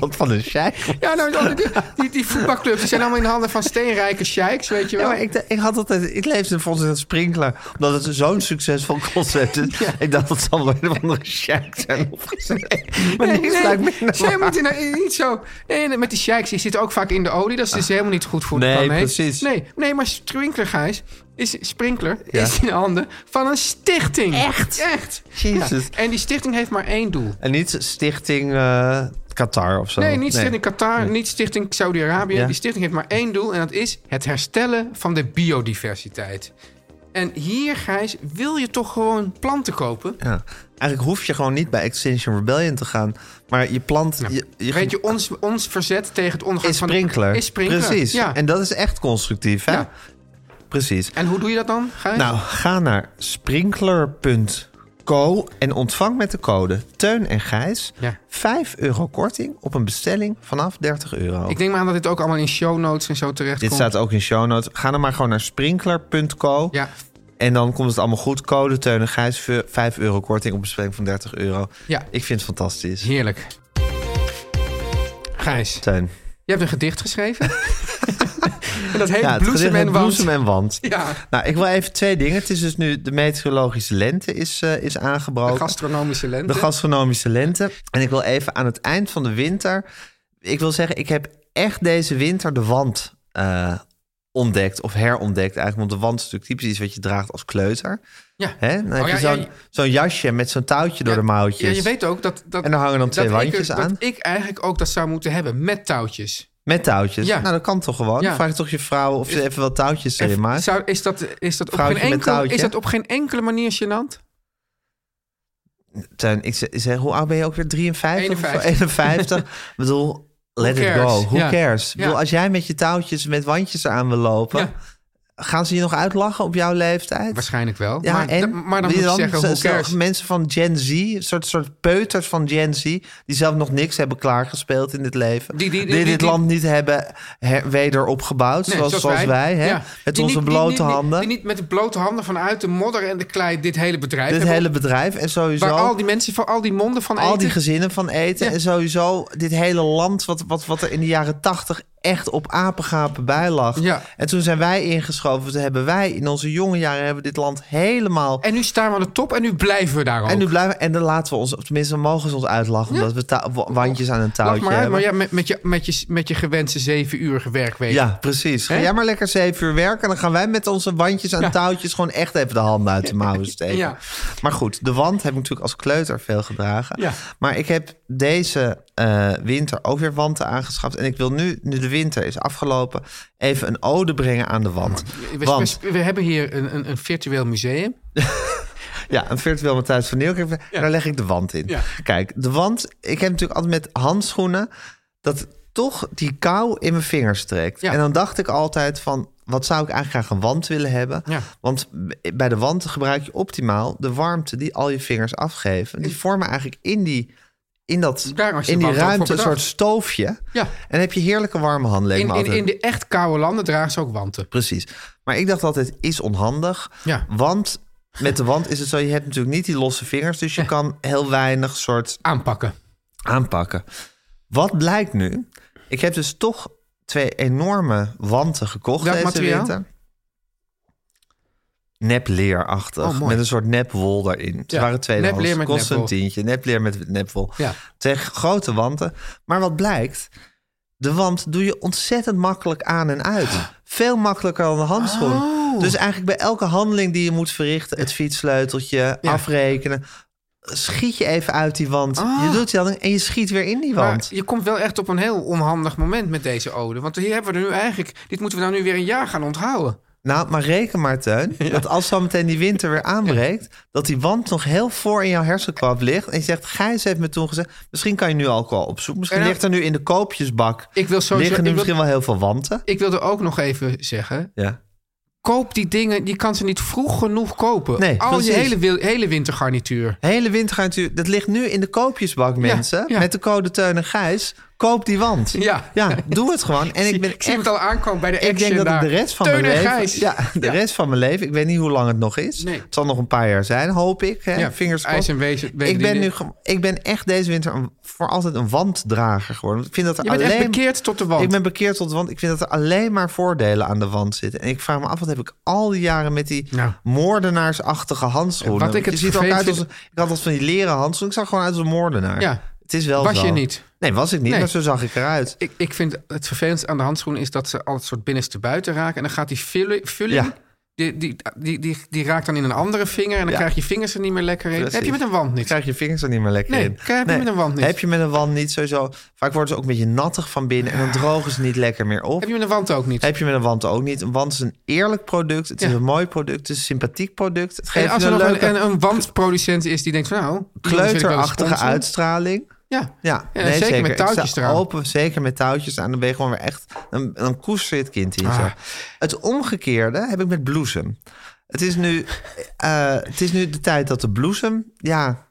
Speaker 4: Dat van een sheik.
Speaker 5: ja, nou, dan- die, die, die voetbalclubs die zijn allemaal in handen van steenrijke sheiks, weet je
Speaker 4: Ja,
Speaker 5: wel.
Speaker 4: maar ik, d- ik had altijd, ik leefde volgens het sprinkler, omdat het zo'n succesvol concept is. Ik dacht dat zal wel een of andere shack zijn opgezet. Maar
Speaker 5: Nee,
Speaker 4: niks
Speaker 5: nee,
Speaker 4: lijkt minder
Speaker 5: zij
Speaker 4: waar.
Speaker 5: moeten nou niet zo. Nee, nee, met die sheiks die zitten ook vaak in de olie. Dat is dus helemaal niet goed voor de
Speaker 4: Nee,
Speaker 5: planeet.
Speaker 4: precies.
Speaker 5: Nee, nee, maar Sprinkler, Gijs, is, Sprinkler
Speaker 4: Ja.
Speaker 5: is in handen van een stichting.
Speaker 4: Echt?
Speaker 5: Echt.
Speaker 4: Jezus.
Speaker 5: Ja, En die stichting heeft maar één doel.
Speaker 4: En niet stichting eh, Qatar of zo.
Speaker 5: Nee, niet stichting Qatar, niet stichting Saudi-Arabië.
Speaker 4: Ja.
Speaker 5: Die stichting heeft maar één doel en dat is het herstellen van de biodiversiteit. En hier, Gijs, wil je toch gewoon planten kopen?
Speaker 4: Ja. Eigenlijk hoef je gewoon niet bij Extinction Rebellion te gaan, maar je plant.
Speaker 5: Nou,
Speaker 4: je, je
Speaker 5: Weet je, ons, ons verzet tegen het ondergaan
Speaker 4: is
Speaker 5: van... de-
Speaker 4: sprinkler.
Speaker 5: Is sprinkler,
Speaker 4: Precies.
Speaker 5: ja.
Speaker 4: En dat is echt constructief, hè?
Speaker 5: Ja.
Speaker 4: Precies.
Speaker 5: En hoe doe je dat dan, Gijs?
Speaker 4: Nou, ga naar sprinkler.co en ontvang met de code Teun en Gijs
Speaker 5: Ja.
Speaker 4: 5 euro korting op een bestelling vanaf 30 euro.
Speaker 5: Ik denk maar aan dat dit ook allemaal in show notes en zo terecht
Speaker 4: Dit
Speaker 5: komt.
Speaker 4: staat ook in show notes. Ga dan maar gewoon naar sprinkler.co.
Speaker 5: Ja.
Speaker 4: En dan komt het allemaal goed. Code Teun en Gijs, v- 5 euro korting op een bestelling van 30 euro.
Speaker 5: Ja.
Speaker 4: Ik vind het fantastisch.
Speaker 5: Heerlijk. Gijs,
Speaker 4: Teun.
Speaker 5: je hebt een gedicht geschreven. en dat heet
Speaker 4: het
Speaker 5: Bloesem
Speaker 4: gedicht
Speaker 5: en
Speaker 4: met
Speaker 5: Wand.
Speaker 4: Bloesem en Wand.
Speaker 5: Ja,
Speaker 4: Nou, ik wil even twee dingen. Het is dus nu de meteorologische lente is, eh, is aangebroken.
Speaker 5: de gastronomische lente.
Speaker 4: De gastronomische lente. En ik wil even aan het eind van de winter. Ik wil zeggen, ik heb echt deze winter de wand eh, ontdekt. Of herontdekt eigenlijk. Want de wand is natuurlijk typisch iets wat je draagt als kleuter.
Speaker 5: Ja.
Speaker 4: Hè? Dan heb
Speaker 5: Oh,
Speaker 4: je
Speaker 5: ja, ja,
Speaker 4: zo'n
Speaker 5: je-
Speaker 4: zo'n jasje met zo'n touwtje door de mouwtjes.
Speaker 5: Ja, je weet ook dat... dat
Speaker 4: En dan hangen dan twee
Speaker 5: dat
Speaker 4: wandjes
Speaker 5: ik,
Speaker 4: aan.
Speaker 5: Dat ik eigenlijk ook dat zou moeten hebben met touwtjes.
Speaker 4: Met touwtjes.
Speaker 5: Ja.
Speaker 4: Nou, dat kan toch gewoon?
Speaker 5: Ja.
Speaker 4: Dan vraag je toch je vrouw of ze even wat touwtjes
Speaker 5: En
Speaker 4: erin maakt.
Speaker 5: zou, is, dat, is, dat op
Speaker 4: Vrouwtje
Speaker 5: geen
Speaker 4: met
Speaker 5: enkele,
Speaker 4: touwtje.
Speaker 5: is dat op geen enkele manier gênant?
Speaker 4: Teun, ik zeg, ik zeg, hoe oud ben je ook weer? 53? of zo?
Speaker 5: 51.
Speaker 4: 51. ik bedoel, let
Speaker 5: Who
Speaker 4: it
Speaker 5: cares?
Speaker 4: go. Who
Speaker 5: Ja.
Speaker 4: cares? Ik
Speaker 5: Ja.
Speaker 4: bedoel, als jij met je touwtjes met wandjes eraan wil lopen...
Speaker 5: Ja.
Speaker 4: gaan ze je nog uitlachen op jouw leeftijd?
Speaker 5: Waarschijnlijk wel.
Speaker 4: Ja,
Speaker 5: maar,
Speaker 4: en
Speaker 5: maar
Speaker 4: Wil
Speaker 5: dan moet
Speaker 4: je
Speaker 5: je zeggen,
Speaker 4: stel-
Speaker 5: hoe
Speaker 4: stel,
Speaker 5: cares?
Speaker 4: mensen van Gen Z, een soort, soort peuters van Gen Z... die zelf nog niks hebben klaargespeeld in dit leven...
Speaker 5: Die- die- die-
Speaker 4: dit
Speaker 5: die- die-
Speaker 4: land niet hebben her- weder opgebouwd,
Speaker 5: Nee,
Speaker 4: zoals, zoals wij, hè?
Speaker 5: Ja.
Speaker 4: met
Speaker 5: Die
Speaker 4: onze
Speaker 5: niet- die
Speaker 4: blote
Speaker 5: niet- die-
Speaker 4: handen.
Speaker 5: Die niet met de blote handen vanuit de modder en de klei dit hele bedrijf
Speaker 4: dit
Speaker 5: hebben
Speaker 4: hele bedrijf en sowieso...
Speaker 5: Waar al die mensen van al die monden van
Speaker 4: al
Speaker 5: eten.
Speaker 4: die gezinnen van eten.
Speaker 5: Ja.
Speaker 4: En sowieso dit hele land wat, wat, wat er in de jaren tachtig echt op apengapen bij lag.
Speaker 5: Ja.
Speaker 4: En toen zijn wij ingeschoven. Toen hebben wij in onze jonge jaren hebben we dit land helemaal...
Speaker 5: En nu staan we aan de top en nu blijven we daar ook.
Speaker 4: En nu blijven en dan laten we ons, of tenminste dan mogen ze ons uitlachen... omdat we ta- wa- wandjes aan een touwtje
Speaker 5: Lach maar uit,
Speaker 4: hebben.
Speaker 5: maar ja, met, met, je, met, je, met je gewenste zeven uur werkweek.
Speaker 4: Ja, precies. Ga
Speaker 5: Hè?
Speaker 4: jij maar lekker zeven uur werken... en dan gaan wij met onze wandjes aan touwtjes... gewoon echt even de handen uit de mouwen steken.
Speaker 5: Ja.
Speaker 4: Maar goed, de wand heb ik natuurlijk als kleuter veel gedragen.
Speaker 5: Ja.
Speaker 4: Maar ik heb deze eh, winter ook weer wanten aangeschaft. En ik wil nu, nu de winter is afgelopen... even een ode brengen aan de wand.
Speaker 5: We,
Speaker 4: Want,
Speaker 5: we, we hebben hier een, een, een virtueel museum.
Speaker 4: ja, een virtueel Matthijs van Nieuwkerk... daar leg ik de wand in.
Speaker 5: Ja.
Speaker 4: Kijk, de wand... Ik heb natuurlijk altijd met handschoenen... dat toch die kou in mijn vingers trekt.
Speaker 5: Ja.
Speaker 4: En dan dacht ik altijd van... wat zou ik eigenlijk graag een wand willen hebben?
Speaker 5: Ja.
Speaker 4: Want bij de wand gebruik je optimaal de warmte die al je vingers afgeven. Die vormen eigenlijk in die, in dat,
Speaker 5: Daar was je
Speaker 4: in die
Speaker 5: wand ook voor
Speaker 4: ruimte een soort
Speaker 5: bedacht.
Speaker 4: stoofje.
Speaker 5: Ja.
Speaker 4: En dan heb je heerlijke warme handleden.
Speaker 5: In, in, in de echt koude landen dragen ze ook wanten.
Speaker 4: Precies. Maar ik dacht altijd, is onhandig.
Speaker 5: Ja.
Speaker 4: Want met de wand is het zo, je hebt natuurlijk niet die losse vingers, dus je kan heel weinig soort...
Speaker 5: Aanpakken.
Speaker 4: Aanpakken. Wat blijkt nu? Ik heb dus toch twee enorme wanten gekocht
Speaker 5: Welk
Speaker 4: deze
Speaker 5: materiaal?
Speaker 4: winter. Nepleerachtig.
Speaker 5: Oh, mooi.
Speaker 4: met een soort nepwol daarin. Het
Speaker 5: Ja,
Speaker 4: waren twee
Speaker 5: nepleer met
Speaker 4: kost een
Speaker 5: nepwol.
Speaker 4: tientje. Nepleer met nepwol.
Speaker 5: Ja.
Speaker 4: Twee grote wanten. Maar wat blijkt? De wand doe je ontzettend makkelijk aan en uit. Veel makkelijker dan de handschoen.
Speaker 5: Oh.
Speaker 4: Dus eigenlijk bij elke handeling die je moet verrichten... het fietssleuteltje,
Speaker 5: Ja.
Speaker 4: afrekenen... schiet je even uit die wand. Je doet die handeling en je schiet weer in die
Speaker 5: Ah. Maar
Speaker 4: wand.
Speaker 5: je komt wel echt op een heel onhandig moment met deze ode. Want hier hebben we er nu eigenlijk... Dit moeten we nou nu weer een jaar gaan onthouden.
Speaker 4: Nou, maar reken maar, Teun, dat als zo meteen die winter weer aanbreekt... dat die wand nog heel voor in jouw hersenkwap ligt... en je zegt, Gijs heeft me toen gezegd... misschien kan je nu alcohol opzoeken. Misschien
Speaker 5: En dan-
Speaker 4: ligt er nu in de koopjesbak...
Speaker 5: Ik wil sowieso-
Speaker 4: liggen nu
Speaker 5: ik wil-
Speaker 4: misschien wel heel veel wanten.
Speaker 5: Ik wilde ook nog even zeggen...
Speaker 4: Ja.
Speaker 5: Koop die dingen, je kan ze niet vroeg genoeg kopen.
Speaker 4: Nee,
Speaker 5: Al je
Speaker 4: precies.
Speaker 5: hele, wil- hele wintergarnituur.
Speaker 4: Hele wintergarnituur, dat ligt nu in de koopjesbak, mensen.
Speaker 5: ja.
Speaker 4: Met de code Teun en Gijs. Koop die wand.
Speaker 5: Ja.
Speaker 4: ja doe het gewoon. En ik ben
Speaker 5: Ik zie hem
Speaker 4: echt-
Speaker 5: het al aankomen bij de action
Speaker 4: Ik denk dat ik
Speaker 5: daar.
Speaker 4: de rest van
Speaker 5: Teun
Speaker 4: mijn
Speaker 5: en
Speaker 4: leven.
Speaker 5: Gijs.
Speaker 4: Ja, de rest van mijn leven. Ik weet niet hoe lang het nog is.
Speaker 5: Nee.
Speaker 4: Het zal nog een paar jaar zijn, hoop ik. Hè?
Speaker 5: Ja,
Speaker 4: Vingers
Speaker 5: ijs
Speaker 4: crossed.
Speaker 5: en wezen- weten
Speaker 4: ik
Speaker 5: die
Speaker 4: ben nu,
Speaker 5: dingen.
Speaker 4: ge- ik ben echt deze winter een- voor altijd een wanddrager geworden. Want Ik vind dat er
Speaker 5: Je bent
Speaker 4: alleen.
Speaker 5: echt bekeerd tot de wand.
Speaker 4: Ik ben bekeerd tot de wand. Ik vind dat er alleen maar voordelen aan de wand zitten. En ik vraag me af, wat heb ik al die jaren met die
Speaker 5: Ja.
Speaker 4: moordenaarsachtige handschoenen?
Speaker 5: Wat ik
Speaker 4: Je
Speaker 5: het
Speaker 4: ziet er ook uit
Speaker 5: vervelend
Speaker 4: als, ik had als van die leren handschoenen. Ik zag gewoon uit als een moordenaar.
Speaker 5: Ja.
Speaker 4: Het is wel
Speaker 5: Was je
Speaker 4: zo.
Speaker 5: niet?
Speaker 4: Nee, was ik niet,
Speaker 5: Nee.
Speaker 4: maar zo zag ik eruit.
Speaker 5: Ik, ik vind het vervelendste aan de handschoen is dat ze al het soort binnenste buiten raken. En dan gaat die vulli- vulling,
Speaker 4: Ja.
Speaker 5: die, die, die, die, die raakt dan in een andere vinger. En dan
Speaker 4: Ja.
Speaker 5: krijg je vingers er niet meer lekker in.
Speaker 4: Precies.
Speaker 5: Heb je met een wand niks.
Speaker 4: krijg je vingers er niet meer lekker
Speaker 5: Nee,
Speaker 4: in.
Speaker 5: krijg je met een wand niet.
Speaker 4: Heb je met een wand niet sowieso. Vaak worden ze ook een beetje nattig van binnen en dan drogen ze niet lekker meer op.
Speaker 5: Ah. Heb je met een wand ook niet.
Speaker 4: Heb je met een wand ook niet. Een wand is een eerlijk product. Het is een mooi product. Het is een sympathiek product. Het
Speaker 5: en
Speaker 4: geeft
Speaker 5: als
Speaker 4: je
Speaker 5: er
Speaker 4: een
Speaker 5: nog een,
Speaker 4: leuke
Speaker 5: en een wandproducent is die denkt van nou... die jongens wil ik wel eens
Speaker 4: kleuterachtige
Speaker 5: sponsoren.
Speaker 4: uitstraling.
Speaker 5: Ja,
Speaker 4: Ja,
Speaker 5: En
Speaker 4: nee,
Speaker 5: zeker, met
Speaker 4: Ik sta
Speaker 5: touwtjes eraan.
Speaker 4: Open, zeker met touwtjes aan. Dan ben je gewoon weer echt een, een koester het kind
Speaker 5: Ah.
Speaker 4: hier. zo. Het omgekeerde heb ik met bloesem. Het is nu, eh, het is nu de tijd dat de bloesem ja,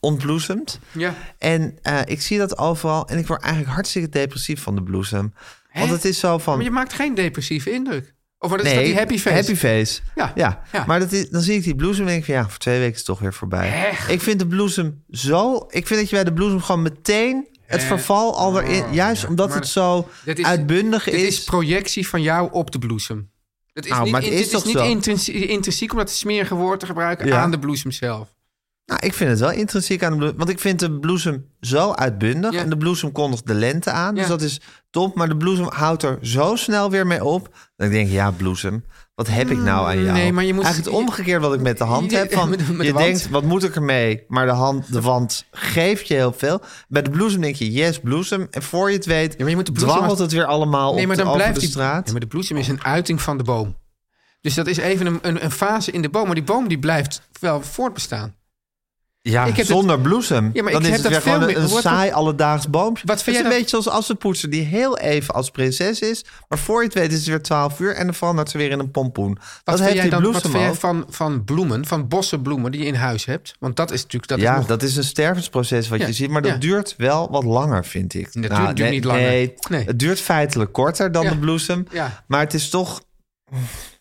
Speaker 4: ontbloesemt.
Speaker 5: Ja.
Speaker 4: En eh, ik zie dat overal. En ik word eigenlijk hartstikke depressief van de bloesem. Want het is zo van...
Speaker 5: Maar je maakt geen depressieve indruk. Of wat is dat, die happy face?
Speaker 4: Happy face.
Speaker 5: Ja,
Speaker 4: Ja.
Speaker 5: ja.
Speaker 4: Maar dat is, dan zie ik die bloesem en denk ik van ja, voor twee weken is het toch weer voorbij. Ik vind de bloesem zo. Ik vind dat je bij de bloesem gewoon meteen het verval al erin. Juist omdat
Speaker 5: Eh, oh, maar
Speaker 4: het zo
Speaker 5: Dit is-
Speaker 4: uitbundig
Speaker 5: dit
Speaker 4: is.
Speaker 5: is projectie van jou op de bloesem. Dat is
Speaker 4: Nou,
Speaker 5: niet,
Speaker 4: maar het
Speaker 5: dit
Speaker 4: is
Speaker 5: is
Speaker 4: toch
Speaker 5: niet
Speaker 4: zo?
Speaker 5: intrinsie- intrinsiek om dat smerige woord te gebruiken
Speaker 4: Ja.
Speaker 5: aan de bloesem zelf.
Speaker 4: Nou, ik vind het wel intrinsiek aan de bloesem. Want ik vind de bloesem zo uitbundig.
Speaker 5: Ja.
Speaker 4: En de bloesem kondigt de lente aan. Dus
Speaker 5: Ja.
Speaker 4: dat is top. Maar de bloesem houdt er zo snel weer mee op. Dat ik denk, ja, bloesem, wat heb ik nou aan jou?
Speaker 5: Mm, nee, maar je moet-
Speaker 4: Eigenlijk het omgekeerde wat ik met de hand
Speaker 5: Je-
Speaker 4: heb. Van,
Speaker 5: met de- met de
Speaker 4: je
Speaker 5: wand.
Speaker 4: denkt, wat moet ik ermee? Maar de, hand, de wand geeft je heel veel. Bij de bloesem denk je, yes, bloesem. En voor je het weet,
Speaker 5: maar je moet de bloesem
Speaker 4: dwarrelt
Speaker 5: als-
Speaker 4: het weer allemaal
Speaker 5: Nee,
Speaker 4: op
Speaker 5: maar
Speaker 4: de,
Speaker 5: dan
Speaker 4: over
Speaker 5: blijft
Speaker 4: de
Speaker 5: die-
Speaker 4: straat.
Speaker 5: Nee, maar de bloesem is een uiting van de boom. Dus dat is even een, een, een fase in de boom. Maar die boom die blijft wel voortbestaan.
Speaker 4: Ja,
Speaker 5: Ik heb
Speaker 4: zonder bloesem.
Speaker 5: Ja, maar
Speaker 4: dan
Speaker 5: ik
Speaker 4: is het weer
Speaker 5: heb dat veel
Speaker 4: gewoon
Speaker 5: meer-
Speaker 4: een, een
Speaker 5: wordt het-
Speaker 4: saai alledaags boompje.
Speaker 5: Wat vind
Speaker 4: het is
Speaker 5: jij
Speaker 4: een
Speaker 5: dan-
Speaker 4: beetje zoals assenpoetser die heel even als prinses is. Maar voor je het weet is het weer 12 uur en dan verandert ze weer in een pompoen.
Speaker 5: Wat
Speaker 4: dat
Speaker 5: vind
Speaker 4: heeft
Speaker 5: jij
Speaker 4: die
Speaker 5: dan, wat
Speaker 4: bloesem
Speaker 5: vind jij
Speaker 4: ook.
Speaker 5: van, van bloemen, van bossen bloemen die je in huis hebt? Want dat is natuurlijk... Dat
Speaker 4: ja,
Speaker 5: is nog,
Speaker 4: dat is een stervensproces wat
Speaker 5: Ja,
Speaker 4: je ziet. Maar dat
Speaker 5: ja.
Speaker 4: duurt wel wat langer, vind ik. Nou,
Speaker 5: duurt natuurlijk
Speaker 4: nee,
Speaker 5: niet langer.
Speaker 4: Nee,
Speaker 5: Nee.
Speaker 4: het duurt feitelijk korter dan
Speaker 5: Ja.
Speaker 4: de bloesem.
Speaker 5: Ja.
Speaker 4: Maar het is toch...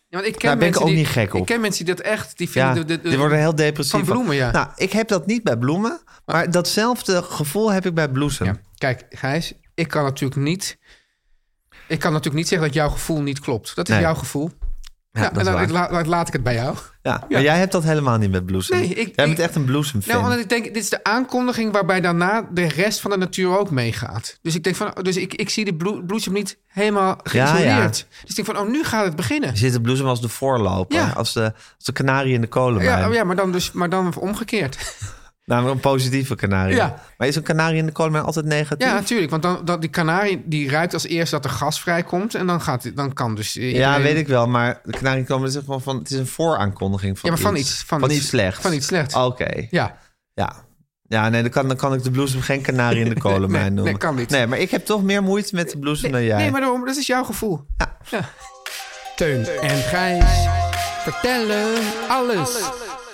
Speaker 5: Ja, want ik ken
Speaker 4: Daar ben ik
Speaker 5: mensen
Speaker 4: ook
Speaker 5: die-
Speaker 4: niet gek op.
Speaker 5: Ik ken mensen die dat echt... Die, vinden
Speaker 4: Ja,
Speaker 5: de, de, de-
Speaker 4: die worden heel depressief.
Speaker 5: van bloemen, ja.
Speaker 4: Nou, ik heb dat niet bij bloemen. Maar datzelfde gevoel heb ik bij bloesem.
Speaker 5: Ja. Kijk, Gijs, ik kan natuurlijk niet... Ik kan natuurlijk niet zeggen dat jouw gevoel niet klopt. Dat is
Speaker 4: Nee.
Speaker 5: jouw gevoel. Ja,
Speaker 4: dat
Speaker 5: en
Speaker 4: is
Speaker 5: dan
Speaker 4: waar.
Speaker 5: la- la- laat ik het bij jou.
Speaker 4: Ja, maar jij hebt dat helemaal niet met bloesem.
Speaker 5: Nee, ik-
Speaker 4: jij
Speaker 5: ik-
Speaker 4: bent echt een bloesemfan.
Speaker 5: Nou, omdat ik denk, dit is de aankondiging waarbij daarna de rest van de natuur ook meegaat. Dus ik denk van, dus ik, ik zie de bloe- bloesem niet helemaal geïsoleerd. Dus ik denk van, oh, nu gaat het beginnen.
Speaker 4: Je ziet de bloesem als de voorloper.
Speaker 5: Ja.
Speaker 4: Als, de, als de kanarie in de kolenmijn.
Speaker 5: Ja, oh ja maar, dan dus, maar dan omgekeerd.
Speaker 4: Nou, een positieve kanarie.
Speaker 5: Ja.
Speaker 4: Maar is een kanarie in de kolenmijn altijd negatief?
Speaker 5: Ja, natuurlijk. Want dan, dat, die kanarie die ruikt als eerst dat er gas vrijkomt. En dan, gaat, dan kan dus... eh,
Speaker 4: Ja,
Speaker 5: iedereen-
Speaker 4: weet ik wel. Maar de kanarie in de kolenmijn is gewoon van... Het is een vooraankondiging van
Speaker 5: Ja, maar van
Speaker 4: iets.
Speaker 5: iets- van iets-
Speaker 4: iets slechts.
Speaker 5: van iets slechts.
Speaker 4: Oké.
Speaker 5: Ja.
Speaker 4: Ja. Ja, nee, dan kan, dan kan ik de bloesem geen kanarie in de kolenmijn
Speaker 5: nee,
Speaker 4: noemen.
Speaker 5: kan niet.
Speaker 4: Nee, maar ik heb toch meer moeite met de bloesem dan jij.
Speaker 5: Nee, maar daarom, dat is jouw gevoel. Ja. Teun en Gijs vertellen alles.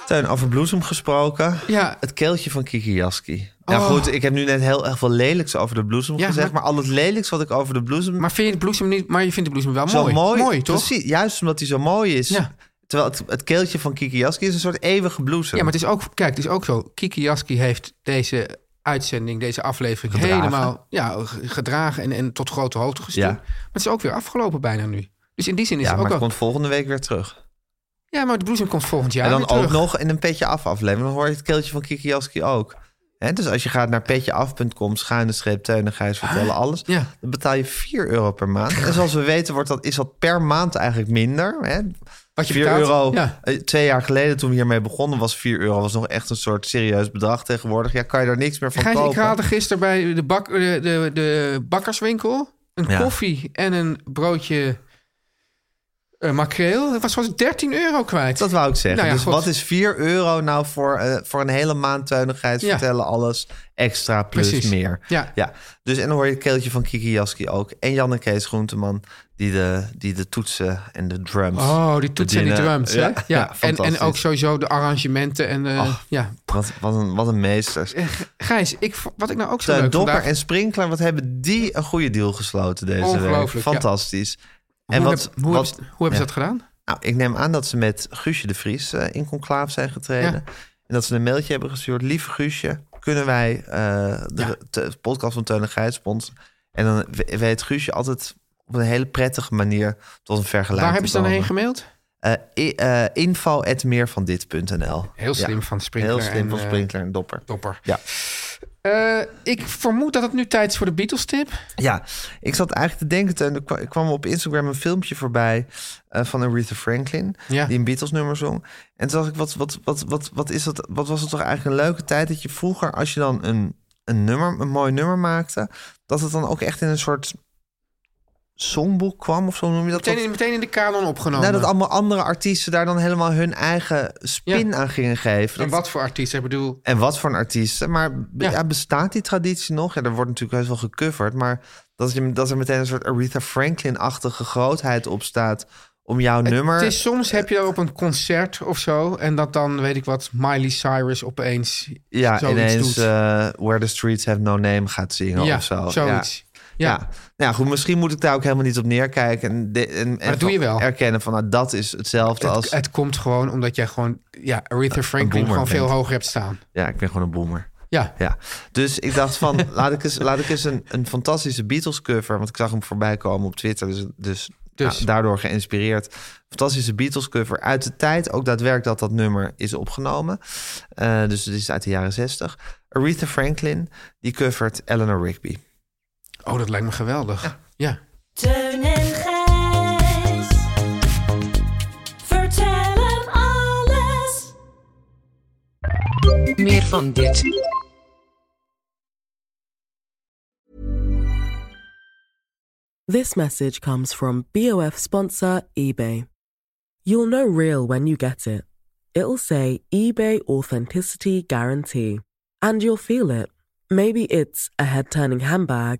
Speaker 4: Teun, over bloesem gesproken.
Speaker 5: Ja.
Speaker 4: Het keeltje van Kiki Jaski. Ja,
Speaker 5: Oh.
Speaker 4: goed, ik heb nu net heel, heel veel lelijks over de bloesem
Speaker 5: Ja,
Speaker 4: gezegd.
Speaker 5: maar-
Speaker 4: Maar... al het lelijks wat ik over de bloesem...
Speaker 5: Maar vind je de bloesem niet... Maar je vindt de bloesem wel
Speaker 4: zo
Speaker 5: mooi.
Speaker 4: mooi.
Speaker 5: toch?
Speaker 4: Precies, juist omdat hij zo mooi is.
Speaker 5: Ja.
Speaker 4: Terwijl het, het keeltje van Kiki Jaski is een soort eeuwige bloesem.
Speaker 5: Ja, maar het is ook, kijk, het is ook zo. Kiki Jaski heeft deze uitzending, deze aflevering
Speaker 4: Gedragen.
Speaker 5: helemaal ja, g- gedragen en, en tot grote hoogte gestuurd.
Speaker 4: Ja.
Speaker 5: Maar het is ook weer afgelopen bijna nu. Dus in die zin is
Speaker 4: Ja,
Speaker 5: het
Speaker 4: maar
Speaker 5: ook
Speaker 4: het
Speaker 5: al...
Speaker 4: komt volgende week weer terug.
Speaker 5: Ja, maar de bloesem komt volgend jaar
Speaker 4: en dan
Speaker 5: weer terug.
Speaker 4: ook nog in een petje af aflevering. Dan hoor je het keeltje van Kiki Jaski ook. Hè, dus als je gaat naar petjeaf.com, schuine streep, Teun en Gijs vertellen alles.
Speaker 5: Ah, Ja.
Speaker 4: Dan betaal je 4 euro per maand. En zoals we weten wordt dat, is dat per maand eigenlijk minder. Hè?
Speaker 5: Wat je
Speaker 4: 4
Speaker 5: betaalt,
Speaker 4: euro.
Speaker 5: ja.
Speaker 4: eh, Twee jaar geleden toen we hiermee begonnen was 4 euro. was nog echt een soort serieus bedrag tegenwoordig. Ja, kan je daar niks meer van
Speaker 5: Gijs, ik
Speaker 4: kopen.
Speaker 5: haalde gisteren bij de, bak, de, de, de bakkerswinkel een
Speaker 4: Ja.
Speaker 5: koffie en een broodje eh makreel. Dat was, was 13 euro kwijt.
Speaker 4: Dat wou ik zeggen.
Speaker 5: Nou ja,
Speaker 4: dus
Speaker 5: goed.
Speaker 4: wat is 4 euro nou voor, eh, voor een hele maand tuinigheid?
Speaker 5: Ja.
Speaker 4: Vertellen alles extra plus
Speaker 5: Precies.
Speaker 4: meer.
Speaker 5: Ja.
Speaker 4: Dus en dan hoor je het keeltje van Kiki Jaski ook. En Jan en Kees Groenteman die de, die de toetsen en de drums.
Speaker 5: Oh, die toetsen en die
Speaker 4: bedienen.
Speaker 5: drums, hè? Ja,
Speaker 4: Ja,
Speaker 5: en, en
Speaker 4: fantastisch.
Speaker 5: ook sowieso de arrangementen. En, eh,
Speaker 4: Ach.
Speaker 5: ja.
Speaker 4: Wat, wat, een, wat een meesters.
Speaker 5: Gijs, ik, v- wat ik nou ook zo
Speaker 4: Teun
Speaker 5: leuk
Speaker 4: Dopper
Speaker 5: vandaag...
Speaker 4: en Sprinkler, wat hebben die een goede deal gesloten deze
Speaker 5: Ongelooflijk,
Speaker 4: week?
Speaker 5: ja.
Speaker 4: Fantastisch.
Speaker 5: Hoe
Speaker 4: En
Speaker 5: heb-
Speaker 4: wat,
Speaker 5: hoe
Speaker 4: wat,
Speaker 5: hebben ze- hoe hebben ze
Speaker 4: ja.
Speaker 5: dat gedaan?
Speaker 4: Nou, ik neem aan dat ze met Guusje de Vries eh, in conclaaf zijn getreden. En dat ze een mailtje hebben gestuurd. Lieve Guusje, kunnen wij eh, de te- podcast van Teun en Gijs sponsoren? En dan we- weet Guusje altijd op een hele prettige manier tot een vergelijking
Speaker 5: Waar hebben
Speaker 4: te
Speaker 5: ze dan
Speaker 4: komen.
Speaker 5: heen gemaild?
Speaker 4: Eh, i- eh, info at meervandit.nl.
Speaker 5: Heel slim van Sprinkler
Speaker 4: Heel slim
Speaker 5: en,
Speaker 4: van
Speaker 5: eh,
Speaker 4: Sprinkler en Dopper.
Speaker 5: Dopper.
Speaker 4: Ja.
Speaker 5: Eh, ik vermoed dat het nu tijd is voor de Beatles-tip.
Speaker 4: Ja, ik zat eigenlijk te denken, Teun, er kwa- kwam op Instagram een filmpje voorbij eh, van Aretha Franklin,
Speaker 5: Ja.
Speaker 4: die een Beatles nummer zong. En toen dacht ik, wat, wat, wat, wat, wat, is dat, wat was het toch eigenlijk een leuke tijd dat je vroeger, als je dan een, een, nummer, een mooi nummer maakte, dat het dan ook echt in een soort songboek kwam of zo noem je dat?
Speaker 5: Meteen
Speaker 4: Dat-
Speaker 5: in, meteen in de kanon opgenomen.
Speaker 4: nou, dat allemaal andere artiesten daar dan helemaal hun eigen spin
Speaker 5: Ja.
Speaker 4: aan gingen geven.
Speaker 5: en
Speaker 4: Dat-
Speaker 5: wat voor artiest? Ik bedoel,
Speaker 4: en wat voor een artiest. Maar be-
Speaker 5: Ja.
Speaker 4: ja. bestaat die traditie nog? Ja, er wordt natuurlijk heus wel gecoverd. Maar dat, je, dat er meteen een soort Aretha Franklin-achtige grootheid op staat om jouw nummer.
Speaker 5: Het is, soms heb je daar op een concert of zo. En dat dan, weet ik wat, Miley Cyrus opeens
Speaker 4: ja,
Speaker 5: zoiets
Speaker 4: ineens
Speaker 5: doet.
Speaker 4: eh, Where the Streets Have No Name gaat zingen
Speaker 5: ja,
Speaker 4: of zo.
Speaker 5: zoiets. Ja.
Speaker 4: Ja. Ja. Nou goed, misschien moet ik daar ook helemaal niet op neerkijken. En, de- en, en
Speaker 5: dat doe je
Speaker 4: van-
Speaker 5: wel.
Speaker 4: Erkennen van nou, dat is hetzelfde als.
Speaker 5: Het, het komt gewoon omdat jij gewoon ja, Aretha Franklin
Speaker 4: boomer
Speaker 5: gewoon veel
Speaker 4: bent.
Speaker 5: hoger hebt staan.
Speaker 4: Ja, ik ben gewoon een boomer.
Speaker 5: Ja,
Speaker 4: Ja, dus ik dacht van, laat ik eens, laat ik eens een, een fantastische Beatles cover, want ik zag hem voorbij komen op Twitter, dus, dus,
Speaker 5: Dus.
Speaker 4: nou, daardoor geïnspireerd. Fantastische Beatles cover uit de tijd, ook daadwerkelijk dat dat nummer is opgenomen. Eh, dus dit is uit de jaren zestig. Aretha Franklin, die covert Eleanor Rigby.
Speaker 5: oh, dat lijkt me geweldig. Ja,
Speaker 8: Teun en Gijs. Vertel hem alles.
Speaker 2: Meer van dit.
Speaker 10: This message comes from BOF sponsor eBay. You'll know real when you get it. It'll say eBay Authenticity Guarantee. And you'll feel it. Maybe it's a head turning handbag,